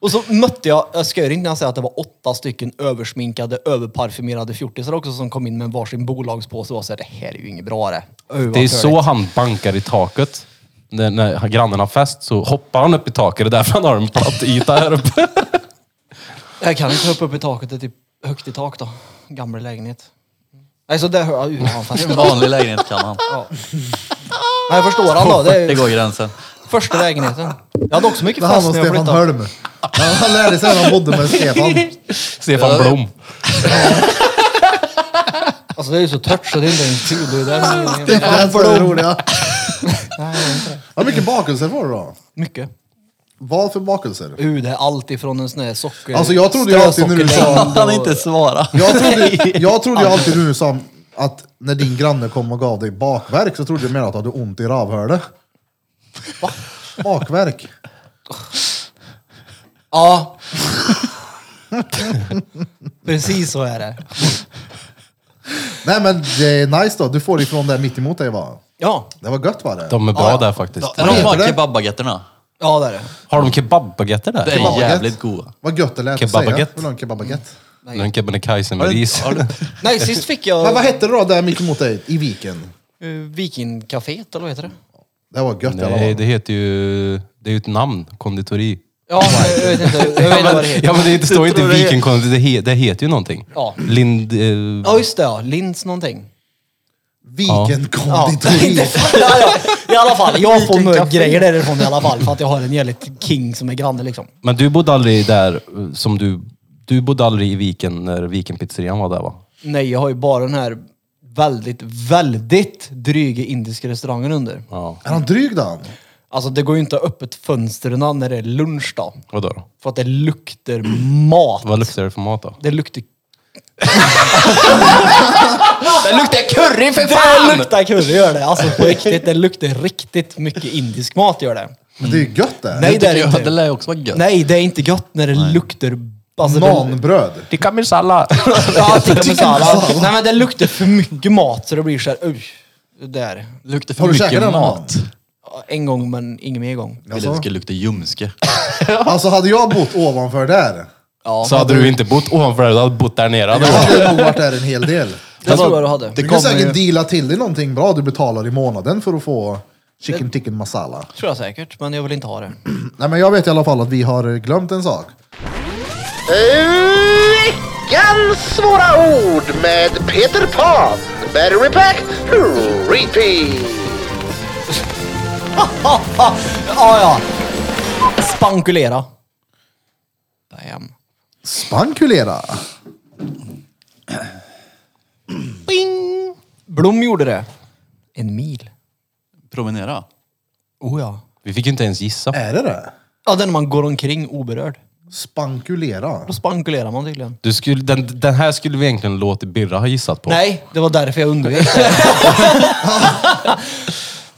Och så mötte jag, jag skojar inte när jag säger att det var åtta stycken översminkade, överparfymerade fjortisar också som kom in med varsin bolagspåse och var såhär, det här är ju inget bra det. Öh, vad Det är törligt. så han bankar i taket. När, när grannen har fest så hoppar han upp i taket. Det är därför han har en platt yta här uppe. Jag kan inte hoppa upp i taket, det är typ högt i tak då. Gammal lägenhet. Nej, så det hör jag ju. Ja, fast- En vanlig lägenhet kan han. Nej, jag förstår han då. Det är Det ju går gränsen. första lägenheten. Jag hade också mycket Det han fest och när jag Stefan flyttade. Holm. Han han lärde sig när han bodde med Stefan. Stefan Blom. Alltså det är ju så tört så det är inte ens kul. Det är där Det är så det roliga. Vad mycket bakelser var det då? mycket. Vad för bakelser? Uh, det är allt ifrån en sån här socker... Alltså, jag trodde ju alltid när du sa- strösockerlängd och- Han inte svara. Jag trodde, jag trodde ju alltid nu som att när din granne kom och gav dig bakverk så trodde jag mer att du hade ont i rövhålet. Bakverk. Ja. Precis så är det. Nej men det är nice då, du får ifrån det mitt emot dig va? Ja, Det var gött var det? De är bra där faktiskt. Är de heter bara det? kebabbaguetterna? ja det är det. Har de kebabbaguetter där? Det är jävligt goda. Vad gött det lät att säga. Kebabbaguette. Vill du ha en kebabbaguette? Nej. En Kebnekaise med ris. Nej, sist fick Men vad jag hette det då där mitt emot dig i viken? uh, Vikingcaféet, eller vad heter det? Det var gött i alla Nej, fall. det heter ju... Det är ju ett namn. Konditori. Ja, men jag vet inte, jag vet Ja inte vad det men, heter. ja, men det heter- står inte tror det är- vikinkonditori. Det, he, det heter ju någonting. Ja. Lind... Eh, Ja, just det ja. Linds någonting. Viken Ja. konditori. ja, ja. I alla fall, jag får Viking några Café. grejer därifrån i alla fall. För att jag har en jävligt king som är granne liksom. Men du bodde aldrig där eh, som du... Du bodde aldrig i Viken när Vikenpizzerian var där va? Nej, jag har ju bara den här väldigt, väldigt dryga indiska restaurangen under. Ja. Är han dryg då? han? Alltså det går ju inte att ha öppet fönstren när det är lunch då. Vadå då? För att det luktar mat. Vad luktar det för mat då? Det luktar... Det luktar curry för Det luktar curry gör det! Alltså på riktigt, det luktar riktigt mycket indisk mat gör det. Men det är ju gött det. Nej det är det Ja, det inte. lär ju också vara gött. Nej det är inte gött när det luktar... Alltså, det- Nanbröd. Tikka masala. Ja, typ tikka masala. Nej men det luktar för mycket mat så det blir såhär, usch. det Där. Luktar för Har du mycket käkat den mat. mat? Ja, En gång men ingen mer gång. Vill att det ska lukta ljumske. Alltså hade jag bott ovanför där, Så hade du inte bott ovanför där, du hade bott där nere. jag hade nog varit där en hel del. Det tror jag du hade. Du Det kan kommer säkert ju... deala till dig någonting bra du betalar i månaden för att få chicken tikka masala. tror jag säkert, men jag vill inte ha det. Nej men jag vet i alla fall att vi har glömt en sak. Veckans svåra ord med Peter Pan. Battery pack, repeat. ja, ja. Spankulera. Damn. Spankulera. Bing! Blom gjorde det. En mil. Promenera. Oh ja. Vi fick ju inte ens gissa. Är det det? Ja, den man går omkring oberörd. Spankulera. Då spankulerar man tydligen. Du skulle, den, den här skulle vi egentligen låta Birra ha gissat på. Nej, det var därför jag undvek det.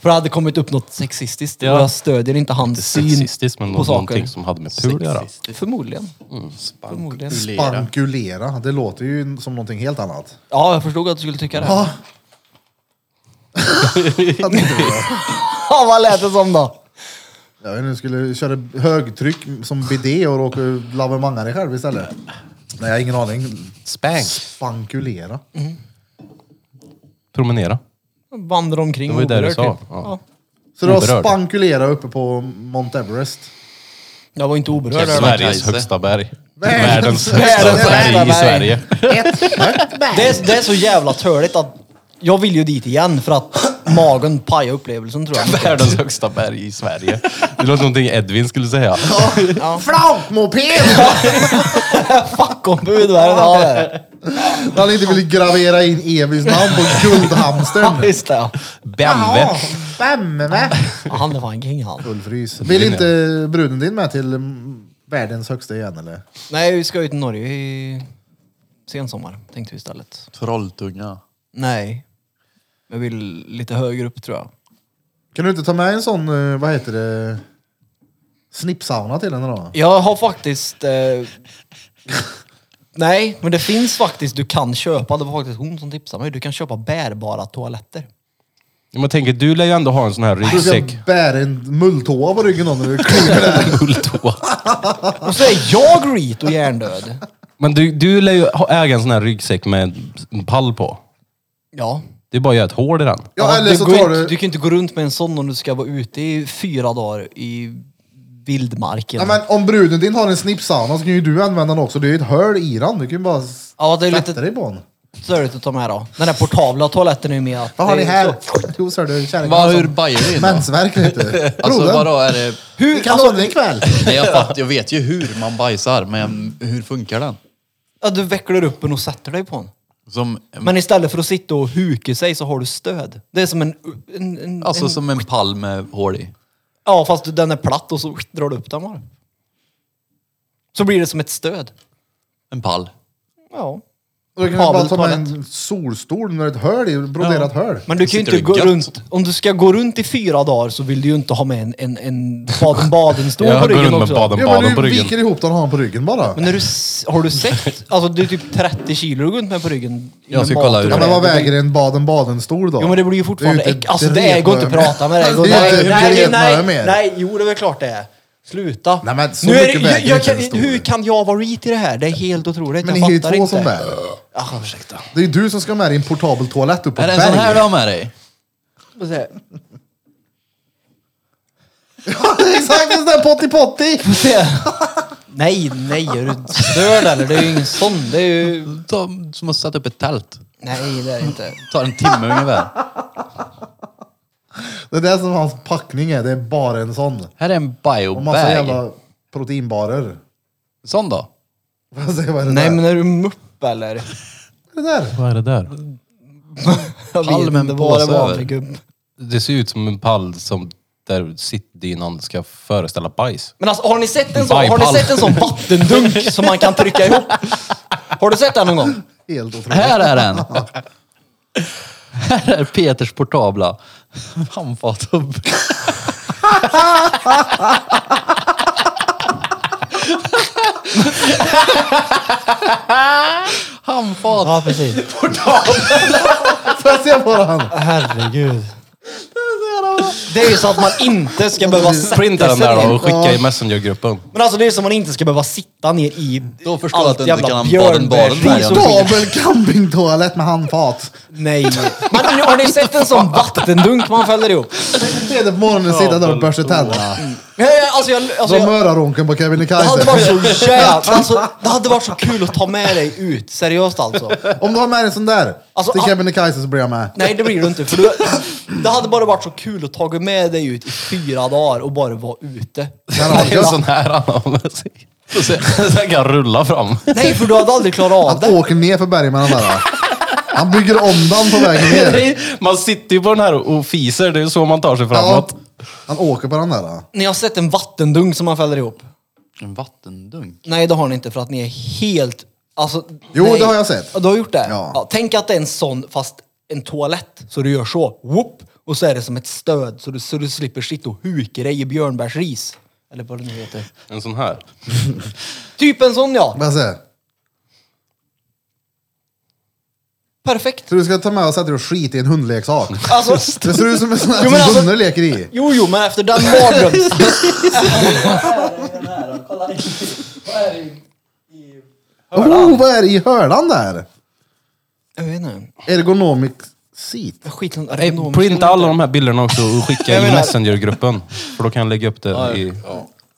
För det hade kommit upp något sexistiskt och jag stödjer inte hans syn Sexistiskt, men på någonting saker. som hade med tur att göra. Förmodligen. Mm. Förmodligen. Spankulera. Det låter ju som någonting helt annat. Ja, jag förstod att du skulle tycka det. Ja. Jag tänkte på det. Ja, vad lät det som då? Jag vet inte, skulle köra högtryck som bidé och råka lavemanga dig själv istället. Nej, jag har ingen aning. Spank. Spankulera. Promenera. Vandrar omkring Det var ju det du oberörd. sa. typ. Mm, Ja. Så du har Oberörd. spankulera uppe på Mount Everest. Jag var inte oberörd. Jävlar. Sveriges Kebnekaise. högsta berg. Världens Världens högsta högsta berg berg. i Sverige. Det är, det är så jävla törligt att jag vill ju dit igen för att magen pajar upplevelsen tror jag. Världens högsta berg i Sverige. Det låter någonting Edvin skulle säga. Flampmoped! Fackombud, vad är det ja, det är det? Han inte vill gravera in Evys namn på Ja, guldhamstern. just det. Ja. Bembe. Bemme! Ja, Han är fan king han. Ulfrys. Vill inte bruden din med till mm, världens högsta igen eller? Nej, vi ska ju till Norge i sensommar tänkte vi istället. Trolltunga. Nej. Jag vill lite högre upp tror jag. Kan du inte ta med en sån, eh, vad heter det, snippsauna till henne då? Jag har faktiskt... Eh... Nej, men det finns faktiskt, du kan köpa, det var faktiskt hon som tipsade mig, du kan köpa bärbara toaletter. Ja, Men tänker, du lär ju ändå ha en sån här Du ska ryggsäck. bära en mulltåa på ryggen då när du kliver där. Bulltå. Och så är jag reet och hjärndöd. Men du, du lär ju ha- äga en sån här ryggsäck med en pall på. Ja. Det är bara att göra ett hål i den. Ja, eller du, så går tar inte, du du... kan ju inte gå runt med en sån om du ska vara ute i fyra dagar i vildmarken. Ja, men om bruden din har en snippsauna så kan ju du använda den också. Det är ju ett hål i den. Du kan ju bara s- Ja, det är sätta lite dig på den. störigt att ta med då. Den där portabla toaletten är ju med. Vad har det ni är här? så- Jo, sör du, kärringen. Vad, har hur sån bajar du in då? Mensvärk vet du. Alltså Broden, vadå är det... vi kan låna alltså, en kväll. Nej, jag, fatt, jag vet ju hur man bajsar, men hur funkar den? Ja, du vecklar upp den och sätter dig på den. Som, Men istället för att sitta och huka sig så har du stöd. Det är som en... en, en, alltså en som en pall med hål i. Ja, fast du- den är platt och så drar du upp den bara. Så blir det som ett stöd. En pall. Ja. Och Då kan du bara Kabel, ta med en toalett. solstol när det är ett hål i, broderat hål. Men du Sitter kan ju inte du gå gött? runt... Om du ska gå runt i fyra dagar så vill du ju inte ha med en, en, en Baden-Baden-stol Jag går på ryggen runt med också. baden, Ja, baden men på du ryggen. viker ihop den och har den på ryggen bara. Men när du, s- har du sett? Alltså det är typ 30 kilo du går runt med på ryggen. Jag ska kolla hur Ja, det men är. vad väger en Baden-Baden-stol då? Jo men det blir ju fortfarande ju inte äck. Alltså det ett går inte att rep- prata med dig. Det är ju nej, inte nej, ett nej, rep mer. nej, nej, jo det är väl klart det är. Sluta. Nej, men så nu är mycket det, jag, väger jag inte kan, en stor. hur kan jag vara reet i det här? Det är helt otroligt. Men ni jag är ju fattar två inte. som bär. Ah, ursäkta. Det är ju du som ska med din portabel toalett upp på Är det en berget. sån här du har med dig? Vad säger- Exakt en sån där potti-potti! vad säger jag? Nej, nej, är du störd eller? Det är ju ingen sån. Det är ju... Ta, som att sätta upp ett tält. Nej, det är det inte. Tar en timme ungefär. Det är det som hans packning är, det är bara en sån. Här är en Och massa biobag. jävla proteinbarer. Sån då? Vad säger- vad är det Nej där? men är du mupp eller? Vad är det där? Vad är det där? Jag vet Palmen inte vad det blåser var över. för gubb. Det ser ut som en pall som där sittdynan ska föreställa bajs. Men alltså har ni sett en sån, har Bajpall. ni sett en sån vattendunk som man kan trycka ihop? Har du sett den någon gång? Helt otroligt. Här är den! Här är Peters portabla handfat och handfat. Ja, precis. Får jag se på den? Herregud. Det är ju så att man inte ska behöva sätta sig Printa den där då ner. och skicka i messengergruppen. Men alltså det är som man inte ska behöva sitta ner i Då förstår jag att du inte kan ha en Baden-Baden där, björnbärsris och skit. Portabel campingtoalett med handfat. Nej. Men nu har ni sett en sån vattendunk man fäller ihop? Det är det på morgonen sitta där och borsta tänderna. Ja, ja, Alltså jag, alltså Som jag, öronronken på det hade varit Kebnekaise. så jävla... Alltså, det hade varit så kul att ta med dig ut. Seriöst alltså. Om du har med dig en sån där Alltså, till ah- Kebnekaise så blir jag med. Nej det blir du inte. För du, det hade bara varit så kul att ta med dig ut i fyra dagar och bara vara ute. Kan Det är en jag- sån här han har med sig. Så ser- så kan rulla fram. Nej för du hade aldrig klarat av Han det. åker ner för berg med den där. Han bygger om den på vägen ner. Man sitter ju på den här och fiser, det är ju så man tar sig Ja, framåt. han åker på den där. Ni har sett en vattendunk som man fäller ihop? En vattendunk. Nej det har ni inte för att ni är helt... Alltså, Jo, nej. det har jag sett. Ja, Du har gjort det? Ja. tänk att det är en sån fast en toalett. Så du gör så, whoop, och så är det som ett stöd så du, så du slipper sitta och huka dig i björnbärsris. Eller vad det nu heter. En sån här. Typ en sån ja! Vad säger Perfekt! Så du ska ta med och sätta dig och skita i en hundleksak? Alltså, Det ser ut som en sån Jo, men där alltså- som hundar leker i. jo, jo, men efter den mardröms... Oh, vad är det i hörnan där? jag vet inte. Ergonomic seat. Skitland, Nej, Eh, printa alla de här bilderna också och skicka i messengergruppen. För då kan jag lägga upp det i...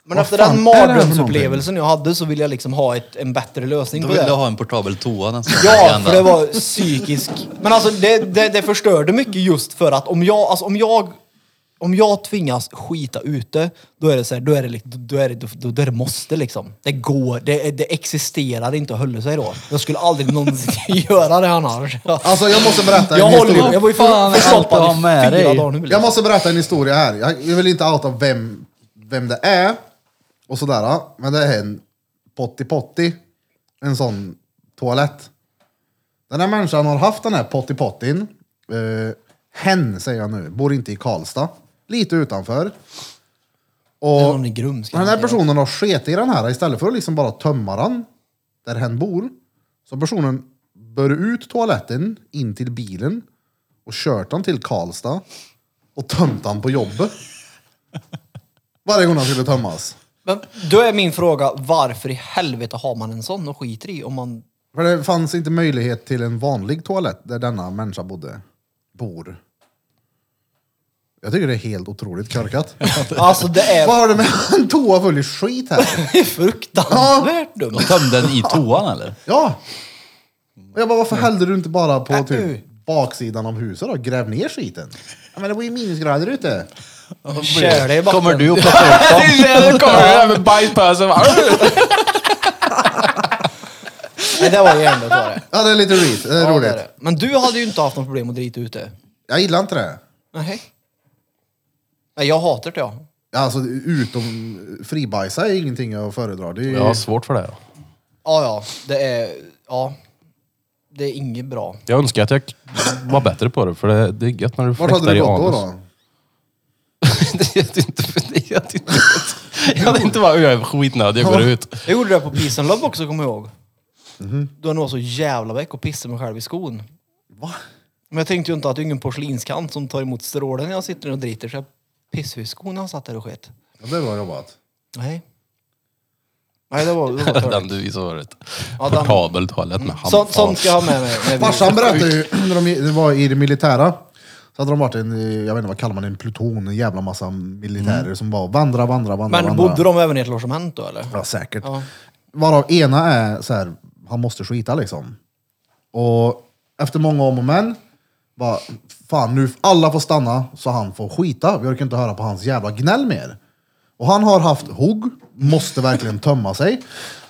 Men efter fan den är det här för mardrömsupplevelsen jag hade så ville jag liksom ha ett, en bättre lösning Då på vill det. du ha en portabel toa nästan. Ja, för det var psykisk... Men alltså det, det, det förstörde mycket just för att om jag, alltså, om jag, om jag tvingas skita ute, då är det så här, då är det, lik- då är det, då, då är det måste liksom. Det går, det, det existerar inte att hålla sig då. Jag skulle aldrig någonsin göra det annars. Alltså jag måste berätta en Jag håller historia. ju, jag var ju för, Fan, allt förstoppad att i ha med fyra dig. dagar nu. Jag Liksom. måste berätta en historia här. Jag jag vill inte outa vem, vem det är och sådär. Men det är en potti potti. En sån toalett. Den här människan har haft den här potti pottin. Eh, hen säger jag nu, bor inte i Karlstad. Lite utanför. Det är Och någon i Grums, kan den jag här säga. personen har sket i den här istället för att liksom bara tömma den där hen bor. Så personen bör ut toaletten in till bilen och kört den till Karlstad och tömt den på jobbet. Varje gång han skulle tömmas. Men då är min fråga, varför i helvete har man en sån och skiter i om man... För det fanns inte möjlighet till en vanlig toalett där denna människa bodde. Bor. Jag tycker det är helt otroligt korkat. Alltså det är Vad har du med en toa full i skit här? fruktansvärt dumt. De tömde den i toan eller? Ja! Och jag bara, varför hällde du inte bara på Äh, typ du. baksidan av huset då? Gräv ner skiten. Ja, men det var ju minusgrader ute. Kör dig i backen. Kommer du och plockar upp dem? Nu kommer det där med bajspösen. Nej, det var ju ändå var det. Ja, det är lite roligt. Det är Ja, det roligt. är det. Men du hade ju inte haft något problem att drita ute. Jag gillar inte det. Nej. Nej, jag hatar det ja. Alltså, utom fribajsa är ingenting jag föredrar. Det är ju... Jag har svårt för det. ja. Ja, ja. Det är... Ja. Det är inget bra. Jag önskar att jag var bättre på det, för det, det är gött när du Vart hade fläktar du i gått då? anus. då? det vet jag inte. Det vet jag inte. Jag hade inte varit jag är skitnödig, jag går ut. Jag gjorde det på Peace and Love också, kommer jag ihåg. Mhm. Då var jag så jävla väck och pissade mig själv i skon. Va? Men jag tänkte ju inte att det är ingen porslinskant som tar emot strålen när jag sitter och driter. Så jag pissade i skon när jag satt där och sket. Ja, det är bra jobbat. Nej. Nej, det var... Det var Den törligt. du visade förut. Ja, den- Portabel toalett med handfat. Sånt, sånt ska jag ha med mig. när vi- Farsan berättade ju, när de det var i det militära, så hade de varit en, eh, jag vet inte vad kallar man det, en pluton, en jävla massa militärer Mm. som bara vandra, vandra, vandra. Men vandra. bodde de även i ett logement då eller? Ja, säkert. Ja. Varav ena är så här, han måste skita liksom. Och efter många om och men, bara, fan nu alla får stanna så han får skita. Vi orkar inte höra på hans jävla gnäll mer. Och han har haft hugg, måste verkligen tömma sig.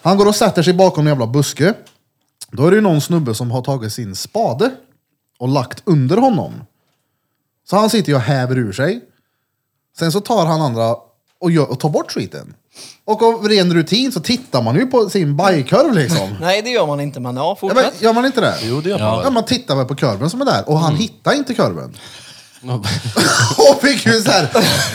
Han går och sätter sig bakom en jävla buske. Då är det ju någon snubbe som har tagit sin spade och lagt under honom. Så han sitter ju och häver ur sig. Sen så tar han andra och, gör, och tar bort skiten. Och av ren rutin så tittar man ju på sin bajkorv liksom. Nej, det gör man inte, men ja, Ja, men, fortsätt. gör man inte det? Jo, det gör man. Mm. Ja, man tittar väl på kurven som är där och han hittar inte kurven. och fick ju så här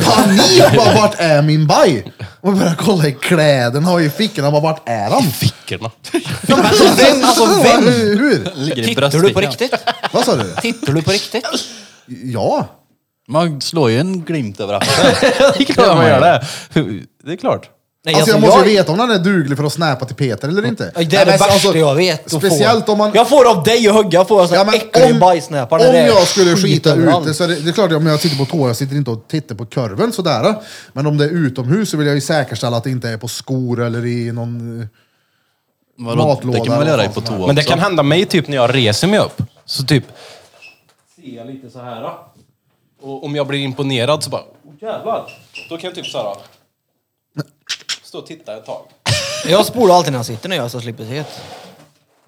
panik. Bara, vart är min baj? Och började kolla i kläderna och i fickorna. Bara, vart är han? Fickorna. Ja, men alltså, vem, alltså, vem? Hur? hur? Ligger i Tittar du på bröstfickan. riktigt? Vad sa du? Tittar du på riktigt? Ja. Man slår ju en glimt över axeln. det är klart man gör det. Det är klart. Nej, Alltså jag måste ju veta om han är duglig för att snäpa till Peter eller inte. Ja, Det Nej, men är det värsta alltså, jag vet att få. Speciellt om man... Jag får av dig att hugga, jag får en sån Ja, här men äcklig om- bajsnäpare. när Om det är jag skulle skit skita överallt. ute så är det, det är klart om jag sitter på toa, jag sitter inte och tittar på kurven sådär. Men om det är utomhus så vill jag ju säkerställa att det inte är på skor eller i någon... eh, Vadå, Matlåda det kan man väl göra eller i vad på som toa Men det också. kan hända mig typ när jag reser mig upp. Så typ... Ser jag lite så här. då. Och om jag blir imponerad så bara... Oh, jävlar. Då kan jag typ så här. då. Stå och titta ett tag. Jag spolar alltid när jag sitter när jag så jag slipper se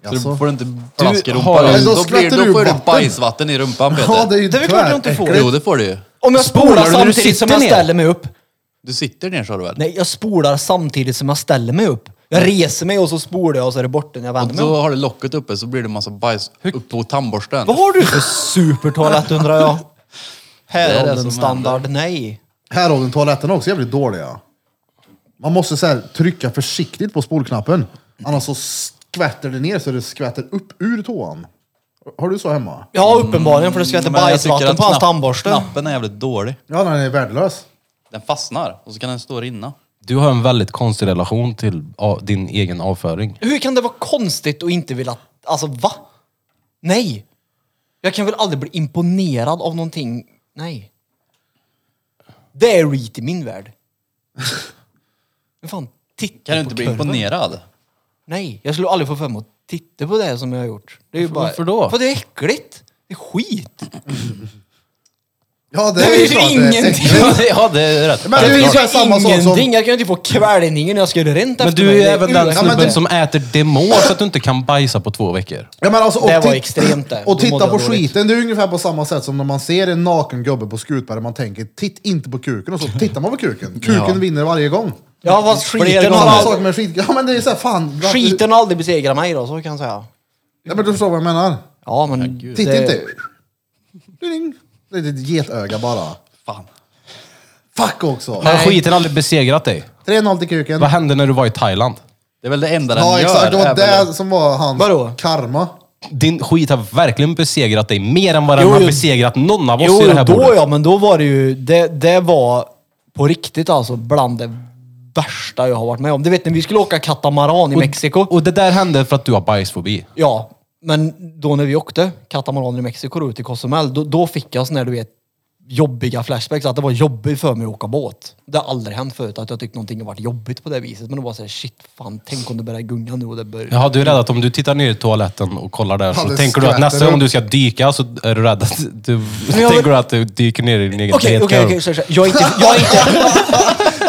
det. Så du får inte Du plask i har- rumpan. Då, Men då då, blir, skvätter du då får du vatten. bajsvatten i rumpan Peter. Ja, det är ju Det är väl klart jag inte tväräckligt. får. Jo det får du ju. Om jag spolar, Spolar du när du samtidigt som sitter jag ner? ställer mig upp. Du sitter ner sa du väl? Nej, jag spolar samtidigt som jag ställer mig upp. Jag reser mig och så spolar jag och så är det borta när jag vänder Och mig om. då har du locket uppe så blir det massa bajs upp på tandborsten. Vad har du för supertoalett undrar jag? Här är har det den som standard, nej. Här har du toaletten också, jävligt dåliga. Man måste så här, trycka försiktigt på spolknappen. Annars så skvätter det ner så det skvätter upp ur toan. Har du så hemma? Ja, uppenbarligen för det skvätter Mm, Men jag tycker bajsvatten att på hans knapp- tandborste. Knappen är jävligt dålig. Ja, den är värdelös. Den fastnar och så kan den stå och rinna. Du har en väldigt konstig relation till a- din egen avföring. Hur kan det vara konstigt att inte vilja... Alltså va? Nej! Jag kan väl aldrig bli imponerad av någonting. Nej. Det är reet i min värld. Men fan, titta Kan du på inte bli kurven. imponerad? Nej, jag skulle aldrig få för mig att titta på det som jag har gjort. Det är ju bara, varför då? För det är äckligt. Det är skit. Ja, det Det är ju är klart ju det är ingenting. äckligt. ja, det är rätt. Men det är ju så här samma sak som... Ingenting. Jag kan ju inte få kvällningen när jag ska göra rent Men efter du mig. Mm, Det är även den ursäkt. Ja, men snubben det- som äter demor så att du inte kan bajsa på två veckor. Ja, men alltså, och Det var tit- extremt där. Och Då mådde titta jag på dåligt. skiten, det är ungefär på samma sätt som när man ser en naken gubbe på Skutberget, man tänker titt inte på kuken och så tittar man på kuken. Kuken vinner varje gång. Ja, fast skiten har, Samma aldrig, sak med skit. Ja men det är såhär fan. varför- skiten har aldrig besegrat mig då, så kan jag säga. Ja men du förstår vad jag menar. Ja, men... Titta det- inte. Ding. Det är ett getöga bara. Fan. Fuck också. Har skiten aldrig besegrat dig? 3-0 till kuken. Vad hände när du var i Thailand? Det är väl det enda den Ja gör. exakt, det är var väl- det som var hans Vadå? karma. Din skit har verkligen besegrat dig mer än vad den Jo, har jo. besegrat någon av oss Jo, i det jo, här då bordet. ja, men då var det ju... Det, det var på riktigt alltså bland det värsta jag har varit med om. Du vet när vi skulle åka katamaran i Mexiko. Och det där hände för att du har bajsfobi. Ja, men då när vi åkte katamaraner i Mexiko då ut i Cozumel, då, då fick jag sån här, du vet, jobbiga flashbacks. Att det var jobbigt för mig att åka båt. Det har aldrig hänt förut att jag tyckte någonting har varit jobbigt på det viset. Men det var såhär, shit fan, tänk om det börjar gunga nu och det börjar... Jaha, du är rädd att om du tittar ner i toaletten och kollar där Ja, så det tänker du att skvätter nästa gång upp. du ska dyka så är du rädd att du, jag- tänker du att du dyker ner i din egen Okej, okej, hetkorv. okej, så- så- jag är inte... Jag är inte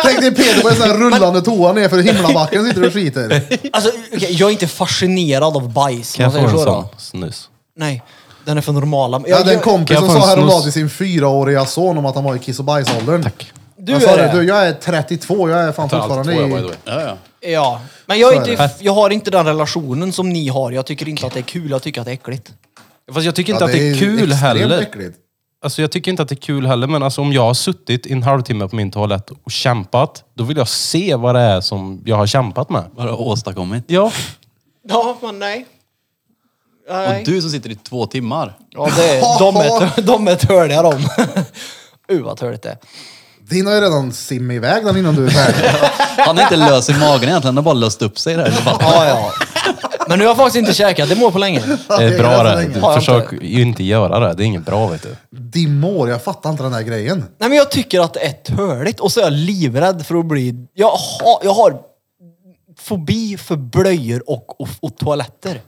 Tänk dig Peter på en sån här rullande toa ner för himlabacken sitter och skiter. alltså, okej, jag är inte fascinerad av bajs. Kan om jag man få en säger så sån då. snus? Nej, den är för normala. Jag hade en jag- kompis Kan jag som få en sa häromdagen snus? till sin fyraåriga son om att han var i kiss och bajsåldern. Tack. Du Du jag sa är det, det. du, jag är 32, jag är fan fortfarande i... Ja, ja. Ja, men jag, Så är är inte, jag har inte den relationen som ni har. Jag tycker inte att det är kul, jag tycker att det är äckligt. Fast jag tycker inte att det är kul extremt heller. äckligt. Alltså jag tycker inte att det är kul heller, men alltså om jag har suttit i en halvtimme på min toalett och kämpat, då vill jag se vad det är som jag har kämpat med. Vad har du åstadkommit? Ja. Ja, men nej. Och du som sitter i två timmar. Ja, det är, de, är, tör- de är törliga de. Uh, vad törligt det är. Din har ju redan simmat iväg den innan du är färdig. Han är inte lös i magen egentligen, han har bara löst upp sig där. i vattnet. Ja, ja. Men nu har jag faktiskt inte käkat, det mår på länge. Det är Jag bra är det. så Du, länge. försök ju inte göra det. Det är inget bra vet du. Dimor, jag fattar inte den här grejen. Nej, men jag tycker att det är törligt och så är jag livrädd för att bli... Jag har, jag har fobi för blöjor och, och, och toaletter.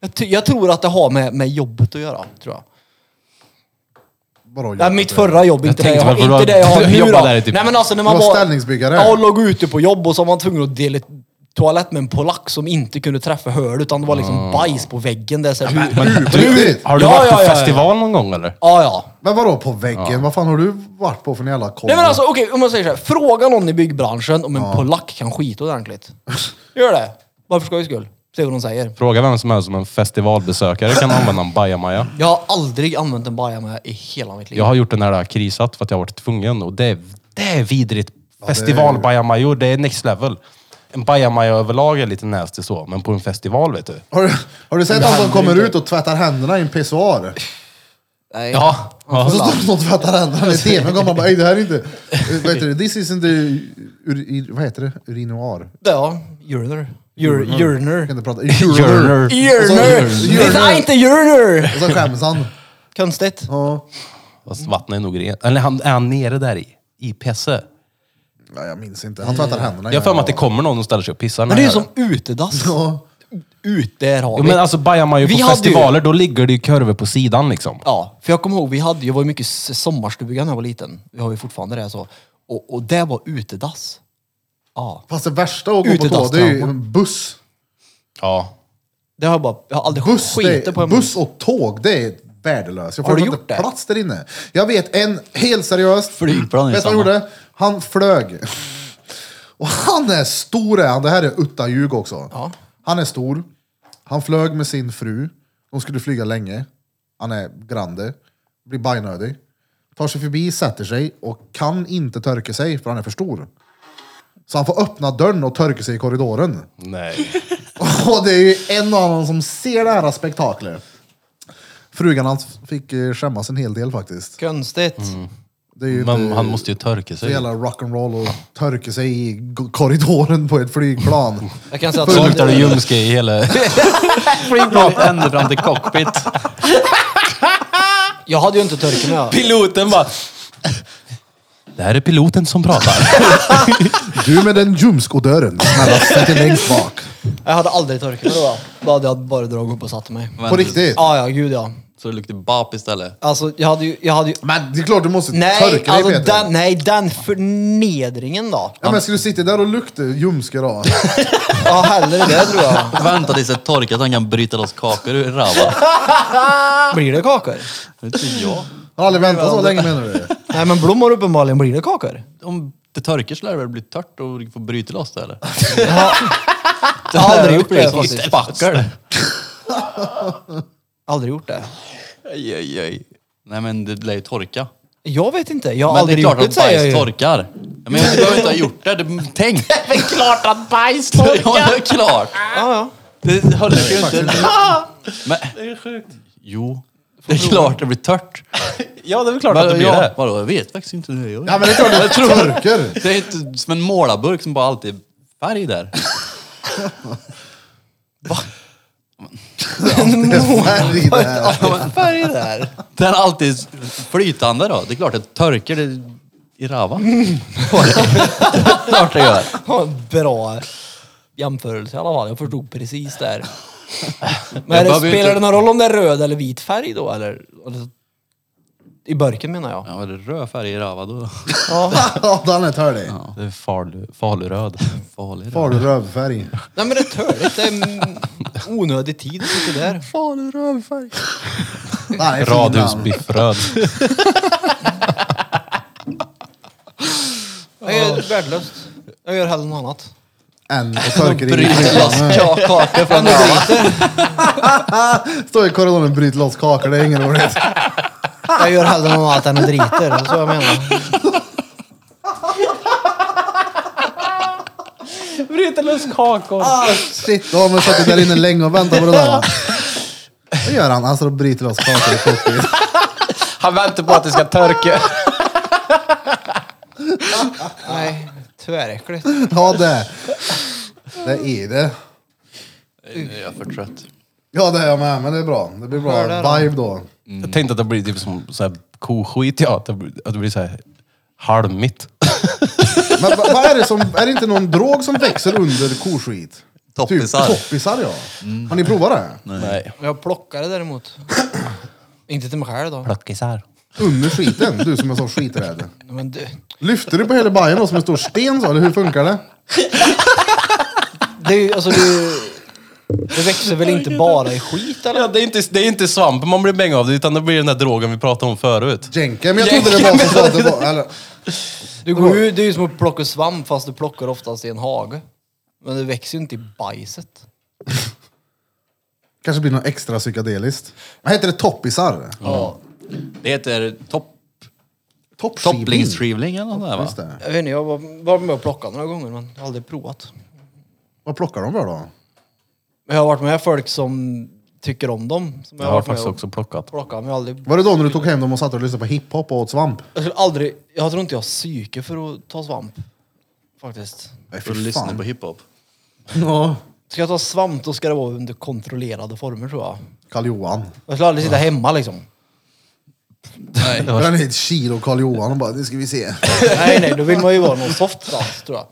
Jag, ty, jag tror att det har med, med jobbet att göra, tror jag. bara att Nej, göra mitt det. förra jobb, inte det tänkte jag, väl på inte det jag har att nu jobba då. där i typ- Nej men alltså när Du man var var... ställningsbyggare. Ja, och låg ute på jobb och så var man tvungen att dela toalett med en polack som inte kunde träffa hål utan det var liksom Ah. bajs på väggen. Där, så här, hur, Men, Du, riktigt. har du Ja, varit ja, på ja, ja. festival någon gång eller? ja, ja. men vadå på väggen? Vad fan har du varit på för en jävla kombo? Nej men alltså okej, om man säger så här. Fråga någon i byggbranschen om en polack kan skita ordentligt. Gör det. Bara för skojs skull. Se vad de säger. Fråga vem som helst som en festivalbesökare kan använda en bajamaja. Jag har aldrig använt en baja med i hela mitt liv. Jag har gjort det när det har krisat för att jag har varit tvungen och det är, det är vidrigt. Festivalbajamajor, det är next level. En bajamaja överlag är lite nasty så, men på en festival vet du. Har du, har du sett någon som kommer ut och tvättar händerna i en pissoar? Nej. Ja, Och ja. så står någon och tvättar händerna i Alltså, tvn och man bara, "Ey, det här är inte... eh, Vad heter det? This isn't the... Ur, i- vad heter det? Urinoar? Ja, uriner. Ur, Jag kan uriner. inte prata. Uriner. Uriner! Det är inte uriner! Och så skäms han. Konstigt. Ja. Fast vattnet är nog rent. Eller han, är han nere där i? I pisse? Nej, jag minns inte. Han tvättar händerna. Mm. Jag har för mig att det kommer någon och ställer sig och pissar. Men det är ju som utedass. Ja. Ute här har Jo, vi. men alltså bajamajor på Vi hade ju- festivaler, då ligger det ju kurvor på sidan liksom. Ja, för jag kommer ihåg, vi hade, jag var ju mycket i sommarstugan när jag var liten. Vi har ju fortfarande det så. Och, och det var utedass. Ja. Fast det värsta att gå på Utedass, tå, det är ju ja. en buss. Ja. Det har jag bara, jag har aldrig Buss, det, skitit på är- en buss och tåg, det är värdelöst. Jag får Har du inte gjort det? plats där inne. Jag vet en, helt seriöst. Flygplan är Vet du vad han samma. gjorde? Han flög. Och han är stor är han. Det här är Utta Ljug också. Han är stor. Han flög med sin fru. De skulle flyga länge. Han är grande. Blir bajnödig. Tar sig förbi, sätter sig och kan inte törka sig för han är för stor. Så han får öppna dörren och törka sig i korridoren. Nej. Och det är ju en och annan som ser det här spektaklet. Frugan hans fick eh, skämmas en hel del faktiskt. Konstigt. Mm. Det är Mm. ju Men inte han måste ju törka så sig. jävla rock'n'roll och törka sig i g- korridoren på ett flygplan. Jag kan säga att... Så luktar det ljumske i hela... Flygplanet ända fram till cockpit. Jag hade ju inte turken med. Piloten bara... Det här är piloten som pratar. Du med den ljumskodören, snälla sätt dig längst bak. Jag hade aldrig turken med då. Då hade jag bara dragit upp och satt mig. Men- På riktigt. Ja, ja, gud ja. Så det luktar bap istället. Alltså, jag hade ju... Jag hade ju Men det är klart du måste nej, törka dig alltså, Peter. den, nej, den förnedringen då. Ja, men ska du sitta där och lukta ljumske då? Ja, hellre det tror jag. Vänta tills det torkar så han kan bryta loss kakor ur ramen. Blir det kakor? Det tycker jag. Har aldrig väntat så länge menar du? Nej, men blommor uppenbarligen blir det kakor. Om det torkar så lär det väl bli tört och få bryta loss det eller? Jag har aldrig gjort det Blir ett faktiskt. spackel. Aldrig gjort det. Aj, aj, aj. Nej men det lär ju torka. Jag vet inte. Jag Men har det är aldrig gjort klart det att säger bajs jag ju. torkar. Ja, Men jag behöver inte ha gjort det. det tänk! Men klart att bajs Ja, det är klart. ja. Det håller ju inte. Men, det är sjukt. Jo. Det är klart det blir tört. ja, det är väl klart Men, att det blir ja, det. Vadå, jag vet faktiskt inte. Det, jag. Ja men det är klart du törker. det är inte som en målarburk som bara alltid är färg där. Färg där. Färg där. Den är alltid flytande då. Det är klart det törker det i rava. Mm. klart det gör. Ja, Bra jämförelse i alla fall. Jag förstod precis där. Jag Men är det, behöver ju spelar inte- det någon roll om det är röd eller vit färg då eller? Eller- I burken menar jag. Ja, var det röd färg i rava då? Ja. Ja, den är törlig. Det är falu, faluröd. Farlig Far du rövfärg. Nej men det är törligt. Det är mm, onödig tid sitter där. Nej, fin namn. Radhusbiffröd. Jag är värdelöst. Jag gör hellre något annat. En och törker i Bryter loss kakor från ravan. Står i korridoren och bryter loss kakor, det är inget roligt. Jag gör hellre något annat än att driter. Det är så jag menar. Bryter loss kakor. Shit, då har man suttit där inne länge och väntat på det där. va? Vad gör han? Han står och bryter loss kakor i kokpit. Han väntar på att det ska törka. Nej, tväräckligt. Ja, det. Det är det. Jag är för trött. Ja, det är jag med, men det är bra. Det blir bra Hör det då. vibe då. Jag tänkte att det blir typ som så här koskit, ja. Att det blir, att det blir så här halmigt. Men va- vad är det som, är det inte någon drog som växer under koskit? Toppisar. Typ, toppisar ja. Har ni provat det? Nej. Jag plockar det däremot. Inte till mig själv då. Plöckisar. Under skiten, du som är så skiträdd. Men du, Lyfter du på hela bajen då som en stor sten så, eller hur funkar det? det, är ju- alltså, du, det växer väl inte bara i skit eller? Ja, det, är inte, det är inte svampen man blir bäng av, utan det blir den där drogen vi pratade om förut. Jenke, men jag trodde det var så att det var... Eller, Du går, ju- det är ju som att plocka svamp fast du plockar oftast i en hage. Men det växer ju inte i bajset. kanske blir något extra psykedeliskt. Vad heter det? Toppisar? Ja. Mm. Det heter topp, Toppskivling. topplingsskivling eller något där va? Just det. Jag vet inte, jag var, var med och plockade några gånger men jag har aldrig provat. Vad plockar de för då? Men jag har varit med folk som tycker om dem. Som Jag har varit med faktiskt och också plockat. plockat, men jag har aldrig... Var det då när du tog hem dem och satt och lyssnade på hiphop och åt svamp? Jag skulle aldrig... Jag tror inte jag har psyke för att ta svamp. Faktiskt. Nej, För att fy lyssna på fan. hiphop. Ja. Ska jag ta svamp då ska det vara under kontrollerade former tror jag. Karl-Johan. Jag skulle aldrig sitta hemma liksom. Nej. Drar ner ett kilo Karl-Johan och bara, nu ska vi se. nej, nej, då vill man ju vara någon softstans tror jag.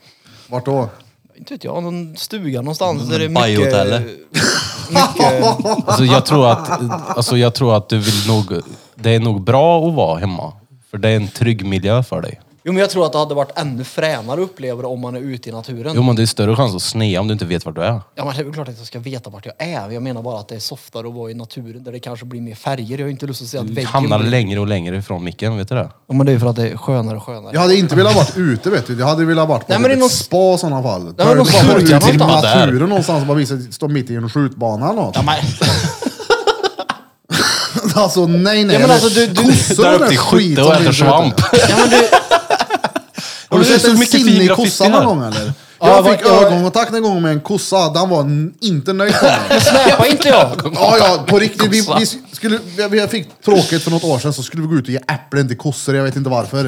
Vart då? Inte vet jag, någon stuga någonstans där det är Bajhotell. mycket... mycket Alltså, jag, tror att, alltså, jag tror att du vill nog... Det är nog bra att vara hemma. För det är en trygg miljö för dig. jo, men jag tror att det hade varit ännu fränare upplevelse om man är ute i naturen. Jo men det är större chans att snea om du inte vet vart du är. Ja, men det är väl klart att jag ska veta vart jag är. Jag menar bara att det är softare att vara i naturen där det kanske blir mer färger. Jag har ju inte lust att säga att Du väggen... hamnar blir- längre och längre ifrån micken, vet du det? Ja, men det är ju för att det är skönare och skönare. Jag hade inte velat varit ute vet du. Jag hade velat varit på Nej, typ men det är ett någon- spa i sådana fall. men någon bara ut i surkamp någonstans. naturen någonstans och bara visa, stå mitt i en skjutbana eller något. Ja, men, Alltså nej nej. Ja, men alltså, du- du- Kossor Där och upp den till skit skytte som och äter finns ute. svamp. ja, men du, Har du Men det är sett så en mycket fin sinnig graffiti kossa någon här. gång eller? jag Jag var- fick jag var- ögonkontakt en gång med en kossa. Den var n- inte nöjd med mig. snäppa inte jag! Ja, ja, på riktigt. Vi, vi skulle, vi, vi fick tråkigt för något år sedan så skulle vi gå ut och ge äpplen till kossor, jag vet inte varför.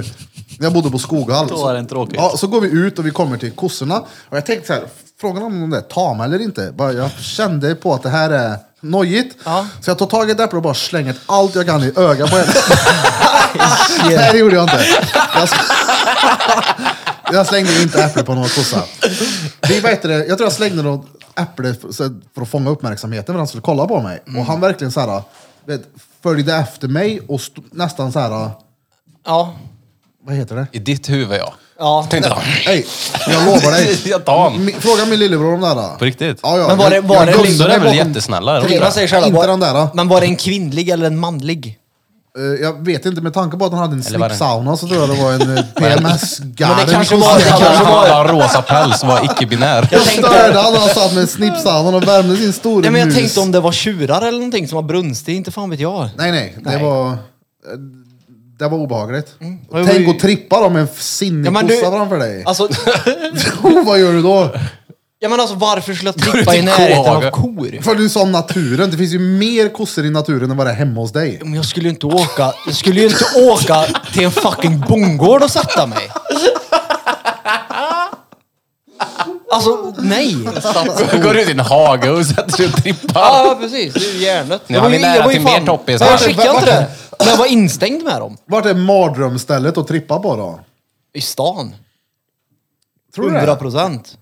När jag bodde på Skoghall. Då så- är det tråkigt. Ja, så går vi ut och vi kommer till kossorna. Och jag tänkte så här, frågan om de är tama eller inte. Bara, jag kände på att det här är nojigt. Så jag tar tag i ett äpple och bara slänger allt jag kan i ögat på henne. Nej, det gjorde jag inte. Jag, jag slängde inte äpple på någon kossa. Vi, vad heter det, jag tror jag slängde något äpple för, så- för att fånga uppmärksamheten, för han skulle kolla på mig. Och han verkligen så här, vet, följde efter mig och st- nästan så här, Ja, vad heter det? I ditt huvud ja. ja. Tänkte jag. Hej, jag lovar dig. Jag tar han. Mi- Fråga min lillebror om det här. På riktigt? Ja, ja. Men var det- Jag- var jag det- gömde Gundor mig är väl bakom- jättesnälla? Är de Tre- inte? Man säger själv, Inte var, den där, då. Men var det en kvinnlig eller en manlig? Eh, Jag vet inte, med tanke på att han hade en Eller var det- slipsauna så tror jag det var en eh, PMS-garden. Men det kanske var- Det kanske Ja, var bara rosa päls var icke-binär. Jag störde han när han satt med slipsaunan och värmde sin store Nej, men Mm. jag mus. tänkte om det var tjurar eller någonting som var brunstig, inte fan vet jag. Nej, nej. Det Nej. var... eh, Det var obehagligt. Det var Tänk ju- att trippa då med en sinnig Ja, men du- kossa framför dig. Alltså, Oh, vad gör du då? ja, men alltså varför skulle jag ut trippa i i närheten kohage. av kor? För du sa om naturen. Det finns ju mer kossor i naturen än vad det är hemma hos dig. Men jag skulle ju inte åka, jag skulle ju inte åka till en fucking bondgård och sätta mig. Alltså, nej. Går ut i en hage och sätter dig och trippar. Ja, precis. Det är ju hjärnet. Nu Jag har var ju- ni nära jag var ju till mer fan- toppisar. Men Jag skickade inte det. Men jag var instängd med dem. Vart är mardrömsstället att trippa på då? I stan. Tror du 100 det? procent.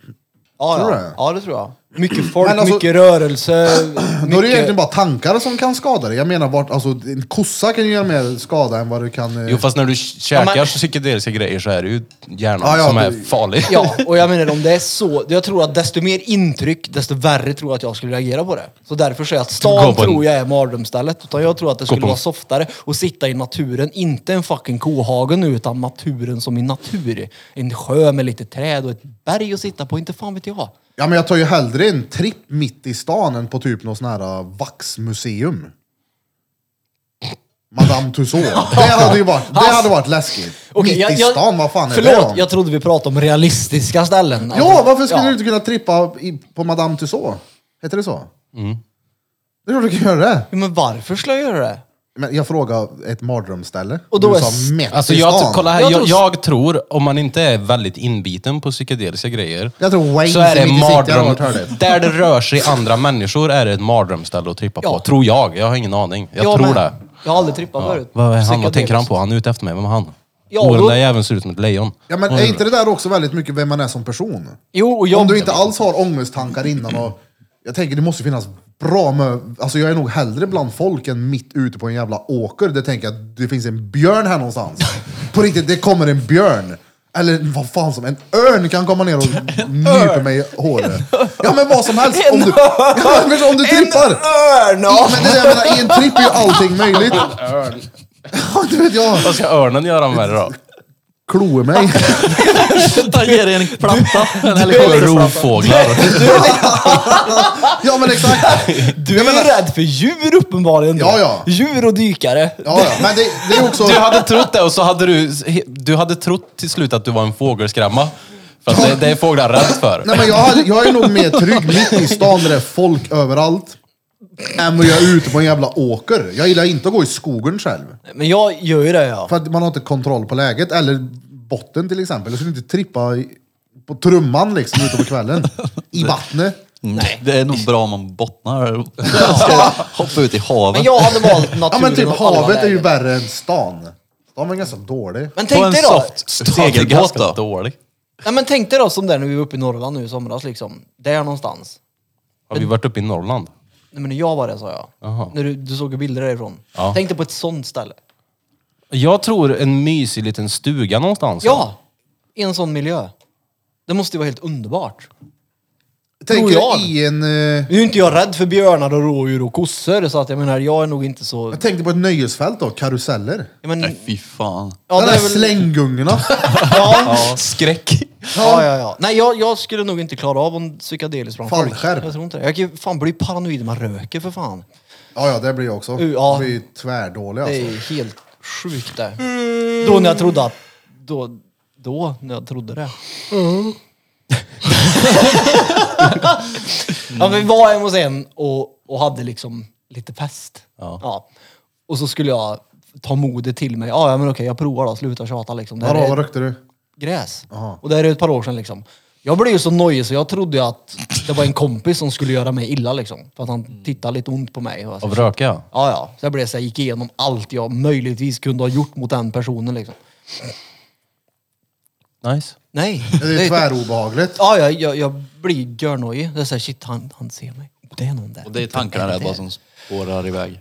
Ja, Tror du ja. det? ja, det tror jag. Mycket folk, Men alltså- mycket rörelse. Då är det Mycket... egentligen bara tankar som kan skada dig. Jag menar, vart, alltså, en kossa kan ju göra mer skada än vad du kan... eh, Jo fast när du käkar Ja, men- psykedeliska grejer så är det ju hjärnan Ja, ja, som är det- farlig. Ja, och jag menar om det är så. Jag tror att desto mer intryck, desto värre tror jag att jag skulle reagera på det. Så därför säger jag att Gå stan på en- tror jag är mardrömsstället. Utan jag tror att det skulle på en- vara softare att sitta i naturen. Inte en fucking kohagen utan naturen som i natur. En sjö med lite träd och ett berg att sitta på. Inte fan vet jag. Ja, men jag tar ju hellre en tripp mitt i stan än på typ något sån här vaxmuseum. Madame Tussauds. Det hade ju varit, det hade varit läskigt. Okej, mitt jag- i jag- stan, vad fan är Förlåt, det om? jag trodde vi pratade om realistiska ställen. Ja, Alltså, varför skulle ja. du inte kunna trippa i, på Madame Tussauds? Heter det så? Mm. Det är klart du kan göra det. Ja, Men varför skulle jag göra det? Men jag frågade ett mardrömsställe. Och då du är s- sa mitt Alltså i jag, stan. kolla här, Jag typ jag, jag, tror- tror, om man inte är väldigt inbiten på psykedeliska grejer, Jag tror Wayne så är det mitt i city hade mardröm. varit härligt. Där det rör sig andra människor är det ett mardrömsställe att trippa Ja. på. Tror jag. Jag har ingen aning. Jag Jag tror med. det. Jag har aldrig trippat förut. Vad, är han, vad Psykedeliskt. tänker han på? Han är ute efter mig. Vem är han? Ja, Ja, och då- den där jäveln ser ut som ett lejon. Mm. Ja, men är inte det där också väldigt mycket vem man är som person? Jo, och jag... Om du inte alls har ångesttankar innan och Jag tänker det måste finnas bra med, alltså jag är nog hellre bland folk än mitt ute på en jävla åker. Det tänker jag att det finns en björn här någonstans. På riktigt, det kommer en björn. Eller vad fan som, en örn kan komma ner och nypa mig i håret. Ja men vad som helst. Om du, ja, men om du trippar. örn! Ja, men det är det jag menar, i en tripp är ju allting möjligt. Ja, du vet jag. Vad ska örnen göra med det då? Kloa mig. Ta ge dig en platta. En helikopter. Rovfåglar. Ja men exakt. Du är ju rädd för djur uppenbarligen. då. Ja, ja. Djur och dykare. Ja, ja. Men det, det är också... Du hade trott det och så hade du, du hade trott till slut att du var en fågelskrämma. För att det, det är fåglar rädd för. Nej, men jag, hade- jag är nog mer trygg mitt i stan där det är folk överallt. Än vad jag är ute på en jävla åker. Jag gillar inte att gå i skogen själv. Men jag gör ju det ja. För att man har inte kontroll på läget. Eller botten till exempel. Jag skulle inte trippa i, på trumman liksom ute på kvällen. I vattnet. Nej, det är nog bra om man bottnar. Ska hoppa ut i havet. Men jag hade valt naturen Ja men typ och alla havet är ju lägen. värre än stan. Stan var ganska dålig. Men På tänk en dig då. soft segelbåt då. Dålig. Nej, men tänk dig då som där när vi var uppe i Norrland nu i somras liksom. Där någonstans. Har vi varit uppe i Norrland? Nej men när jag var där sa jag. Jaha. När du, du såg ju bilder därifrån. Ja. Tänk dig på ett sånt ställe. Jag tror en mysig liten stuga någonstans. Ja! I en sån miljö. Det måste ju vara helt underbart. Tänker jag. i en... eh, Nu är inte jag rädd för björnar och rådjur och kossor så att jag menar, jag är nog inte så... Jag tänkte på ett nöjesfält då, karuseller. Jag men, Nej, fy fan. ja, de det där är väl, slänggungorna. Ja. Skräck. ja, ja, ja. Nej, jag, jag skulle nog inte klara av en psykedelisk bransch. Fallskärm. Jag tror inte det. Jag kan ju fan bli paranoid när man röker för fan. ja, ja, det blir jag också. Uh, ja. Det blir ju tvärdålig Det är alltså. ju helt sjukt det. Då när jag trodde att... Mm. Då, då när jag trodde det. Mm. ja, men vi var hemma hos en och, och hade liksom lite fest. Ja. Och så skulle jag ta modet till mig. Ja, ja men okej, jag provar då. Sluta tjata liksom. Det här Vadå, är vad rökte du? gräs. Och det här är ett par år sedan liksom. Jag blev ju så nojig så jag trodde ju att det var en kompis som skulle göra mig illa liksom. För att han tittade lite ont på mig. Och jag- Av röka? Ja, ja. Så jag blev så jag gick igenom allt jag möjligtvis kunde ha gjort mot den personen liksom. Nice. Nej. Det är tvärobehagligt. Ja, jag, jag, jag blir görnojig. Det är såhär, shit han, han ser mig. Det är någon där. Och det är tankarna där bara som spårar iväg.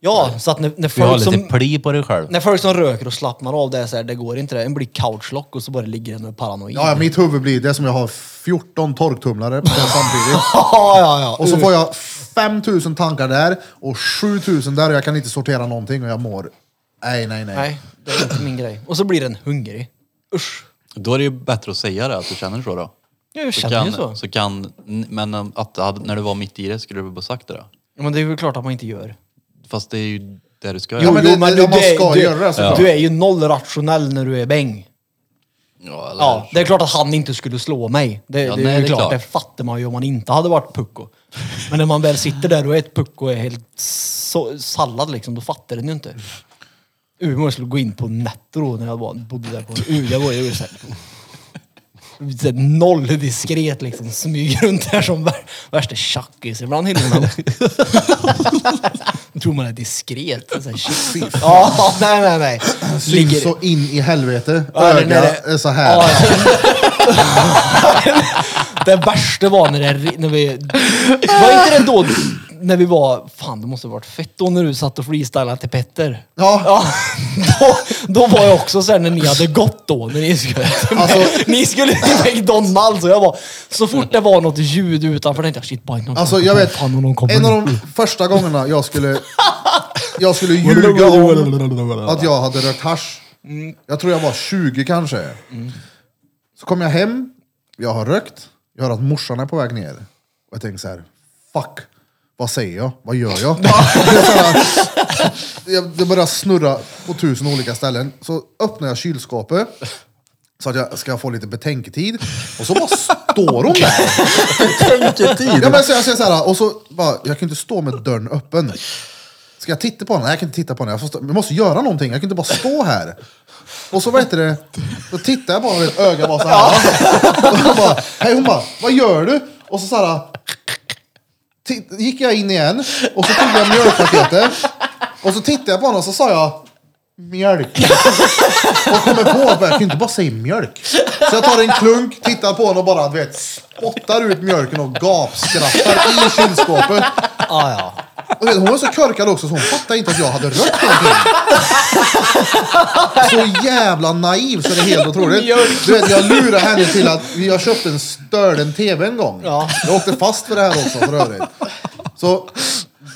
Ja, så att när, när, Du har folk lite som, pli på dig själv. när folk som röker och slappnar av det är såhär, det går inte det. En blir couchlock och så bara ligger den och är paranoid. Ja, ja, mitt huvud blir det är som jag har 14 torktumlare på samtidigt. ja, ja, ja. Och så får jag 5000 tankar där och 7000 där och jag kan inte sortera någonting och jag mår... Nej, nej, nej. Nej, det är inte min grej. Och så blir den hungrig. Usch. Då är det ju bättre att säga det, att du känner så då. Jag Så känner kan, ju så. så kan, men um, att, att när du var mitt i det skulle du bara sagt det. då. Ja, men det är väl klart att man inte gör. Fast det är ju det du ska Jo, göra. men det- det- man ska göra det såklart. du är ju noll rationell när du är bäng. Ja, eller, Ja, det är klart att han inte skulle slå mig. Det, Ja, det nej, det är ju är klart. klart. Det fattar man ju om man inte hade varit pucko. Men när man väl sitter där och är ett pucko och är helt så, sallad liksom, då fattar den ju inte. Umeå skulle gå in på Netto då när jag var- bodde där på Umeå. Det var ju så här- så här Noll diskret liksom, smyger runt där som vär- värsta tjackisen bland hyllorna. Tror man är diskret. Så här, shit. ja, nej, nej, nej. Syns så in i helvete. Ja, eller när Ögat det- är så här. Ja, ja. det värsta var när, det, när vi... Var inte det då när vi var... Fan, det måste ha varit fett då när du satt och freestylade till Petter. Ja. då, då var jag också såhär när ni hade gått då. När ni skulle, Alltså- ni skulle till McDonalds och jag var... Så fort det var något ljud utanför tänkte jag shit, bara någon Alltså kommer. jag vet, fan, om någon kommer. en av de första gångerna jag skulle, jag skulle ljuga om att jag hade rökt hasch. Jag tror jag var 20 kanske. Så kom jag hem, jag har rökt, jag hör att morsan är på väg ner. Och jag tänker så här, fuck, vad säger jag? Vad gör jag? Det är så här, jag- Det börjar snurra på tusen olika ställen. Så öppnar jag kylskåpet. Så att jag ska få lite betänketid. Och så bara står hon där. Ja, men så jag säger så här, och så bara, jag kan inte stå med dörren öppen. Ska jag titta på henne? Nej, jag kan inte titta på henne. Jag, får stå, jag måste göra någonting, jag kan inte bara stå här. Och så vad heter det, då tittar jag bara med ett öga bara så här. Och hon bara, hej hon bara, vad gör du? Och så så här, ti- gick jag in igen och så tog jag mjölkpaketet. Och så tittade jag på honom och så sa jag, mjölk. och kommer på att jag kan inte bara säga mjölk. Så jag tar en klunk, tittar på den och bara du vet, spottar ut mjölken och gapskrattar i kylskåpet. Ah, ja. Och vet, hon var så korkad också så hon fattade inte att jag hade rött någonting. Så jävla naiv så det är helt otroligt. Du vet, jag lurade henne till att jag köpte en störden TV en gång. Jag åkte fast för det här också för övrigt. Så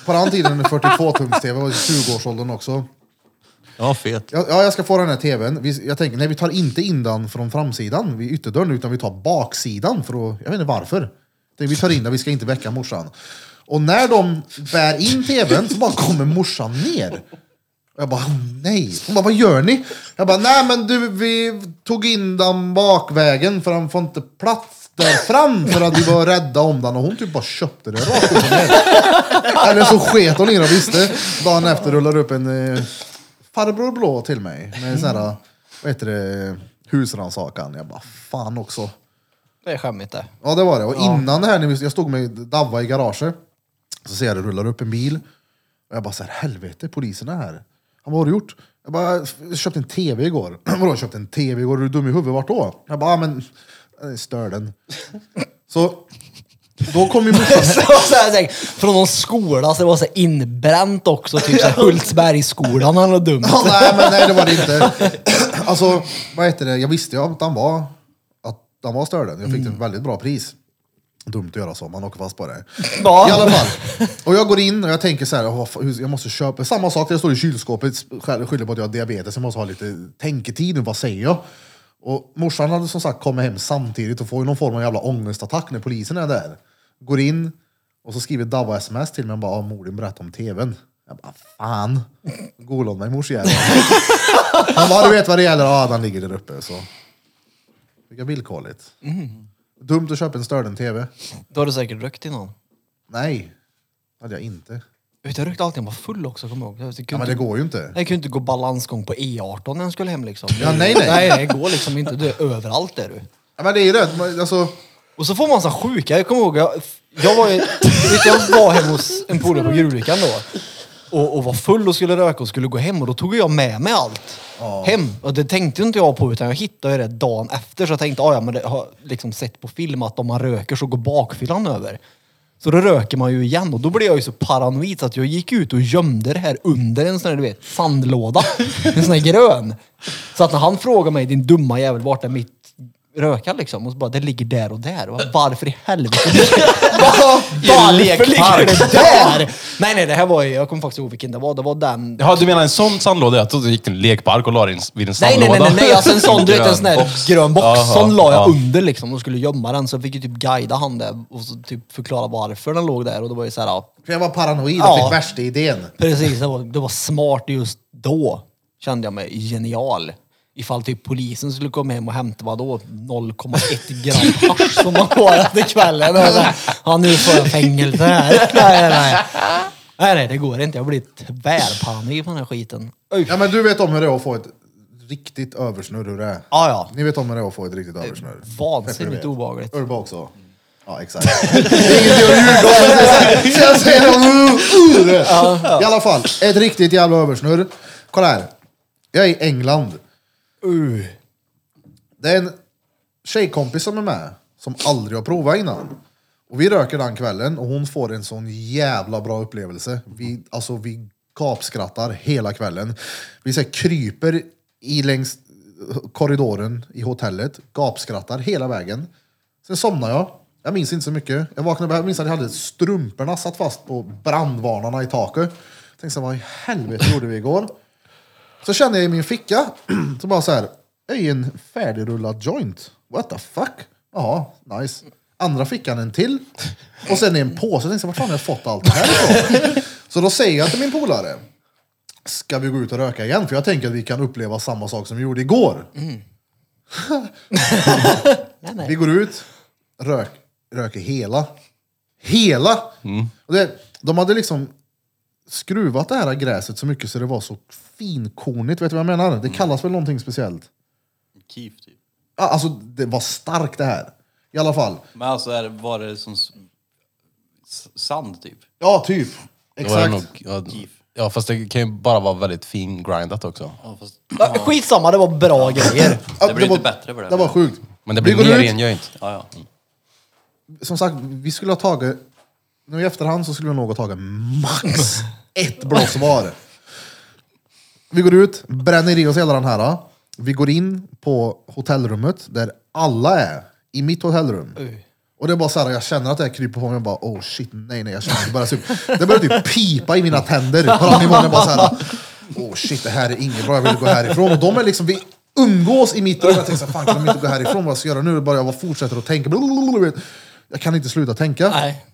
på den tiden, 42-tums-TV, var i 20-årsåldern också. Ja, fet. Ja, ja, jag ska få den här tvn. Vi, jag tänker, nej vi tar inte in den från framsidan vid ytterdörren, utan vi tar baksidan. För att, jag vet inte varför. Jag tänker, Vi tar in den, vi ska inte väcka morsan. Och när de bär in tvn så bara kommer morsan ner. Och jag bara, "Åh, nej. Hon bara, vad gör ni? Jag bara, nej men du, vi tog in den bakvägen för han får inte plats där fram för att vi var rädda om den. Och hon typ bara köpte det rakt upp och ner. Eller så sket hon i det och visste. Dagen efter rullar upp en eh, farbror blå till mig med en sån här, vad heter det, husrannsakan. Jag bara, fan också. Det är skämmigt det. Ja det var det. Och innan det här, när vi- jag stod med Davva i garaget, så ser jag det rullar upp en bil. Och jag bara så här, helvete polisen är här. Han bara, vad har du gjort? Jag bara, jag köpte en tv igår. Vadå köpte en tv igår? Är du dum i huvudet? Vart då? Jag bara, "Ah, men eh, stör den. Så då kom ju morsan. Det var så här, tänk, från någon skola, så det var så här inbränt också. Typ så här Hultsbergsskolan han var dum. Ja, nej, men nej, det var det inte. Alltså, vad heter det? Jag visste ju att han var, att han var störden. Jag fick ett väldigt bra pris. Dumt att göra så, man åker fast på det. Ja. I alla fall. Och jag går in och jag tänker så här, "Åh, fan, hur- jag måste köpa. Samma sak, jag står i kylskåpet, skäll- skyller på att jag har diabetes, jag måste ha lite tänketid nu, vad säger jag? Och morsan hade som sagt kommit hem samtidigt och får ju någon form av jävla ångestattack när polisen är där. Går in och så skriver Davva sms till mig och bara, "Ah, mor din berättade om tvn. Jag bara, fan. Gola mig morsjäveln. Han bara, du vet vad det gäller, ja den ligger där uppe. Så. Fick jag villkorligt. Dumt att köpa en störden-tv. Då har du säkert rökt innan. Nej, hade jag inte. Vet du, Jag rökte alltid när jag var full också, kommer jag ihåg. Jag Ja, men kunde, det inte- går ju inte. jag kunde inte gå balansgång på E18 när jag skulle hem liksom. Ja, nej, nej. Nej, det går liksom inte. Du är överallt är du. Ja, men det är ju det. Man- Alltså, Och så får man så här sjuka, jag kommer ihåg, jag, jag var, ju- vet, jag var hemma hos en polare på Gruvlyckan då. Och, och var full och skulle röka och skulle gå hem och då tog jag med mig allt hem. Och det tänkte inte jag på utan jag hittade det dagen efter så jag tänkte, ah, ja men det har jag liksom sett på film att om man röker så går bakfyllan över. Så då röker man ju igen och då blev jag ju så paranoid så att jag gick ut och gömde det här under en sån här, du vet, sandlåda. En sån här grön. Så att när han frågar mig, din dumma jävel, vart är mitt röka liksom? Och så bara, det ligger där och där. Och jag bara, varför i helvete? Bara- Bara lekpark. Det där? Nej, nej, det här var ju, jag kommer faktiskt ihåg vilken det var. Det var den... Jaha, du menar en sån sandlåda? Jag trodde du gick till en lekpark och la dig vid en Nej, sandlåda. nej, nej, nej, nej, alltså en sån, du vet, en Grön sån där box. grön box. Jaha, Sån la jag ja. under liksom och skulle gömma den. Så jag fick ju typ guida han där och så typ förklara varför den låg där. Och det var ju så här, ja, för jag var paranoid och Ja. fick värsta idén. Precis, det var, det var smart just då. Kände jag mig genial. Ifall typ polisen skulle komma hem och hämta vadå 0,1 gram hasch som man har efter kvällen. Och så, Ja, nu får jag fängelse här. Nej, nej, nej. Nej, det går inte. Jag blir tvärparanoid på den här skiten. Usch. Ja, men du vet om hur det är att få ett riktigt översnurr. Hur det är. Ja, ja. Ni vet om hur det är att få ett riktigt översnurr. Vansinnigt obehagligt. Urba också. Ja, exakt. Ingenting att ljuga om. men det är så här- Så jag säger om uh, uh, det. I alla fall, ett riktigt jävla översnurr. Kolla här. Jag är i England. Uh. Det är en tjejkompis som är med, som aldrig har provat innan. Och vi röker den kvällen och hon får en sån jävla bra upplevelse. Vi, alltså, vi kapskrattar hela kvällen. Vi så här, kryper i längs korridoren i hotellet, gapskrattar hela vägen. Sen somnar jag. Jag minns inte så mycket. Jag vaknade jag minns att jag hade strumporna satt fast på brandvarnarna i taket. Tänkte så här, vad i helvete gjorde vi igår? Så känner jag i min ficka, så bara så här, jag är i en färdigrullad joint. What the fuck? Jaha, nice. Andra fickan en till. Och sen är en påse. Jag tänkte, vart fan har jag fått allt det här ifrån? Så då säger jag till min polare, ska vi gå ut och röka igen? För jag tänker att vi kan uppleva samma sak som vi gjorde igår. Vi går ut, rök, röker hela. Hela! Och det, de hade liksom skruvat det här gräset så mycket så det var så finkornigt. Vet du vad jag menar? Det kallas väl någonting speciellt? Kif, typ. Ja, Alltså, det var starkt det här. I alla fall. Men alltså, är, det- var det som s- s- sand, typ? Ja, typ. Då var det Exakt. nog, ja, Kif. Ja, fast det kan ju bara vara väldigt fingrindat också. Ja, fast, Ja, Skitsamma, det var bra grejer. det blir inte bättre på det. Det var sjukt. Men det blir vi går mer ut. rengöring. Ja, Mm. ja. Som sagt, vi skulle ha tagit, nu i efterhand så skulle vi nog ha tagit max ett blås var. Vi går ut, bränner i oss hela den här. Vi går in på hotellrummet där alla är, i mitt hotellrum. Och det är bara så här, jag känner att det här kryper på mig. Jag bara, oh shit, nej nej, jag känner att det börjar typ, det börjar typ pipa i mina tänder. På den nivån, jag bara så här, oh shit, det här är inget bra, jag vill gå härifrån. Och de är liksom, vi umgås i mitt rum. Jag tänker så här, fan kan de inte gå härifrån? Vad ska jag göra nu? Bara jag bara fortsätter att tänka. Blablabla, vet. Jag kan inte sluta tänka. Nej.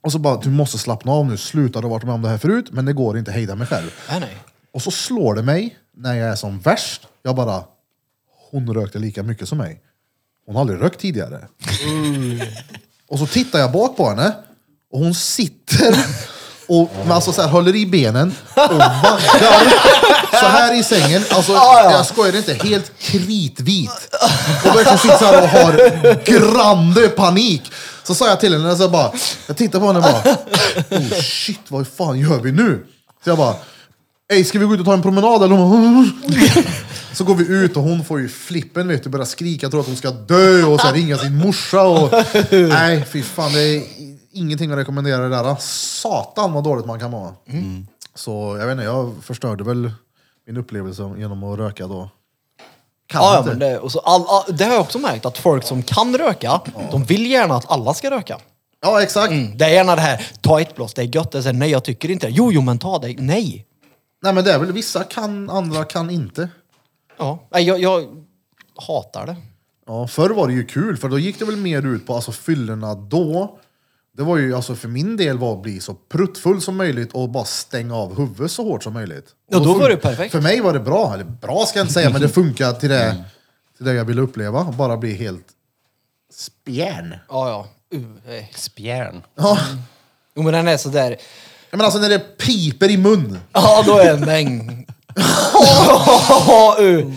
Och så bara, du måste slappna av nu. Sluta, du har varit med om det här förut, men det går inte. Hejda mig själv. Nej, nej. Och så slår det mig när jag är som värst. Jag bara, hon rökte lika mycket som mig. Hon har aldrig rökt tidigare. Och så tittar jag bak på henne och hon sitter och men alltså så här, håller i benen och vaggar så här i sängen. Alltså, jag skojar inte, helt kritvit. Och verkligen sitter så här och har grande panik. Så sa jag till henne, så jag, bara, jag tittar på henne och bara, oh shit, vad fan gör vi nu? Så jag bara, Ey, ska vi gå ut och ta en promenad eller? Hon bara, Så går vi ut och hon får ju flippen vet du, börjar skrika, tror att hon ska dö och så här, ringa sin morsa och... Nej, fy fan, det är ingenting att rekommendera det där. Satan vad dåligt man kan vara. Mm. Så jag vet inte, jag förstörde väl min upplevelse genom att röka då. Kan Ja, ja, inte. men det, och så all, all, det har jag också märkt, att folk som kan röka, de vill gärna att alla ska röka. ja exakt. Mm, Det är gärna det här, ta ett blås, det är gött. Det är så här, nej, jag tycker inte det. Jo, jo, men ta det. Nej. Nej men det är väl vissa kan, andra kan inte. Ja. Nej, jag, jag hatar det. Ja, förr var det ju kul, för då gick det väl mer ut på alltså, fyllorna då. Det var ju alltså, för min del var att bli så pruttfull som möjligt och bara stänga av huvudet så hårt som möjligt. Ja, Och då fun- var det perfekt. Mm. För mig var det bra, eller bra ska jag inte säga, men det funkar till det, till det jag ville uppleva. Bara bli helt spjärn. Ja, ja. Uh, eh. Spjärn. Ja. Jo, men den är sådär. Ja, Men alltså när det piper i mun. Ja, då är den mäng. uh.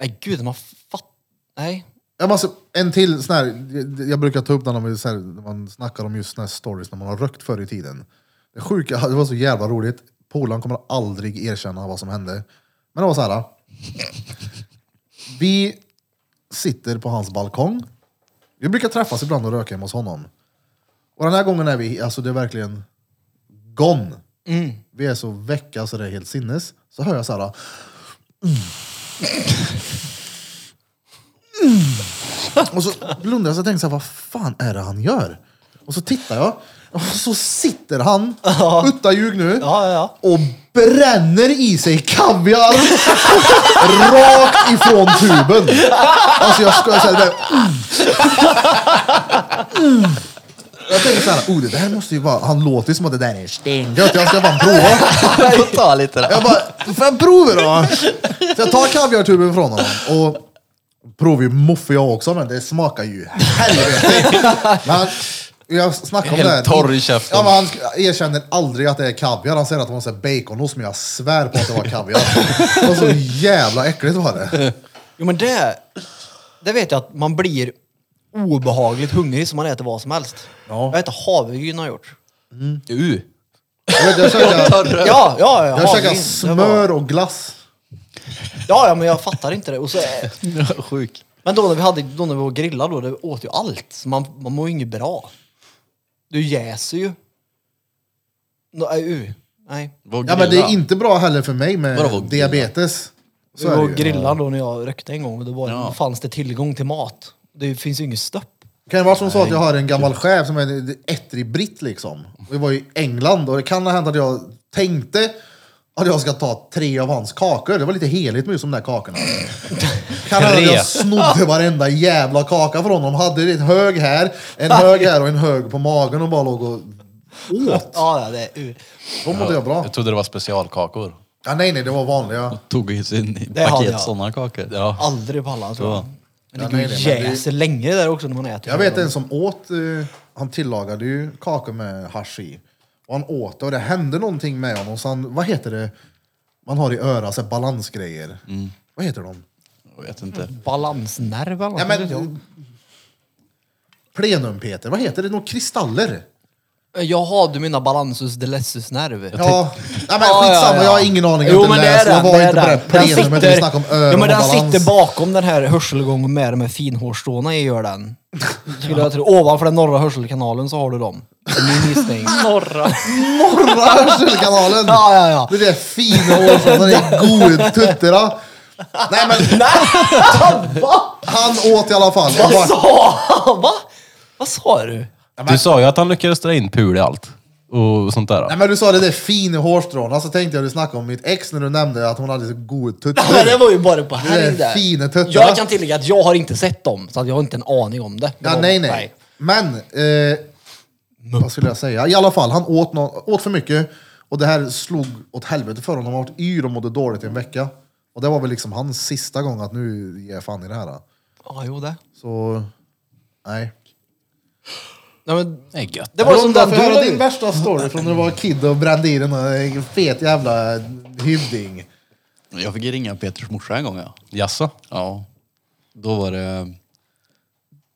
Nej, gud, man fattar... Nej. Ja, men alltså, en till sån här, jag- jag brukar ta upp den när man, så här, när man snackar om just såna här stories när man har rökt förr i tiden. Det sjuka, det var så jävla roligt. Polaren kommer aldrig erkänna vad som hände. Men det var så här. Vi sitter på hans balkong. Vi brukar träffas ibland och röka hemma hos honom. Och den här gången är vi, alltså det är verkligen gone. Vi är så väcka så det är helt sinnes. Så hör jag så här. Och så blundade jag så tänkte jag, vad fan är det han gör? Och så tittar jag, och så sitter han, utan ljug nu, Ja, ja, ja. och bränner i sig kaviar rakt ifrån tuben. Alltså jag skojar, såhär, mm. mm. Jag tänker såhär, oh, det där måste ju vara, han låter ju som att det där är stengött, jag ska fan prova. Ta lite där. Jag bara, får jag prova då? Så jag tar kaviartuben från honom och provar ju muffe jag också, men det smakar ju helvete. Men han, jag snackade om det här. Helt torr i käften. Ja, men han erkänner aldrig att det är kaviar. Han säger att det var så här baconost, men jag svär på att det var kaviar. Det var så jävla äckligt var det. Jo, men det... Det vet jag att man blir obehagligt hungrig som man äter vad som helst. Jag vet inte, havregryn har jag gjort. Uh. Jag, vet, jag käkade, Ja, ja, ja. jag käkade havregryn. Det var- smör och glass. Ja, ja, men jag fattar inte det. Och så, Sjuk. men då när vi hade, då när vi var grillade då, det åt ju allt. Så man, man mår ju inget bra. Du jäser ju. Nå, nej, u. Nej. Ja, men det är inte bra heller för mig med Vadå, vad grilla? diabetes. Vi Så är var det ju. grillade då när jag rökte en gång och då, var, Ja. då fanns det tillgång till mat. Det finns ju inget stopp. Kan det vara som så att jag har en gammal chef som är en ettrig britt liksom? Och vi var i England och det kan ha hänt att jag tänkte att jag ska ta tre av hans kakor. Det var lite heligt med just de där kakorna. kan ha hänt att jag snodde varenda jävla kaka från honom. Hade en hög här, en hög här och en hög på magen och bara låg och åt. Ja, ja, det är u. Då mådde jag bra. Jag trodde det var specialkakor. Ja, nej, nej, det var vanliga. Tog ju sin Det hade jag. paket sådana kakor. Ja. Aldrig pallat tror jag. Så. Men Ja, det går nej, ju nej, men det- jäser länge där också när man äter. Jag vet en som åt, eh, han tillagade ju kakor med hasch i. Och han åt det och det hände någonting med honom. Så han, vad heter det man har i örat, så här balansgrejer? Mm. Vad heter de? Jag vet inte. Balansnerv eller Ja, något, vet jag. men, plenum Peter, vad heter det? Några kristaller? Jaha, du menar balansus delessus nerv? Ja, Nej, men skitsamma, jag har ingen aning. Jag har Jo inte men det är läst. Jag den. var det är inte på det den. Den plenumet när vi snackade om öron jo, men och den balans. sitter bakom den här hörselgången med de här finhårstråna i gör den. Skulle jag tro. Ovanför den norra hörselkanalen så har du dem. Det är Min gissning. Norra. Norra hörselkanalen! Ja, ja, ja. Det där fina håret som han är god tutterna. Nej men han åt i alla fall. Han bara, sa Va? Vad sa du? Du sa ju att han lyckades dra in pul i allt. Och sånt där. nej men du sa det där fina hårstrån. Alltså tänkte jag du snackade om mitt ex när du nämnde att hon hade så god Men det tutter. var ju bara på Det är helg där. fina tuttar. Jag kan tillägga att jag har inte sett dem, så att jag har inte en aning om det. Ja, De- nej nej. Men, eh, vad skulle jag säga? I alla fall, han åt, nå- åt för mycket. Och det här slog åt helvete för honom. Han var yr och mådde dåligt i en vecka. Och det var väl liksom hans sista gång att nu ger jag fan i det här. då. Ja, jo det. Så, nej. Nej, men, Det är gött. det var som Ronda, den får du jag höra la din ut. värsta story från när du var kid och brände i den och en fet jävla hyvding. Jag fick ringa Peters morsa en gång ja. Jaså? Ja. Då var det...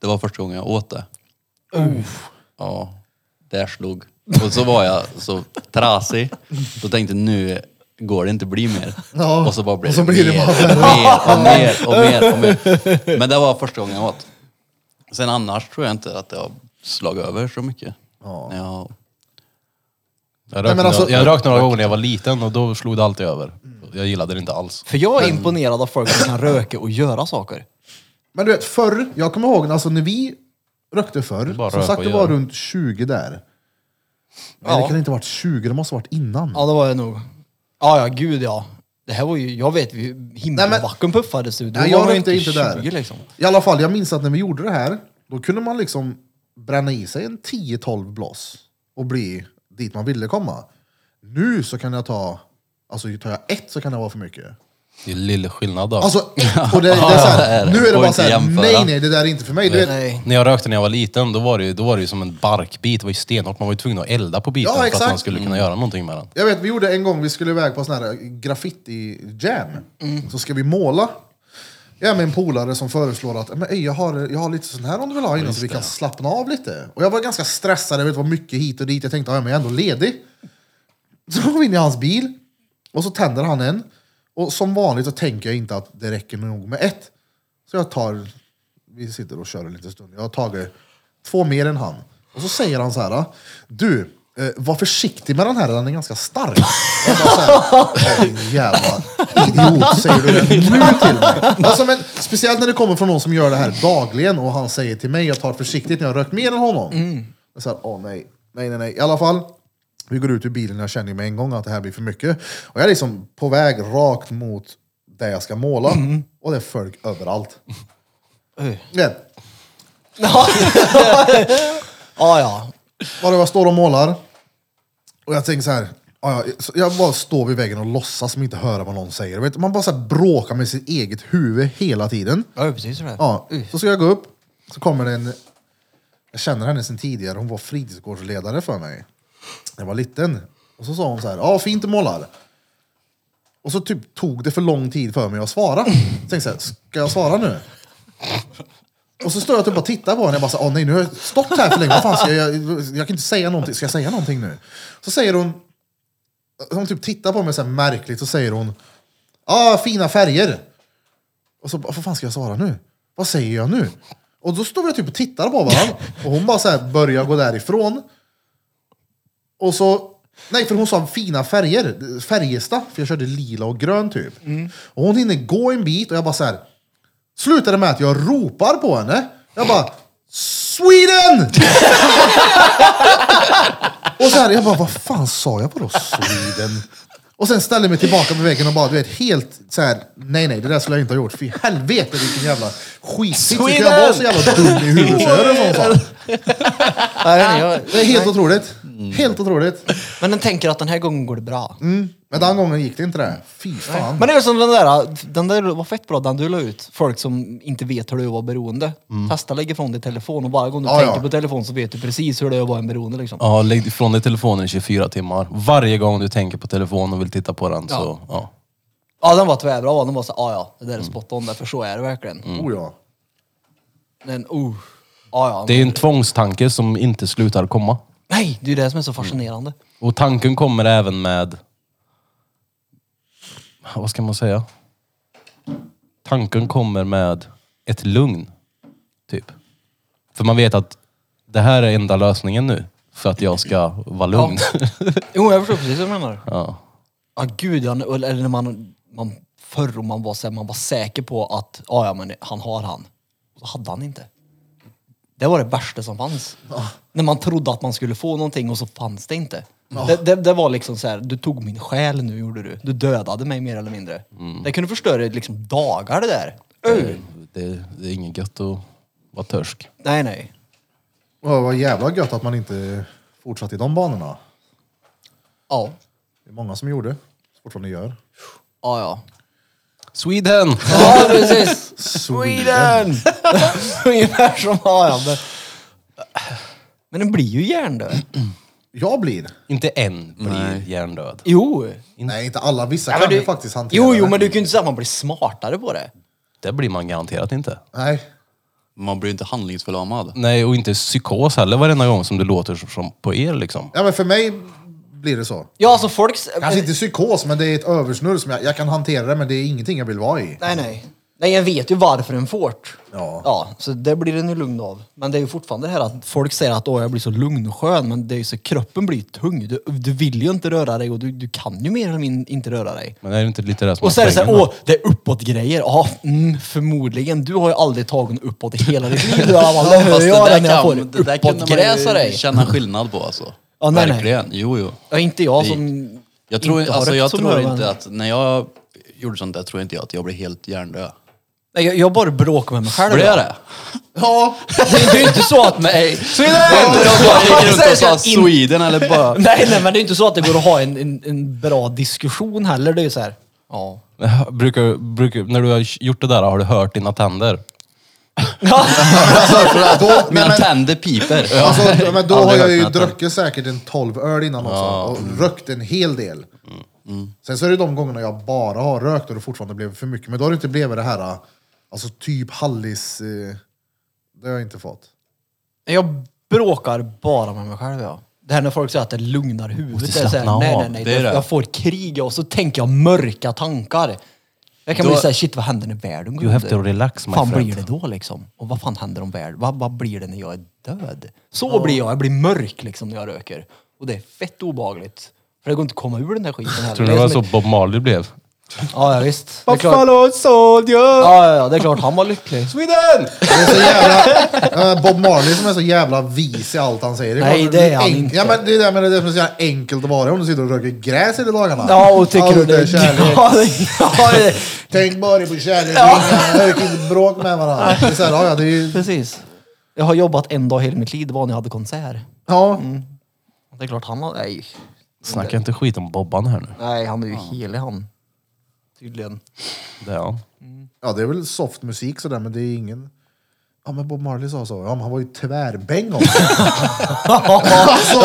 Det var första gången jag åt det. Ja. Där slog. Och så var jag så trasig. Då tänkte jag, nu går det inte bli mer. Ja. Och så bara blev Och så blir det mer, bara och mer, och mer och mer och mer. Men det var första gången jag åt. Sen annars tror jag inte att jag har slagit över så mycket. Ja. Ja. Nej, Jag rökte men alltså- några, jag rökt några gånger när jag var liten och då slog det alltid över. Jag gillade det inte alls. För jag är imponerad av folk som kan röka och göra saker. Men du vet, förr, jag kommer ihåg alltså, när vi rökte är bara förr, att som röka sagt och det var göra. runt 20 där. Nej, Ja. det kan inte ha varit 20, det måste ha varit innan. Ja, det var jag nog. Ja, ja, gud ja. Det här var ju, jag vet ju, himlavacken puffades ut. Då Nej, var jag man ju rökte inte där. 20 liksom. I alla fall, jag minns att när vi gjorde det här, då kunde man liksom bränna i sig en 10-12 blås och bli dit man ville komma. Nu så kan jag ta, alltså tar jag ett så kan det vara för mycket. Det är lille skillnad då. Alltså ett, och det, det är såhär, det. nu är det Går bara inte såhär, att jämföra. nej nej det där är inte för mig. Du vet, Nej. När jag rökte när jag var liten, då var det ju, då var det ju som en barkbit. Det var ju stenhårt. Man var ju tvungen att elda på biten Ja, för exakt. att man skulle kunna göra någonting med den. jag vet, vi gjorde en gång, vi skulle iväg på sån här graffiti-jam. Mm. Så ska vi måla. Jag är med en polare som föreslår att "Eh, men, ey, jag, har, jag har lite sån här om du vill ha innan så vi kan slappna av lite. Och jag var ganska stressad, jag vet, det var mycket hit och dit. Jag tänkte, ja, men jag är ändå ledig. Så går vi in i hans bil och så tänder han en. Och som vanligt så tänker jag inte att det räcker nog med ett. Så jag tar, vi sitter och kör en liten stund. Jag har tagit två mer än han. Och så säger han så här, du, eh, var försiktig med den här, den är ganska stark. Jag bara så här, "Din jävla idiot, säger du det nu till mig? Alltså, men, speciellt när det kommer från någon som gör det här dagligen och han säger till mig, jag tar försiktigt när jag har rökt mer än honom. Jag är Så här, åh nej, nej, nej, nej. I alla fall, vi går ut ur bilen och jag känner ju med en gång att det här blir för mycket. Och jag är liksom på väg rakt mot där jag ska måla. Och det är folk överallt. Ja, Ja, ja. Bara jag står och målar. Och jag tänker så här. ja, ja, så Jag bara står vid väggen och låtsas som inte höra vad någon säger. Vet du, Man bara så här bråkar med sitt eget huvud hela tiden. Ja, det är precis sådär. Ja, så ska jag gå upp, så kommer det en... Jag känner henne sen tidigare, hon var fritidsgårdsledare för mig. När jag var liten. Och så sa hon så här, ja fint du målar. Och så typ tog det för lång tid för mig att svara. Så tänkte jag, ska jag svara nu? Och så står jag typ och tittar på henne och bara så, här, åh nej nu har jag stått här för länge, vad fan ska jag, jag, jag kan inte säga någonting, ska jag säga någonting nu? Så säger hon, hon typ tittar på mig så här märkligt, så säger hon, ja fina färger. Och så bara, vad fan ska jag svara nu? Vad säger jag nu? Och då står vi typ och tittar på varandra. Och hon bara så här börjar gå därifrån. Och så, nej för hon sa fina färger, Färjestad, för jag körde lila och grön typ. Och hon hinner gå en bit och jag bara så här slutade med att jag ropar på henne. Jag bara, Sweden! Och så här, jag bara, vad fan sa jag vadå Sweden? Och sen ställde jag mig tillbaka på väggen och bara, du vet, helt så här, nej nej, det där skulle jag inte ha gjort. Fy helvete vilken jävla skitsits. Hur kan jag vara så jävla dum i huvudet? Så är det en sån sak. Nej, Mm. jag, Det är helt otroligt. Helt otroligt. men den tänker att den här gången går det bra. Men den gången gick det inte det. Fy fan. Men det är som den där, den där var fett bra, den du la ut. Folk som inte vet hur det är att vara beroende. Testa lägga ifrån dig telefon och varje gång du Mm. Ja, tänker ja. på telefon så vet du precis hur det är att vara en beroende liksom. Ja, lägg ifrån dig telefonen i 24 timmar. Varje gång du tänker på telefonen och vill titta på den så, ja. Ja, den var tvärbra. va? Den var så ja ja, det där Mm. är spot on där, för så är det verkligen. Oh, ja. Men oh, ja ja. Det är en tvångstanke som inte slutar komma. Nej, det är ju det som är så fascinerande. Och tanken kommer även med vad ska man säga? Tanken kommer med ett lugn. Typ. För man vet att det här är enda lösningen nu. För att jag ska vara lugn. Jo, jag förstår precis vad du menar. Ja. Ja, gud ja. Eller eller när man, man förr om man var, så här, man var säker på att ja, ja, men han har han. Så hade han inte. Det var det värsta som fanns. När man trodde att man skulle få någonting och så fanns det inte. Det, det, det var liksom så här, du tog min själ nu gjorde du. Du dödade mig mer eller mindre. Det kunde förstöra liksom dagar det där. Öh! Det, det är inget gött att vara törsk. Nej, nej. Och vad jävla gött att man inte fortsatte i de banorna. Ja. Det är många som gjorde, fortfarande gör. Ja, ja. Sweden! Ja, precis. Sweden! Ungefär som ja, ja. Men, men den blir ju hjärndöd. Jag blir. Inte än blir hjärndöd. Jo. Nej, inte alla. Vissa Ja, men kan du- ju faktiskt hantera Jo, jo, det. men du kan ju inte säga att man blir smartare på det. Det blir man garanterat inte. Nej. Man blir inte handlingsförlamad. Nej, och inte psykos heller varenda gång som det låter som på er liksom. Ja, men för mig blir det så. Ja, alltså folk... Kanske inte psykos, men det är ett översnurr som jag, jag kan hantera det, men det är ingenting jag vill vara i. Nej, nej. Nej, jag vet ju varför en fort. Ja. ja. Så det blir den ju lugn av. Men det är ju fortfarande det här att folk säger att Åh, jag blir så lugn och skön, men det är ju så kroppen blir tung. Du, du vill ju inte röra dig och du, du kan ju mer eller mindre inte röra dig. Men är det inte lite det som Och så är är det såhär, poängen, åh, det är uppåt-grejer. Ja, mm, förmodligen. Du har ju aldrig tagit en uppåt i hela ditt liv. Du har det hör Fast jag där när jag får kan- det där kunde man uppåtgräsa ju dig. känna skillnad på alltså. Ja, nej, nej. Verkligen. Jo, jo. Ja, inte jag Det- som... Jag tror, inte har alltså, rätt jag som tror hör, men- inte att, när jag gjorde sånt där tror inte jag att jag blev helt hjärndöd. Nej, jag, jag bara bråkar med mig själv. Blev jag det? Ja, Det är ju inte så att... Nej! Sweden! Det är inte de som gick runt och sa Säkert inte. Sweden eller bara... Nej, nej, men det är inte så att det går att ha en, en, en bra diskussion heller. Det är ju så här, ja. va? Brukar, brukar, när du har gjort det där, har du hört dina tänder? alltså, då, nej, Mina men, tänder piper. alltså, men då har Aldrig jag hört ju natten. druckit säkert en 12 öl innan också och rökt en hel del. Sen så är det de gångerna jag bara har rökt och det fortfarande blev för mycket. Men då har det inte blivit det här, alltså typ hallis... eh, Det har jag inte fått. Jag bråkar bara med mig själv, ja. Det här när folk säger att det lugnar huvudet. Det är så här, slappna nej, av. nej, nej. Det är det. Jag får krig och så tänker jag mörka tankar. Jag kan Då- bli såhär, shit vad händer när världen går You have under? to relax, my fan friend. blir det då liksom? Och vad fan händer om världen? Vad, vad blir det när jag är död? Så blir jag. Jag blir mörk liksom när jag röker. Och det är fett obehagligt. För det går inte att komma ur den där skiten heller. Tror du Det det är var som så ett- Bob Marley blev? Ja, ja, visst. Det är klart. Buffalo soldier! Ja, ja, ja, det är klart han var lycklig. Sweden! Det är så jävla, eh, Bob Marley som är så jävla vis i allt han säger. Nej, klart, det är han enk- inte. Ja, men det är det jag menar, det är så jävla enkelt att vara om du sitter och röker gräs hela dagarna. Ja, och tycker Allt du det? är kärlek. Ja, det- ja, det- Tänk bara på kärlek. Ja. Inte bråk med varandra. Det är så här, ja, ja, det är ju, precis. Jag har jobbat en dag hela mitt liv, det var när jag hade konsert. ja. Det är klart han har... Nej, Snacka inte skit om Bobban här nu. nej han är ju helig han. Tydligen. Det är han. ja, det är väl soft musik sådär, men det är ingen... Ja, men Bob Marley sa så. Ja, men han var ju tvärbäng också. alltså,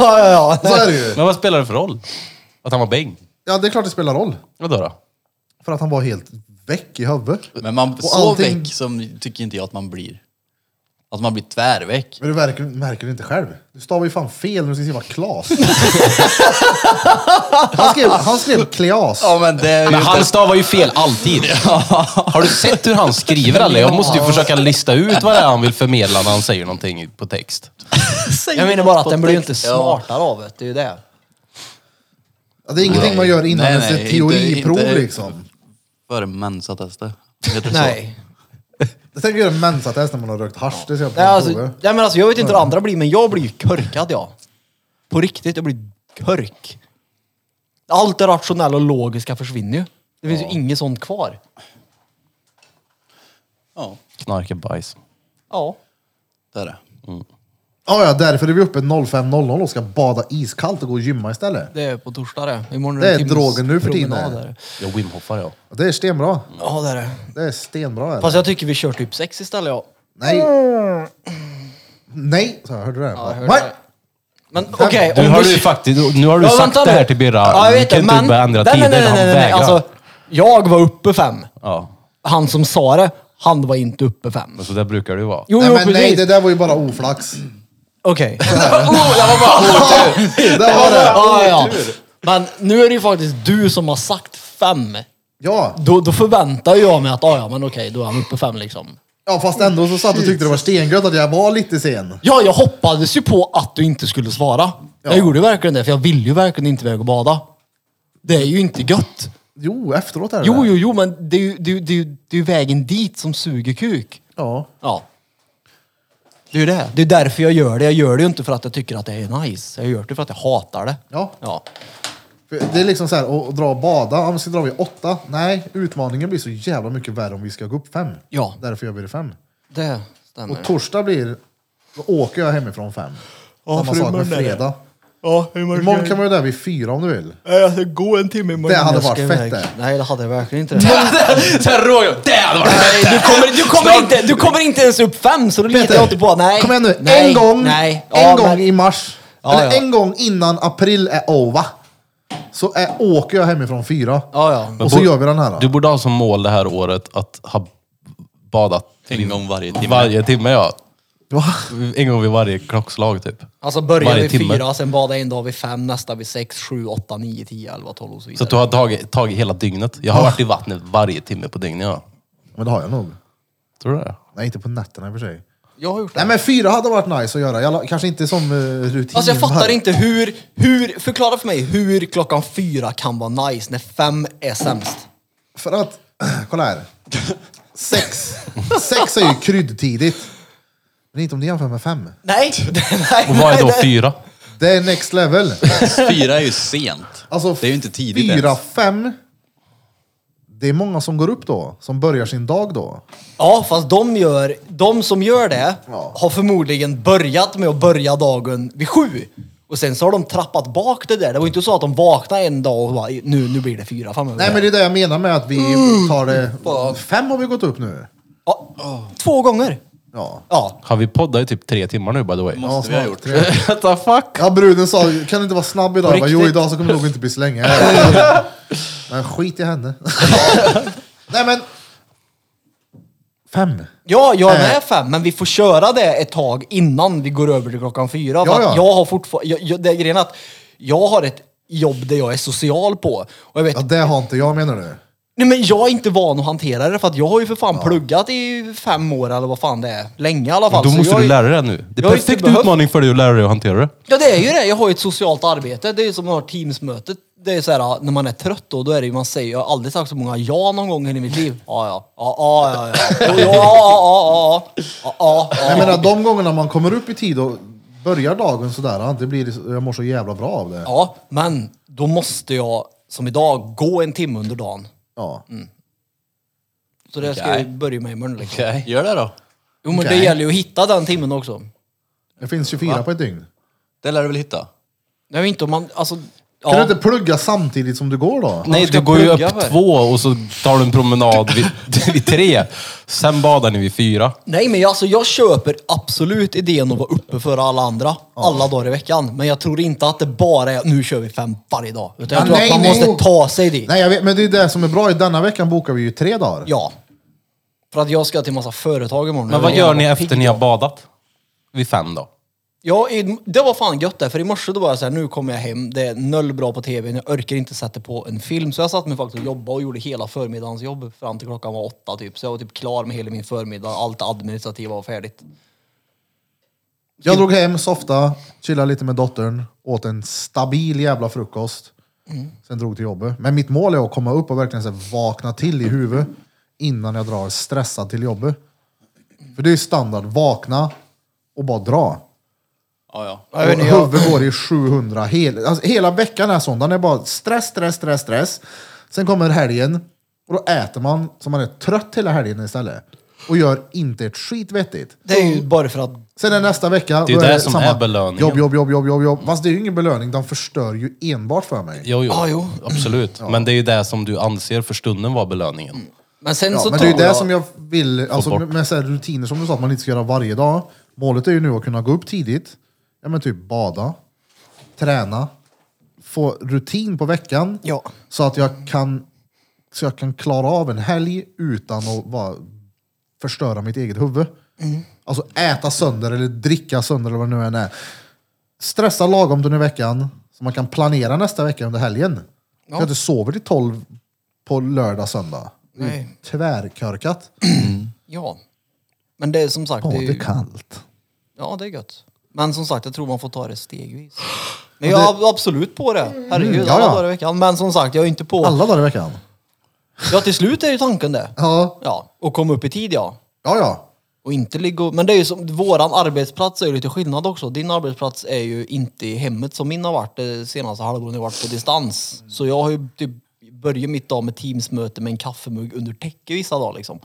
ja, så är det ju. Men vad spelar det för roll? Att han var bäng? Ja, det är klart det spelar roll. Vadå då? För att han var helt väck i huvudet. Men man, Och så allting- väck som tycker inte jag att man blir. Att man blir tvärväck. Men du märker, märker det inte själv. Du stavar ju fan fel när du ska skriva Klas. han, skrev, han skrev Kleas. Ja men det är ju Men inte- han stavar ju fel alltid. Har du sett hur han skriver eller? Jag måste ju försöka lista ut vad det är han vill förmedla när han säger någonting på text. Jag menar bara att den blir ju inte Ja. smartare av det, det är ju det. Ja, det är ingenting man gör innan Nej, ens nej, ett teoriprov inte- inte- liksom. Före mensatestet. Heter det så? Nej. Jag tänker göra en mensatest när man har rökt hasch. Det ser jag på Nej, alltså, provet. nej men alltså, jag vet inte hur andra blir, men jag blir ju körkad jag. På riktigt, jag blir körk. Allt det rationella och logiska försvinner ju. Det finns ju inget sånt kvar. Ja, Knarka bajs. Ja. det är det. Ja, ja, därför är vi uppe 05.00 och ska bada iskallt och gå och gymma istället. Det är på torsdag det. Imorgon Det en är timmes drogen nu för tiden. promenad där. Jag wimhoffar jag. Och Det är stenbra. Ja det är det. Det är stenbra. Är det. Fast jag tycker vi kör typ sex istället ja. Nej. Nej, så jag hörde du det? jag hörde Nej. det. Men okej. Du om har vi- du faktiskt, nu har du Ja, sagt vänta det här nu. till Birra. Ja, jag Du vet kan det, inte men- börja ändra Nej, nej, tider. nej, nej, han nej, nej. vägrar. Alltså, jag var uppe fem. ja. Han som sa det, han var inte uppe fem. Men så där brukar det ju vara. Jo, Nej, jo men precis. nej, det där var ju bara oflax. Okej. Det var det. Ja, ja. Men nu är det ju faktiskt du som har sagt fem. Ja. Då, då förväntar ju jag mig att, ah, ja men okej, då är han uppe fem liksom. ja, fast ändå så satt och tyckte det var stengött att jag var lite sen. Ja, jag hoppades ju på att du inte skulle svara. Jag gjorde ju verkligen det, för jag vill ju verkligen inte iväg och bada. Det är ju inte gött. Jo, efteråt är det Jo, det. jo, jo, men det är ju, det är ju, det är ju, det är ju vägen dit som suger kuk. Ja. Ja. Det är ju det. Det är därför jag gör det. Jag gör det ju inte för att jag tycker att det är nice. Jag gör det för att jag hatar det. Ja. Ja. För Det är liksom så här, att dra och bada, ja, men ska dra vi åtta? Nej, utmaningen blir så jävla mycket värre om vi ska gå upp fem. Ja. Därför gör vi det fem. Det stämmer. Och torsdag blir, då åker jag hemifrån fem. Samma sak med fredag. Ja, hur Imorgon kan man ju där vid fyra om du vill. Jag ska gå en timme imorgon. Det hade varit Jag ska fett iväg. det. Nej, det hade jag verkligen inte. det. Såhär råg. Det hade varit Nej, du kommer, du, kommer inte, du kommer inte ens upp fem, så då litar jag inte på. Nej. Kom igen nu, nej, en gång, Nej. en Ja, gång men- i mars. Ja, eller ja. en gång innan april är over. Så är, åker jag hemifrån fyra. Ja, ja. Och så gör vi den här då. Du borde ha som mål det här året att ha badat En gång varje timme. varje timme. Ja. En gång vid varje klockslag typ. Alltså börja Varje vid timme. fyra, sen bada en dag vid fem, nästa vid sex, sju, åtta, nio, tio, elva, tolv och så Så vidare. att du har tagit, tagit hela dygnet. Jag har varit i vattnet varje timme på dygnet. Ja. Men det har jag nog. Tror du det? Nej, inte på nätterna i och för sig. Jag har gjort det. Nej men fyra hade varit nice att göra. Jag, la- kanske inte som eh, rutin. Alltså jag här. fattar inte hur, hur, förklara för mig hur klockan fyra kan vara nice när fem är sämst. För att, kolla här. Sex. Sex är ju kryddtidigt. Men inte om du jämför med fem. Nej! nej Och vad är nej, då nej. fyra? Det är next level. Fyra är ju sent. Alltså, det är ju inte tidigt Fyra, ens. fem. Det är många som går upp då, som börjar sin dag då. Ja, fast de, gör, de som gör det Ja. har förmodligen börjat med att börja dagen vid sju. Och sen så har de trappat bak det där. Det var ju inte så att de vaknade en dag och bara, nu, nu blir det fyra framöver. Nej men det är det jag menar med att vi Mm. tar det... Fem har vi gått upp nu. ja, två gånger. Ja. Ja. Har vi poddat i typ tre timmar nu by the way? Ja, Måste vi ha snart gjort. tre. What the fuck? Ja, bruden sa, kan du inte vara snabb idag? Jag bara, jo idag så kommer det nog inte bli så länge. Men skit i henne. Nej men. Fem. Ja, jag är Eh. med fem, men vi får köra det ett tag innan vi går över till klockan fyra. För Ja, ja. att jag har fortfarande, jag, jag, det är grejen att jag har ett jobb där jag är social på. Och jag vet, Ja, det har inte jag menar du. nej men jag är inte van att hantera det för att jag har ju för fan pluggat i fem år eller vad fan det är. Länge i alla fall. Då alltså, Så måste jag, du lära dig det nu. Det är jag har ju inte perfekt behövt- utmaning för dig att lära dig att hantera det. Ja det är ju det, jag har ju ett socialt arbete. Det är ju som att ha teamsmötet. Det är så här, när man är trött då, då är det ju man säger, jag har aldrig sagt så många ja någon gång i mitt liv. Ja ja, ja ja ja, ja ja, ja ja, ja, ja, ja, ja. Jag menar de gångerna man kommer upp i tid och börjar dagen sådär, det blir, jag mår så jävla bra av det. Ja, men då måste jag som idag gå en timme under dagen. Ja. Så det ska Okej. jag börja med imorgon. Liksom. Okej, Gör det då. Jo, men Okej. det gäller ju att hitta den timmen också. Det finns 24 på ett dygn. Det lär du väl hitta? Nej, men inte om man... Alltså, Kan ja. du inte plugga samtidigt som du går då? Nej, ska Alltså, du går ju plugga upp för? två och så tar du en promenad vid, vid tre. Sen badar ni vid fyra. Nej, men jag, alltså, jag köper absolut idén att vara uppe före alla andra. Alla dagar i veckan. Men jag tror inte att det bara är nu kör vi fem varje dag. Utan jag Ja, tror nej, att man nej. måste ta sig dit. Nej jag vet, men det är det som är bra. I denna veckan bokar vi ju tre dagar. Ja. För att jag ska till massa företag imorgon. Men vad gör ni efter ni har badat? Vid fem då? Ja, i- det var fan gött där, för i morse då var jag så här, nu kommer jag hem, det är noll bra på tvn, jag orkar inte sätta på en film. Så jag satt mig faktiskt och jobbade och gjorde hela förmiddagens jobb fram till klockan var åtta typ. Så jag var typ klar med hela min förmiddag, allt administrativa var färdigt. Jag drog hem, softa, chillade lite med dottern, åt en stabil jävla frukost. Sen drog till jobbet. Men mitt mål är att komma upp och verkligen så här, vakna till i huvudet innan jag drar stressad till jobbet. För det är ju standard, vakna och bara dra. Ja, ja. Och Huvudet går i 700. Hel, alltså, hela veckan är sån. Den är bara stress, stress, stress, stress. Sen kommer helgen och då äter man så man är trött hela helgen istället. Och gör inte ett skit vettigt. Det är ju bara för att... Sen är nästa vecka... Det är då det som är belöningen. Jobb, jobb, jobb, jobb, jobb, jobb. Fast det är ju ingen belöning. Den förstör ju enbart för mig. Jo, jo. Ja, jo. Absolut. Men det är ju det som du anser för stunden var belöningen. Men sen Ja, så men det tror är ju det jag... som jag vill... Alltså, bort. med med så här rutiner som du sa, att man inte ska göra varje dag. Målet är ju nu att kunna gå upp tidigt. Ja, men typ bada, träna, få rutin på veckan. Ja. Så att jag kan, så jag kan klara av en helg utan att bara förstöra mitt eget huvud. Mm. Alltså äta sönder eller dricka sönder eller vad det nu än är. Stressa lagom under veckan Så man kan planera nästa vecka under helgen. Så jag inte sover till 12 på lördag, söndag. Det är ju Nej. Tvärkörkat. Ja. Men det är som sagt... det är Både ju, kallt. ja, det är gött. Men som sagt, jag tror man får ta det stegvis. Men jag är absolut på det. Herregud, Mm, ja, alla ja. dagar i veckan. Men som sagt, jag är inte på... Alla dagar i veckan. Ja, till slut är ju tanken det. Ja, Ja, och komma upp i tid ja. ja, ja. Och inte ligga och, Men det är ju som, våran arbetsplats är ju lite skillnad också. Din arbetsplats är ju inte i hemmet som min har varit det senaste halvåret. Jag har varit på distans. Så jag har ju typ börjat mitt dag med teamsmöte med en kaffemugg under täcke vissa dagar liksom.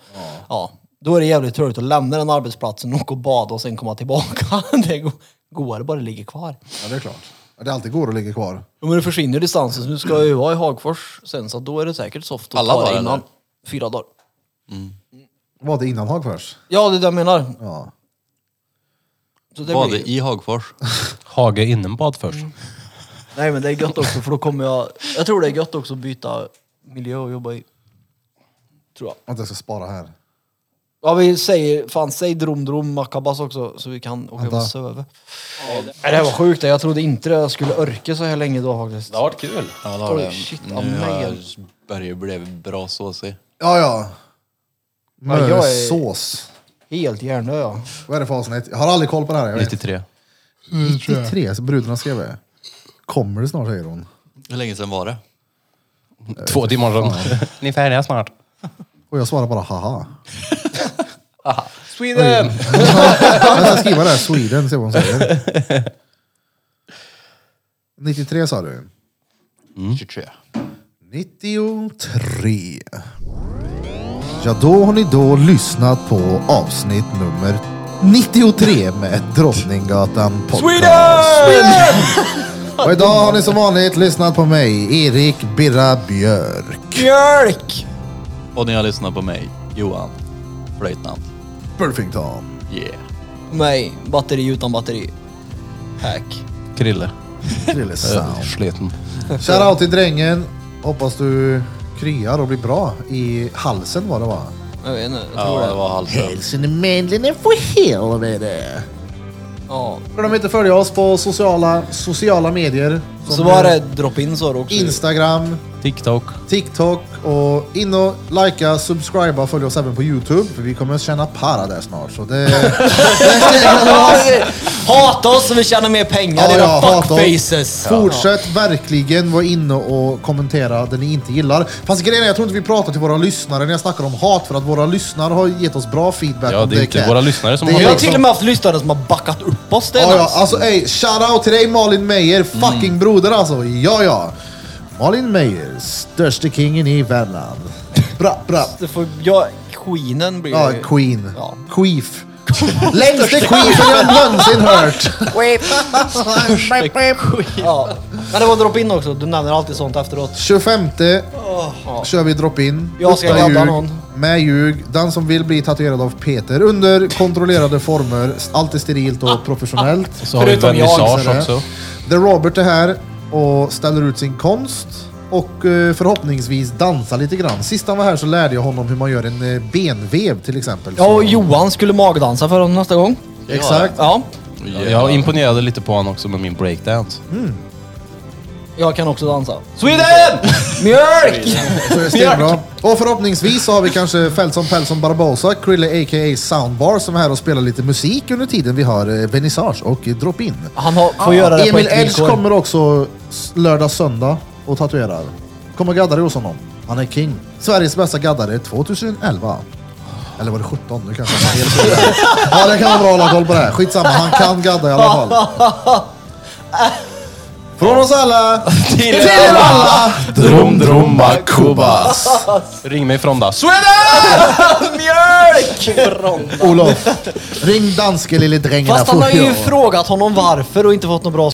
Ja. Då är det jävligt trevligt att lämna den arbetsplatsen och gå och bada och sen komma tillbaka. Det går goare bara det ligger kvar. Ja, det är klart. Ja, Det är alltid går att ligga kvar. Ja, Men det försvinner ju distansen så nu ska jag ju vara i Hagfors sen så då är det säkert soft att Alla ta det dagar, innan. eller? Fyra dagar. Var det innan Hagfors? Ja, det är det jag menar. Ja. Så det Var blir- det i Hagfors? Hage innenbad först. Nej men det är gött också för då kommer jag... Jag tror det är gött också att byta miljö och jobba i. Tror jag. Att jag ska spara här. Ja vi säger, fan säg Drom Drom Makabas också så vi kan åka och Vänta. söva. Nej det här var sjukt, jag trodde inte det skulle orka så här länge då faktiskt. Det har varit kul. Ja, det har Oj, det. shit, nu ah, har jag nej. börjat bli bra såsig. Ja, ja. jag är- Mörsås. Helt hjärndö ja. Vad är det för avsnitt? Jag har aldrig koll på det här. Jag vet. 93. 93, så brudarna skrev det. Kommer det snart, säger hon. Hur länge sedan var det? Två timmar sedan. Ni är färdiga snart. Och jag svarar bara haha. Sweden! Jag ska skriva det här, Sweden, se vad hon säger. 93 sa du? 23. 93. Ja, då har ni då lyssnat på avsnitt nummer 93 med Drottninggatan Podcast. Och idag har ni som vanligt lyssnat på mig, Erik Birra Björk. Björk! Och ni har lyssnat på mig, Johan, flöjtnant. Burfington. Yeah. Nej, batteri utan batteri. Hack. Krille. Krille Sound. Sleten. Shoutout till drängen. Hoppas du kryar och blir bra i halsen var det va? Jag vet inte, jag tror Ja, det. det var halsen. Hälsen i männen för helvete. Ja. Glöm inte att följa oss på sociala, sociala medier. som Så var det drop-in så då också. Instagram, TikTok. TikTok och in och likea, subscriba, följ oss även på YouTube. För vi kommer tjäna para där snart. Så det... Hata oss så vi tjänar mer pengar, Ja, era ja, hata oss. fuckfaces! Fortsätt verkligen vara inne och kommentera det ni inte gillar. Fast grejen är, jag tror inte vi pratar till våra lyssnare när jag snackar om hat. För att våra lyssnare har gett oss bra feedback. Ja, om det är inte kan- våra lyssnare som Det är har Jag har liksom- till och med haft lyssnare som har backat upp oss. Det är Ja, ja, nice. alltså ey, shoutout till dig Malin Meyer, Mm. fucking broder alltså. Ja, ja. Malin Meyer, största kingen i Värmland. Bra, bra. Det får, ja, queenen blir Ja, det ju. Queen. Eh, Ja. Queef. Längsta queefen jag någonsin hört. Ja. Men det var drop-in också, du nämner alltid sånt efteråt. 25 kör vi drop-in. Jag ska Utan ladda ljug, någon. Med ljug. Den som vill bli tatuerad av Peter under kontrollerade former. Alltid sterilt Ah. och professionellt. Så har vi Förutom jag, vernissage så är det. också. The Robert är här och ställer ut sin konst och eh, förhoppningsvis dansa lite grann. Sist han var här så lärde jag honom hur man gör en eh, benvev till exempel. Ja, Så- och Johan skulle magdansa för honom nästa gång. Exakt. Ja. Jag imponerade lite på honom också med min breakdance. Jag kan också dansa. Sweden! Mjölk! Så det är stenbra. Och förhoppningsvis så har vi kanske Feltson Pelson Barbosa, Krille a.k.a. Soundbar som är här och spelar lite musik under tiden vi har eh, vernissage och eh, drop-in. Han har, får göra det på Emil ett Edge villkor. kommer också s- lördag, söndag och tatuerar. Kom och gadda dig hos honom. Han är king. Sveriges bästa gaddare 2011. Eller var det 17? Nu kanske jag har fel på det. Ja, det kan vara bra att hålla koll på det. här. Skitsamma, han kan gadda i alla fall. Från oss alla till alla! Drum drum makubas. Ring mig från då. Olof, ring danske lille drängen. här Fast han fort, har ju ja. frågat honom varför och inte fått något bra